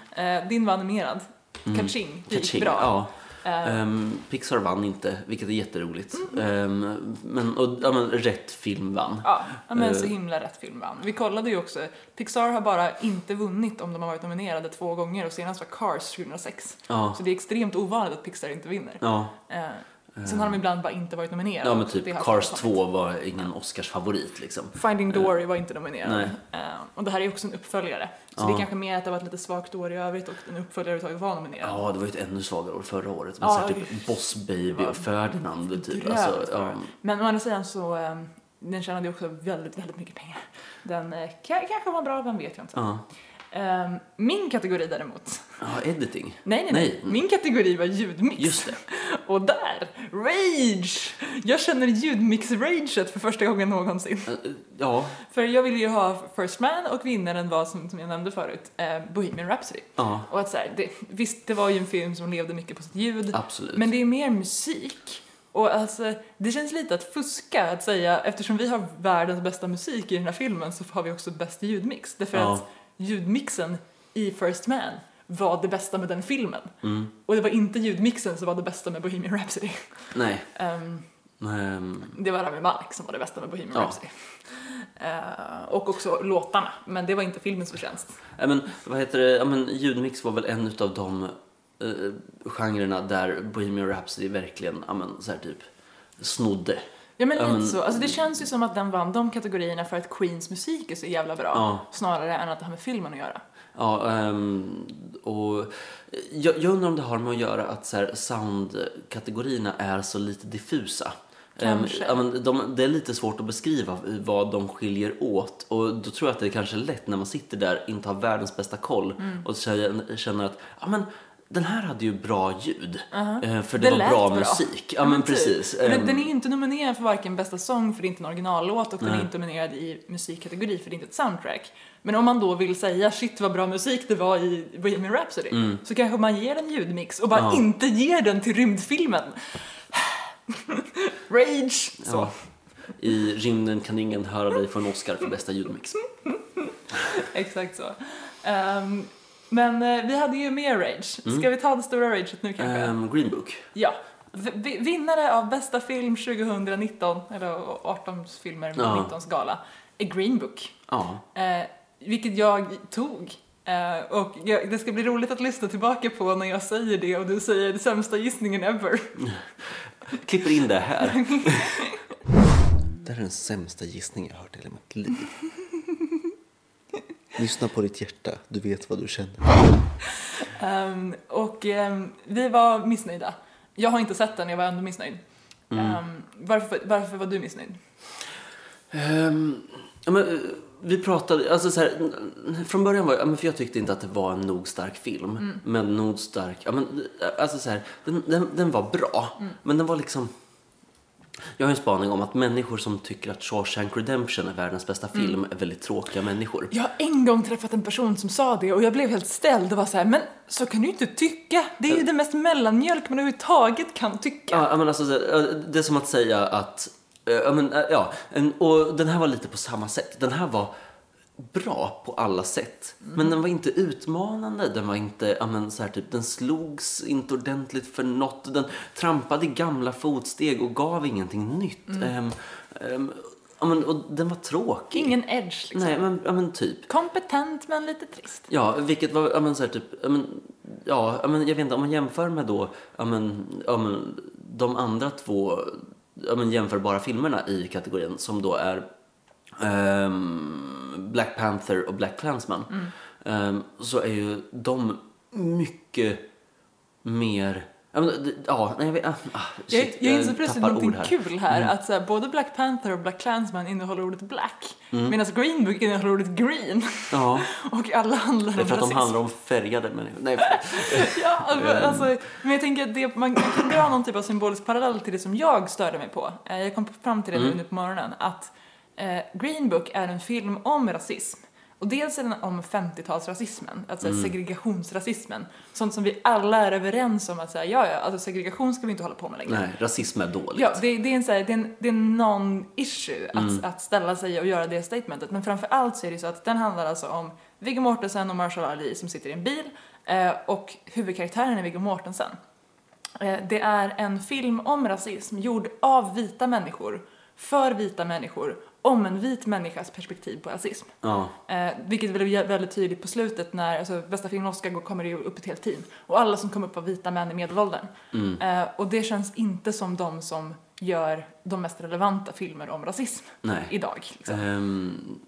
Speaker 5: Eh, din var animerad.
Speaker 2: Mm.
Speaker 5: Kaching, det gick
Speaker 2: Kaching,
Speaker 5: bra.
Speaker 2: Ja.
Speaker 5: Eh,
Speaker 2: Ehm, Pixar vann inte, vilket är jätteroligt.
Speaker 5: Mm.
Speaker 2: Ehm, men, och, ja, men rätt film vann.
Speaker 5: Ja, ja, men så
Speaker 2: eh.
Speaker 5: himla rätt film vann. Vi kollade ju också, Pixar har bara inte vunnit om de har varit nominerade två gånger och senast var Cars 2006.
Speaker 2: Ja.
Speaker 5: Så det är extremt ovanligt att Pixar inte vinner.
Speaker 2: ja. Ehm,
Speaker 5: Eh, Sen har de ibland bara inte varit nominerade.
Speaker 2: Ja men
Speaker 5: Det alltså
Speaker 2: typ
Speaker 5: har
Speaker 2: Cars
Speaker 5: förekommit.
Speaker 2: 2 var ingen Oscarsfavorit liksom.
Speaker 5: Finding Dory var inte nominerad.
Speaker 2: Nej.
Speaker 5: Eh, och det här är också en uppföljare. Så det
Speaker 2: Ja.
Speaker 5: är kanske mer att det har varit lite svagt år i övrigt och en uppföljare överhuvudtaget var nominerad.
Speaker 2: Ja, det var ju ett ännu svagare år förra året. Men
Speaker 5: Ja,
Speaker 2: så här,
Speaker 5: det-
Speaker 2: typ Boss Baby och Ferdinand typ.
Speaker 5: Grövt
Speaker 2: Alltså,
Speaker 5: var
Speaker 2: ja,
Speaker 5: det. Men å andra sidan så eh, den tjänade ju också väldigt, väldigt mycket pengar. Den eh, ka- kanske var bra, vem vet jag inte.
Speaker 2: ja.
Speaker 5: Eh, min kategori däremot,
Speaker 2: ja, editing.
Speaker 5: nej nej, nej
Speaker 2: Nej.
Speaker 5: min kategori var ljudmix.
Speaker 2: Just det.
Speaker 5: Och där, rage! Jag känner ljudmix-raget för första gången någonsin.
Speaker 2: Eh, eh, Ja,
Speaker 5: För jag ville ju ha First Man och vinnaren var som, som jag nämnde förut, eh, Bohemian Rhapsody.
Speaker 2: ja,
Speaker 5: Och att så här, det, visst, det var ju en film som levde mycket på sitt ljud,
Speaker 2: absolut.
Speaker 5: men det är mer musik. Och alltså, det känns lite att fuska att säga, eftersom vi har världens bästa musik i den här filmen så har vi också bäst ljudmix. Därför
Speaker 2: Ja.
Speaker 5: att ljudmixen i First Man var det bästa med den filmen.
Speaker 2: Mm.
Speaker 5: Och det var inte ljudmixen som var det bästa med Bohemian Rhapsody.
Speaker 2: Nej.
Speaker 5: Ehm,
Speaker 2: ehm,
Speaker 5: det var Rami Malek som var det bästa med Bohemian
Speaker 2: Ja.
Speaker 5: Rhapsody. Eh, och också låtarna, men det var inte filmens förtjänst.
Speaker 2: Ja, men vad heter det? Ja, men ljudmix var väl en utav de uh, genrerna där Bohemian Rhapsody verkligen, ja men så här typ snodde.
Speaker 5: Ja men
Speaker 2: Ja,
Speaker 5: lite
Speaker 2: men-
Speaker 5: så. Alltså det känns ju som att den vann de kategorierna för att Queens musik är så jävla bra.
Speaker 2: Ja.
Speaker 5: Snarare än att det har med filmen att göra.
Speaker 2: Ja, ehm, och jag, jag undrar om det har med att göra att så här, soundkategorierna är så lite diffusa. Ehm,
Speaker 5: Kanske.
Speaker 2: ja, men de, det är lite svårt att beskriva vad de skiljer åt och då tror jag att det är kanske är lätt när man sitter där, inte har världens bästa koll
Speaker 5: Mm.
Speaker 2: och känner, känner att ja, men, den här hade ju bra ljud eh, för det,
Speaker 5: Uh-huh. Det
Speaker 2: var
Speaker 5: lät
Speaker 2: bra,
Speaker 5: bra.
Speaker 2: musik. Ja, men,
Speaker 5: typ.
Speaker 2: precis.
Speaker 5: Och den,
Speaker 2: Ehm,
Speaker 5: den är inte nominerad för varken bästa sång, för det är inte en originallåt, och den är
Speaker 2: Nej.
Speaker 5: inte nominerad i musikkategori, för det är inte ett soundtrack. Men om man då vill säga shit vad bra musik det var i Bohemian Rhapsody, så kanske man ger den ljudmix och bara
Speaker 2: Mm. Ja.
Speaker 5: inte ger den till rymdfilmen. Rage! Så.
Speaker 2: ja. I rymden kan ingen höra dig få en Oscar för bästa ljudmix.
Speaker 5: Exakt så. Ehm, men eh, vi hade ju mer rage. Ska vi ta det stora raget nu kanske?
Speaker 2: Mm. Ehm, Green Book.
Speaker 5: Ja. V- vi- vinnare av bästa film 2019, eller 18s filmer med
Speaker 2: Ja.
Speaker 5: 19s gala, är Green Book.
Speaker 2: Ja.
Speaker 5: Eh, vilket jag tog. Eh, och jag, det ska bli roligt att lyssna tillbaka på när jag säger det och du säger den sämsta gissningen ever.
Speaker 2: Klipper in det här.
Speaker 6: Det här är den sämsta gissning jag har hört i hela mitt liv. Lyssna på ditt hjärta, du vet vad du känner.
Speaker 5: Ehm, och ehm, vi var missnöjda. Jag har inte sett den, jag var ändå missnöjd. Ehm, varför, varför var du missnöjd?
Speaker 2: Ehm, ja, men, eh, vi pratade, alltså så här, n- n- från början var jag, ja, men för jag tyckte inte att det var en nog stark film. Men nog stark, ja, men, eh, alltså så här, den, den, den var bra. Men den var liksom, jag har en spaning om att människor som tycker att Shawshank Redemption är världens bästa film är väldigt tråkiga människor.
Speaker 5: Jag har en gång träffat en person som sa det och jag blev helt ställd och var så här, men så kan du ju inte tycka. Det är ju det mest mellanmjölk man överhuvudtaget kan tycka.
Speaker 2: Ja, ja, men alltså, så här, eh, det är som att säga att... eh, Ja, men, eh, ja, en- och den här var lite på samma sätt. Den här var bra på alla sätt.
Speaker 5: Mm.
Speaker 2: Men den var inte utmanande. Den var inte, ja, men, så här, typ, den slogs inte ordentligt för något. Den trampade i gamla fotsteg och gav ingenting nytt.
Speaker 5: Mm.
Speaker 2: Ehm, ehm, ja, men, och den var tråkig.
Speaker 5: Ingen edge liksom.
Speaker 2: Nej, men, ja, men typ.
Speaker 5: Kompetent men lite trist.
Speaker 2: Ja, vilket var, ja men så här, typ, ja men, ja ja, men jag vet inte, om man jämför med då, ja men, ja men de andra två, ja men jämförbara filmerna i kategorin som då är ehm, Black Panther och Black Clansman.
Speaker 5: Mm.
Speaker 2: ehm, så är ju de mycket mer, ja men, det- ja, nej, jag vet, ah, shit,
Speaker 5: jag, jag inser plötsligt
Speaker 2: tappar
Speaker 5: någonting
Speaker 2: ord här. Mm.
Speaker 5: kul här, att så här, både Black Panther och Black Klansman innehåller ordet black,
Speaker 2: Mm.
Speaker 5: medan Green Book innehåller ordet green.
Speaker 2: Ja,
Speaker 5: Och alla handlar om
Speaker 2: det är för att de
Speaker 5: rasism.
Speaker 2: handlar om färgade människor. Nej, för,
Speaker 5: Ja, alltså, alltså, men jag tänker att det, man kan dra någon typ av symbolisk parallell till det som jag störde mig på. Eh, Jag kom fram till det nu på morgonen, att eh, Green Book är en film om rasism. Och dels är den om 50-talsrasismen, alltså segregationsrasismen. Sånt som vi alla är överens om att säga, ja, ja, alltså segregation ska vi inte hålla på med längre.
Speaker 2: nej, rasism är dåligt.
Speaker 5: Ja, det, det är en, så här, det är en, det är en non-issue att, att ställa sig och göra det statementet. Men framför allt så är det så att den handlar alltså om Viggo Mortensen och Marshall Ali som sitter i en bil eh, och huvudkaraktären är Viggo Mortensen. Eh, det är en film om rasism gjord av vita människor, för vita människor, om en vit människas perspektiv på rasism.
Speaker 2: Ja.
Speaker 5: Eh, vilket blev jä- väldigt tydligt på slutet när alltså, bästa film Oscar går- kommer det ju upp ett helt team. Och alla som kom upp var vita män i medelåldern.
Speaker 2: Mm.
Speaker 5: Eh, och det känns inte som de som gör de mest relevanta filmer om rasism
Speaker 2: Nej.
Speaker 5: idag. Liksom.
Speaker 2: Ehm,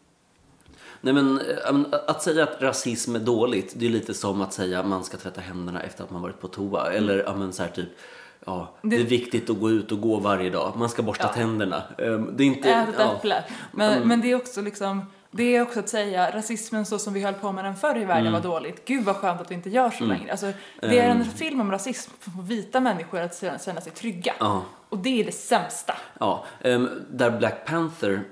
Speaker 2: nej men, eh, men att säga att rasism är dåligt, det är lite som att säga att man ska tvätta händerna efter att man varit på toa. Eller ja, men så här typ, ja, det...
Speaker 5: Mm. Det-
Speaker 2: är viktigt att gå ut och gå varje dag. Man ska borsta
Speaker 5: Ja.
Speaker 2: tänderna. Ehm, det är inte...
Speaker 5: Ät ett
Speaker 2: ja.
Speaker 5: äpple. Men, men det är också liksom det är också att säga rasismen så som vi höll på med den förr i världen
Speaker 2: Mm.
Speaker 5: var dåligt. Gud vad skönt att vi inte gör så längre. Alltså, det är
Speaker 2: Eh.
Speaker 5: en film om rasism för vita människor att känna känna sig trygga.
Speaker 2: Ja.
Speaker 5: Och det är det sämsta.
Speaker 2: Ja, ehm, där Black Panther,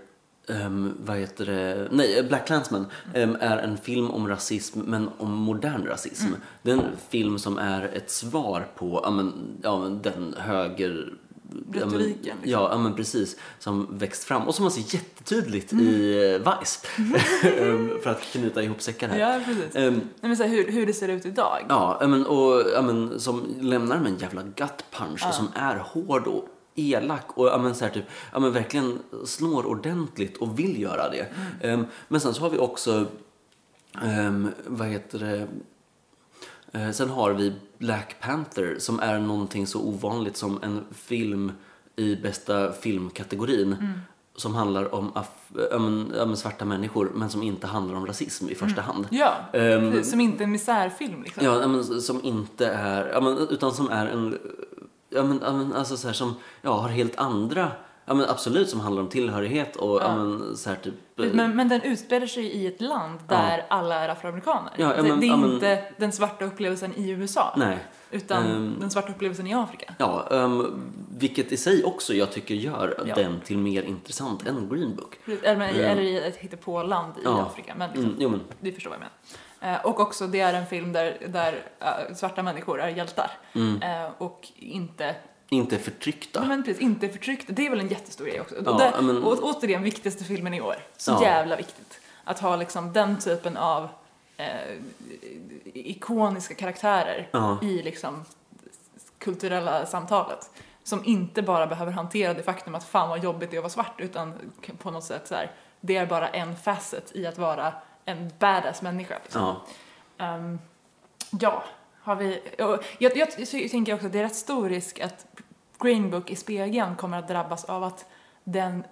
Speaker 2: ehm, vad heter det, nej, Black Clansman ehm, är en film om rasism, men om modern rasism.
Speaker 5: Mm.
Speaker 2: Det är en film som är ett svar på, ja men, ja, men den höger... ja, men-
Speaker 5: Retoriken, liksom.
Speaker 2: Ja, ja, men precis. Som växt fram och som man ser jättetydligt
Speaker 5: Mm.
Speaker 2: i eh, Vice. Ehm, För att knyta ihop säckar här.
Speaker 5: Ja, precis.
Speaker 2: Ehm,
Speaker 5: Nej, men så här, hur, hur det ser ut idag.
Speaker 2: Ja, ja, men, och, ja, men, som lämnar med en jävla gut punch och som är hård och elak och ja, men, så här, typ, ja, men, verkligen slår ordentligt och vill göra det.
Speaker 5: Mm.
Speaker 2: Ehm, men sen så har vi också, ehm, vad heter det, Eh, Sen har vi Black Panther som är någonting så ovanligt som en film i bästa filmkategorin
Speaker 5: Mm.
Speaker 2: som handlar om af- ja, men- ja, men svarta människor men som inte handlar om rasism i första hand.
Speaker 5: Mm. Ja,
Speaker 2: Ehm,
Speaker 5: precis. som inte en misärfilm liksom.
Speaker 2: Ja, ja, men, som inte är, ja, men, utan som är en, ja men, ja, men alltså så här som, ja har helt andra, ja men absolut som handlar om tillhörighet och ja,
Speaker 5: Ja.
Speaker 2: men så här typ. eh,
Speaker 5: Men, men den utspelar sig i ett land där alla är afroamerikaner.
Speaker 2: Ja, ja,
Speaker 5: Det-
Speaker 2: men-
Speaker 5: det är
Speaker 2: ja, men-
Speaker 5: inte den svarta upplevelsen i USA,
Speaker 2: Nej.
Speaker 5: utan
Speaker 2: Ehm.
Speaker 5: den svarta upplevelsen i Afrika.
Speaker 2: Ja, ehm, vilket i sig också jag tycker gör
Speaker 5: Ja.
Speaker 2: den till mer intressant än Green Book.
Speaker 5: Eller, men, i-
Speaker 2: Ehm.
Speaker 5: eller i ett hittepåland i
Speaker 2: Ja.
Speaker 5: Afrika. Men liksom,
Speaker 2: Mm, jo, men,
Speaker 5: du förstår vad jag menar. Eh, och också, det är en film där, där eh, svarta människor är hjältar. Eh, och inte,
Speaker 2: mm, inte förtryckta.
Speaker 5: men precis, inte förtryckta. Det är väl en jättestor grej också.
Speaker 2: Ja,
Speaker 5: och där,
Speaker 2: men-
Speaker 5: och, återigen, viktigaste filmen i år. Så
Speaker 2: Ja.
Speaker 5: jävla viktigt. Att ha liksom den typen av eh, ikoniska karaktärer
Speaker 2: Ja.
Speaker 5: i liksom kulturella samtalet. Som inte bara behöver hantera det faktum att fan vad jobbigt det är att vara svart utan k- på något sätt så här, det är bara en facet i att vara en badass människa. Liksom.
Speaker 2: Ja,
Speaker 5: Ehm, ja, har vi... och Jag, jag, ty- tänker också att det är rätt stor risk att Green Book i spegeln kommer att drabbas av att den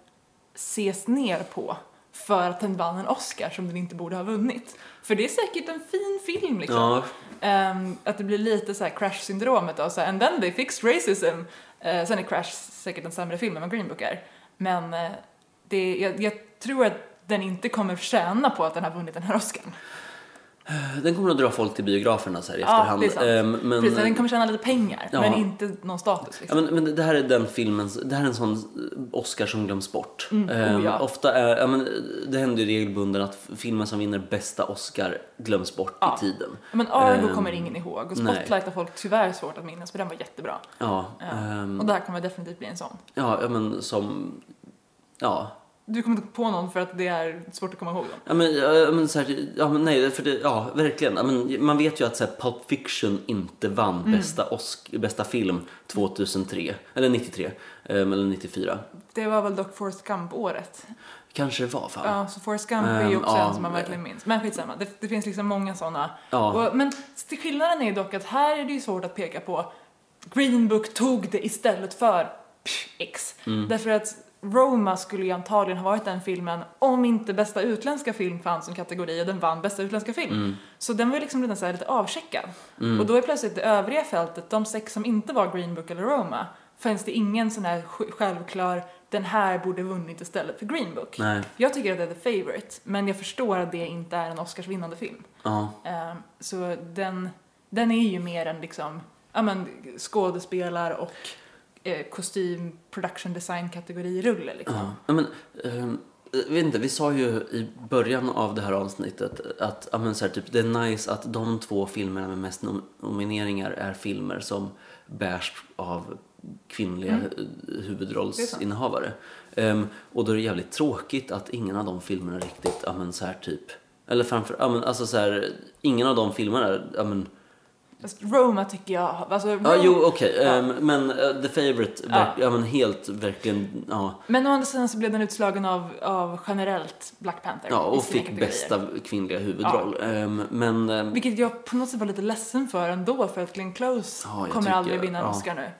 Speaker 5: ses ner på för att den vann en Oscar som den inte borde ha vunnit. För det är säkert en fin film liksom.
Speaker 2: ja,
Speaker 5: Ehm, att det blir lite så här crash-syndromet av så här, and then they fixed racism. Eh, sen är Crash säkert en sämre film än vad Green Book är. Men eh, det, jag, jag tror att den inte kommer tjäna på att den har vunnit den här Oscarn.
Speaker 2: den kommer att dra folk till biograferna så här i
Speaker 5: Ja,
Speaker 2: efterhand.
Speaker 5: det är sant.
Speaker 2: Ehm, men,
Speaker 5: Precis, den kommer tjäna lite pengar,
Speaker 2: Ja.
Speaker 5: men inte någon status
Speaker 2: Ja,
Speaker 5: liksom.
Speaker 2: men, men det här är den filmen, det här är en sån eh, Oscar som glöms bort.
Speaker 5: Mm, oh ja.
Speaker 2: Ehm, ofta är, ja, men, det händer ju regelbundet att filmen som vinner bästa Oscar glöms bort
Speaker 5: Ja.
Speaker 2: i tiden.
Speaker 5: Men Argo
Speaker 2: Ehm,
Speaker 5: kommer ingen ihåg och
Speaker 2: nej.
Speaker 5: Spotlight har folk tyvärr svårt att minnas för den var jättebra.
Speaker 2: Ja,
Speaker 5: Ja.
Speaker 2: ehm,
Speaker 5: Och det här kommer definitivt bli en sån.
Speaker 2: ja, ja men som, ja.
Speaker 5: Du kommer inte på någon för att det är svårt att komma ihåg dem.
Speaker 2: Ja men, ja, ja, men, så här, ja, men nej, för det, ja verkligen. Ja, men, man vet ju att så här, Pulp Fiction inte vann
Speaker 5: Mm.
Speaker 2: bästa, Osc- bästa film 2003, eller 93, ehm, eller 94.
Speaker 5: Det var väl dock Forrest Gump-året.
Speaker 2: Kanske det var fan.
Speaker 5: Ja, så Forrest Gump är ju
Speaker 2: Ehm,
Speaker 5: också
Speaker 2: ja,
Speaker 5: en som man
Speaker 2: men-
Speaker 5: verkligen minns. Men skitsamma, det, det finns liksom många sådana.
Speaker 2: Ja.
Speaker 5: Och, men till skillnaden är dock att här är det ju svårt att peka på Green Book tog det istället för pff, X.
Speaker 2: Mm.
Speaker 5: Därför att Roma skulle ju antagligen ha varit den filmen om inte bästa utländska film fanns som kategori och den vann bästa utländska film.
Speaker 2: Mm.
Speaker 5: Så den var ju liksom redan så här lite avcheckad. Och då är plötsligt det övriga fältet, de sex som inte var Green Book eller Roma, fanns det ingen sån här sj- självklar den här borde vunnit istället för Green Book.
Speaker 2: Nej,
Speaker 5: Jag tycker att det är The Favourite, men jag förstår att det inte är en Oscarsvinnande film.
Speaker 2: ja.
Speaker 5: Ehm, så den, den är ju mer en liksom, ja men skådespelar och eh, kostym, production design kategorirulle liksom.
Speaker 2: Ja, ja, men, ehm, jag vet inte, vi sa ju i början av det här avsnittet att ja, men så här, typ, det är nice att de två filmerna med mest nom- nomineringar är filmer som bärs av kvinnliga
Speaker 5: Mm.
Speaker 2: eh, huvudrollsinnehavare. Ehm, och då är det jävligt tråkigt att ingen av de filmerna riktigt, ja men så här typ, eller framför, ja men alltså så här, ingen av de filmerna, ja men
Speaker 5: Fast Roma tycker jag, alltså Roma,
Speaker 2: Ja, jo, okej.
Speaker 5: Ja.
Speaker 2: Ehm, men eh, The Favourite, verk- ja. men helt verkligen, ja.
Speaker 5: Men å andra sidan så blev den utslagen av, av generellt Black Panther.
Speaker 2: ja
Speaker 5: i
Speaker 2: och
Speaker 5: sina
Speaker 2: fick
Speaker 5: kategorier.
Speaker 2: bästa kvinnliga huvudroll. Ehm, men, ehm,
Speaker 5: Vilket jag på något sätt var lite ledsen för ändå, för att Glenn Close
Speaker 2: Ja, jag
Speaker 5: kommer
Speaker 2: tycker-
Speaker 5: aldrig vinna en
Speaker 2: ja.
Speaker 5: Oscar nu.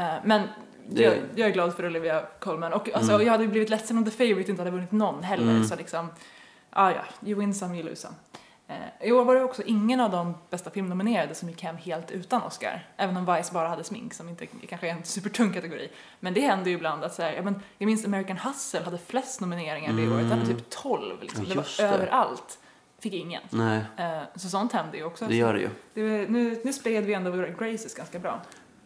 Speaker 5: Eh, Men
Speaker 2: Det-
Speaker 5: jag, jag är glad för Olivia Colman. Och alltså,
Speaker 2: Mm.
Speaker 5: jag hade ju blivit ledsen om The Favourite inte hade vunnit någon heller.
Speaker 2: Mm.
Speaker 5: Så liksom, ah, ja, you win some, you lose some. Eh, I år var det också ingen av de bästa filmnominerade som gick hem helt utan Oscar. Även om Vice bara hade smink, som inte kanske är en supertung kategori. Men det händer ju ibland att så här, ja, men, jag minns American Hustle hade flest nomineringar det året. Den hade
Speaker 2: Mm.
Speaker 5: typ 12 liksom.
Speaker 2: Ja,
Speaker 5: Det var
Speaker 2: just det.
Speaker 5: överallt. Fick ingen.
Speaker 2: nej,
Speaker 5: Eh, Så sånt händer ju också.
Speaker 2: det gör det ju.
Speaker 5: Det var- nu, nu spred vi ändå Graces ganska bra.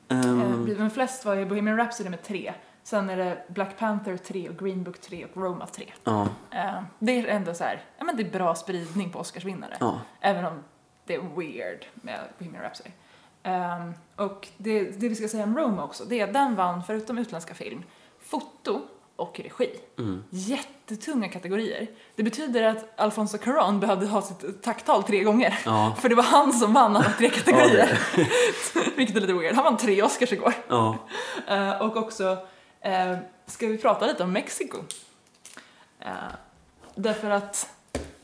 Speaker 2: Ehm,
Speaker 5: Mm. Men flest var ju Bohemian Rhapsody med tre. Sen är det Black Panther 3 och Green Book 3 och Roma 3.
Speaker 2: ja,
Speaker 5: Eh, Det är ändå så här, ja men det är bra spridning på Oscarsvinnare.
Speaker 2: ja.
Speaker 5: Även om det är weird med Bohemian Rhapsody. Ehm, och det, det vi ska säga om Roma också, det är att den vann, förutom utländska film, foto och regi.
Speaker 2: Mm.
Speaker 5: Jättetunga kategorier. Det betyder att Alfonso Cuarón behövde ha sitt tacktal tre gånger.
Speaker 2: Ja,
Speaker 5: För det var han som vann alla tre kategorier.
Speaker 2: Ja,
Speaker 5: Vilket är lite weird. Han vann tre Oscars igår.
Speaker 2: ja.
Speaker 5: Eh, och också, eh, ska vi prata lite om Mexiko? Eh, därför att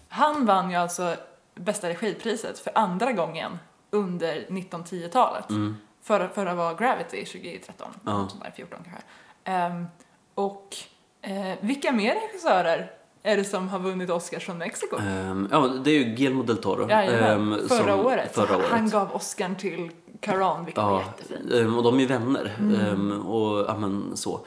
Speaker 5: han vann ju alltså bästa regipriset för andra gången under 1910-talet.
Speaker 2: Mm.
Speaker 5: Förra, förra var Gravity 2013,
Speaker 2: Ja.
Speaker 5: 2014 kanske. Ehm, och eh, vilka mer regissörer är det som har vunnit Oscars från Mexiko?
Speaker 2: Ehm, ja, det är ju Guillermo del Toro.
Speaker 5: Jajamän,
Speaker 2: ehm,
Speaker 5: förra,
Speaker 2: som-
Speaker 5: året.
Speaker 2: Förra året.
Speaker 5: Han gav Oscarn till Caron, vilket var jättefint. Mm.
Speaker 2: ehm, och de är vänner. ehm, och ja, men så.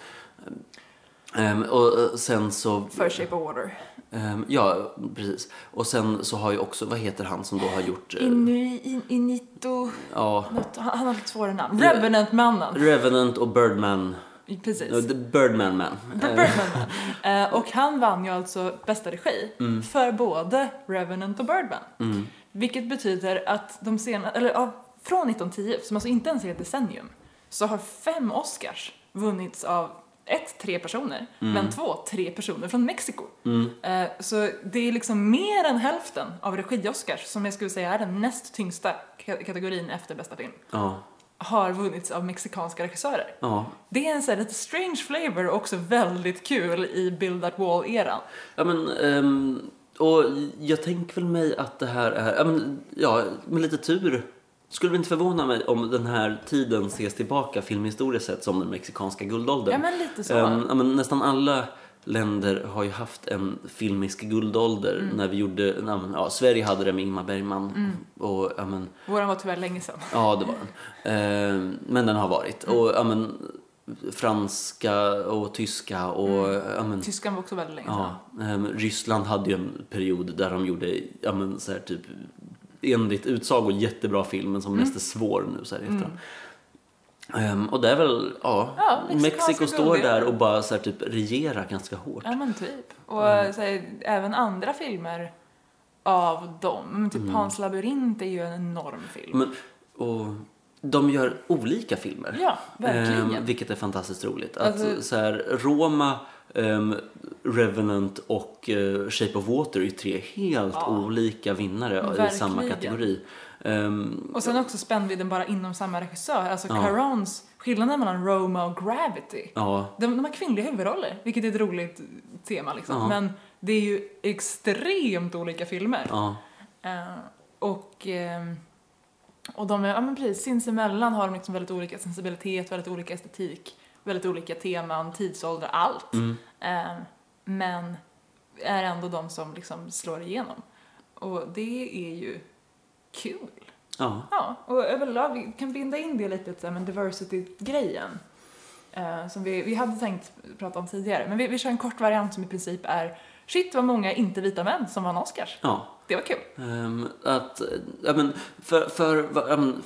Speaker 2: Ehm, och eh, sen så...
Speaker 5: För Shape of Water.
Speaker 2: ehm, ja, precis. Och sen så har ju också, vad heter han som då har gjort... eh,
Speaker 5: Inui, in, Inito,
Speaker 2: ja,
Speaker 5: något, han, han har lite svåra namn.
Speaker 2: Ja.
Speaker 5: Revenant-mannen.
Speaker 2: Revenant och Birdman.
Speaker 5: Precis.
Speaker 2: eh, The Birdman Man. Ehm,
Speaker 5: Birdman. Eh, och han vann ju alltså bästa regi för både Revenant och Birdman.
Speaker 2: mm,
Speaker 5: Vilket betyder att de sena, eller ja, från 1910, som alltså inte ens är ett decennium, så har fem Oscars vunnits av ett, tre personer,
Speaker 2: mm,
Speaker 5: men två, tre personer från Mexiko. Eh, Så det är liksom mer än hälften av regi-Oscars, som jag skulle säga är den näst tyngsta ka- kategorin efter bästa film,
Speaker 2: ja,
Speaker 5: har vunnits av mexikanska regissörer.
Speaker 2: ja.
Speaker 5: Det är en så här lite strange flavor och också väldigt kul i Build That Wall-eran.
Speaker 2: Ja, men, ehm, och jag tänker väl mig att det här är... Ja, men, ja, med lite tur skulle det inte förvåna mig om den här tiden ses tillbaka filmhistoriskt sett som den mexikanska guldåldern.
Speaker 5: Ja, men lite så.
Speaker 2: Ehm, ja, men nästan alla länder har ju haft en filmisk guldålder
Speaker 5: Mm.
Speaker 2: när vi gjorde... Ja, men, ja, Sverige hade det med Ingmar Bergman. Och, ja, men,
Speaker 5: Våran var tyvärr länge sedan.
Speaker 2: Ja, det var den. Ehm, men den har varit. Och ja, men, franska och Mm. tyska och... Ja, men,
Speaker 5: Tyskan var också väldigt länge sedan.
Speaker 2: ja, ehm, Ryssland hade ju en period där de gjorde, ja men så här typ enligt utsago jättebra film men som mest är svår nu så här i efterhand. Ehm, och det är väl, ja,
Speaker 5: Ja, mexikanska
Speaker 2: Mexiko står
Speaker 5: guldiga.
Speaker 2: där och bara så här typ regerar ganska hårt.
Speaker 5: Ja men typ. Och så här, även andra filmer av dem. Men Typ Hans labyrint är ju en enorm film.
Speaker 2: Men, och de gör olika filmer.
Speaker 5: ja, verkligen.
Speaker 2: Ehm, vilket är fantastiskt roligt. Att
Speaker 5: Alltså-
Speaker 2: så här, Roma, ehm, Revenant och eh, Shape of Water är ju tre helt
Speaker 5: Ja.
Speaker 2: olika vinnare i samma
Speaker 5: Verkligen.
Speaker 2: kategori. Ehm,
Speaker 5: och sen också spännvidden bara inom samma regissör. Alltså
Speaker 2: Ja.
Speaker 5: Carons, skillnaden mellan Roma och Gravity.
Speaker 2: ja,
Speaker 5: De, de har kvinnliga huvudroller, vilket är ett roligt tema liksom.
Speaker 2: Ja.
Speaker 5: Men det är ju extremt olika filmer.
Speaker 2: ja,
Speaker 5: Eh, och, ehm, och de är, ja men precis, sinsemellan har de liksom väldigt olika sensibilitet, väldigt olika estetik, väldigt olika teman, tidsålder, allt.
Speaker 2: mm,
Speaker 5: Eh, men är ändå de som liksom slår igenom. Och det är ju kul.
Speaker 2: ja.
Speaker 5: Ja, och överlag, vi kan binda in det lite så här med diversity-grejen. Eh, som vi, vi hade tänkt prata om tidigare, men vi, vi kör en kort variant som i princip är Shit vad många inte vita män som vann Oscars.
Speaker 2: ja.
Speaker 5: Det var kul.
Speaker 2: Ehm, att, eh, ja men, för, för va- ja, men,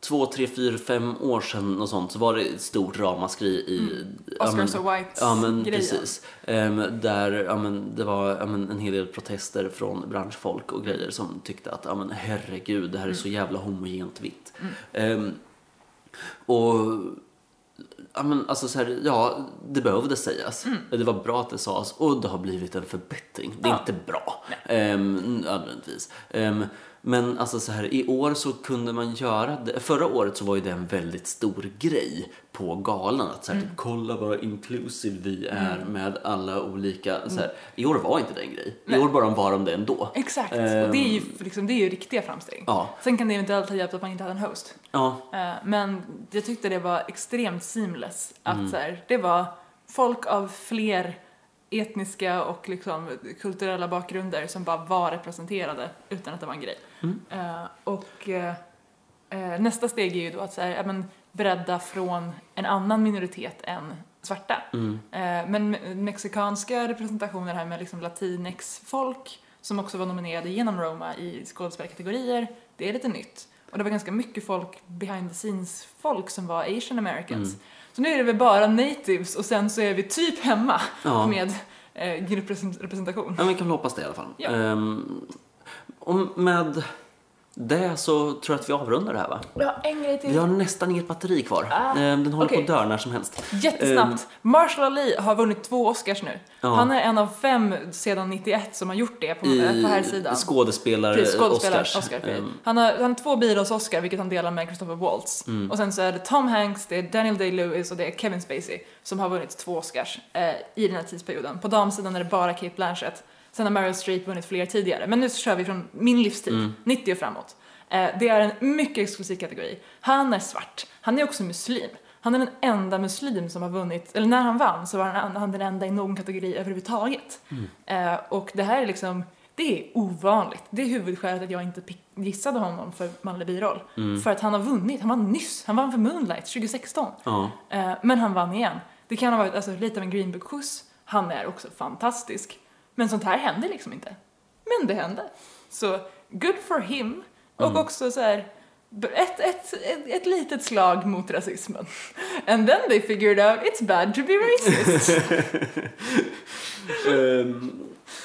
Speaker 2: två, tre, fyra, fem år sedan och sånt så var det ett stort ramaskri i... ja, men-
Speaker 5: Mm. Oscars och Whites
Speaker 2: Ja men
Speaker 5: grejen.
Speaker 2: precis. Ehm, där ja, men, det var ja, men, en hel del protester från branschfolk och grejer som tyckte att ja, men, herregud det här är så jävla homogent vitt. Ehm, och ja, men, alltså, så här, ja, det behövde sägas. Det var bra att det sades och det har blivit en förbättring. Det är
Speaker 5: Ja.
Speaker 2: inte bra ehm, nödvändigtvis. Ehm, Men alltså så här, i år så kunde man göra det. Förra året så var ju det en väldigt stor grej på galan. Att så här, typ, kolla vad inclusive vi är med alla olika. Så här. I år var inte det en grej. I år bara var de det ändå.
Speaker 5: Exakt, och det är,
Speaker 2: Ehm.
Speaker 5: ju, liksom, det är ju riktiga framsteg.
Speaker 2: Ja,
Speaker 5: Sen kan det eventuellt ha hjälpt att man inte hade en host.
Speaker 2: ja
Speaker 5: Eh, Men jag tyckte det var extremt seamless. Att
Speaker 2: Mm.
Speaker 5: så här, det var folk av fler etniska och liksom kulturella bakgrunder som bara var representerade utan att det var en grej.
Speaker 2: Mm.
Speaker 5: Eh, och eh, eh, nästa steg är ju då att så här, ja, men, bredda från en annan minoritet än svarta.
Speaker 2: Mm.
Speaker 5: Eh, men me- mexikanska representationer här med liksom latinx-folk som också var nominerade genom Roma i skådespelarkategorier, det är lite nytt. Och det var ganska mycket folk, behind the scenes-folk som var asian americans.
Speaker 2: Mm.
Speaker 5: Så nu är det väl bara natives och sen så är vi typ hemma
Speaker 2: Ja.
Speaker 5: med eh, grupprepresentation.
Speaker 2: Ja, men vi kan väl hoppas det i alla fall.
Speaker 5: Ja.
Speaker 2: Ehm, och med det så tror jag att vi avrundar det här va?
Speaker 5: Jag har en grej till.
Speaker 2: Vi har nästan inget batteri kvar.
Speaker 5: Ah,
Speaker 2: Ehm, den håller
Speaker 5: okej.
Speaker 2: på att dö när som helst.
Speaker 5: Jättesnabbt. Marshall Ali har vunnit två Oscars nu.
Speaker 2: Ja.
Speaker 5: Han är en av fem sedan 91 som har gjort det på, på här sidan.
Speaker 2: skådespelare,
Speaker 5: Precis, skådespelare,
Speaker 2: Oscars.
Speaker 5: Oscar, precis.
Speaker 2: Ehm,
Speaker 5: han, har, han har två Beatles-Oscar, vilket han delar med Christopher Waltz. Och sen så är det Tom Hanks, det är Daniel Day-Lewis och det är Kevin Spacey som har vunnit två Oscars eh, i den här tidsperioden. På damsidan är det bara Kate Blanchett. Sen har Meryl Streep vunnit fler tidigare, men nu så kör vi från min livstid, 90 och framåt. Eh, det är en mycket exklusiv kategori. Han är svart, han är också muslim. Han är den enda muslim som har vunnit, eller när han vann så var han, han den enda i någon kategori överhuvudtaget. Eh, och det här är liksom, det är ovanligt. Det är huvudskälet att jag inte pick- gissade honom för manlig biroll.
Speaker 2: Ehm, Mm.
Speaker 5: För att han har vunnit. Han vann nyss. Han vann för Moonlight 2016.
Speaker 2: Ja.
Speaker 5: Eh, men han vann igen. Det kan ha varit alltså, lite av en Greenbook-skjuts. Han är också fantastisk. Men sånt här händer liksom inte. Men det hände. Så good for him. Och också så här, b- ett, ett, ett, ett litet slag mot rasismen. And then they figured out it's bad to be racist.
Speaker 2: ehm,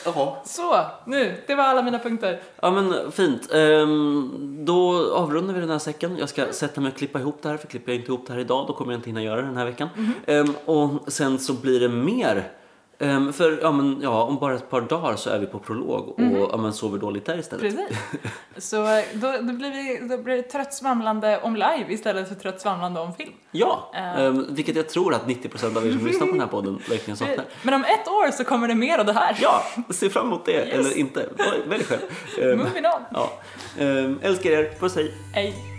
Speaker 2: Jaha.
Speaker 5: så, nu, det var alla mina punkter.
Speaker 2: Ja men fint. Ehm, då avrundar vi den här säcken. Jag ska sätta mig och klippa ihop det här för klipper jag inte ihop det här idag då kommer jag inte hinna göra det den här veckan.
Speaker 5: Mhm.
Speaker 2: Ehm, och sen så blir det mer. Ehm, för ja, men, ja, om bara ett par dagar så är vi på prolog och ja, men, sover dåligt där istället.
Speaker 5: Mhm. Precis. Så eh, då, då, blir vi, då blir det trött svamlande om live istället för trött svamlande om film.
Speaker 2: Ja,
Speaker 5: Eh.
Speaker 2: ehm, vilket jag tror att 90% av er som lyssnar på den här podden verkligen saknar.
Speaker 5: Men om ett år så kommer det mer av det här.
Speaker 2: Ja, se fram emot det
Speaker 5: Yes. Mm.
Speaker 2: eller inte. Välj själv. Ehm,
Speaker 5: Moving on.
Speaker 2: ja. Ehm, älskar er, puss hej.
Speaker 5: Hej.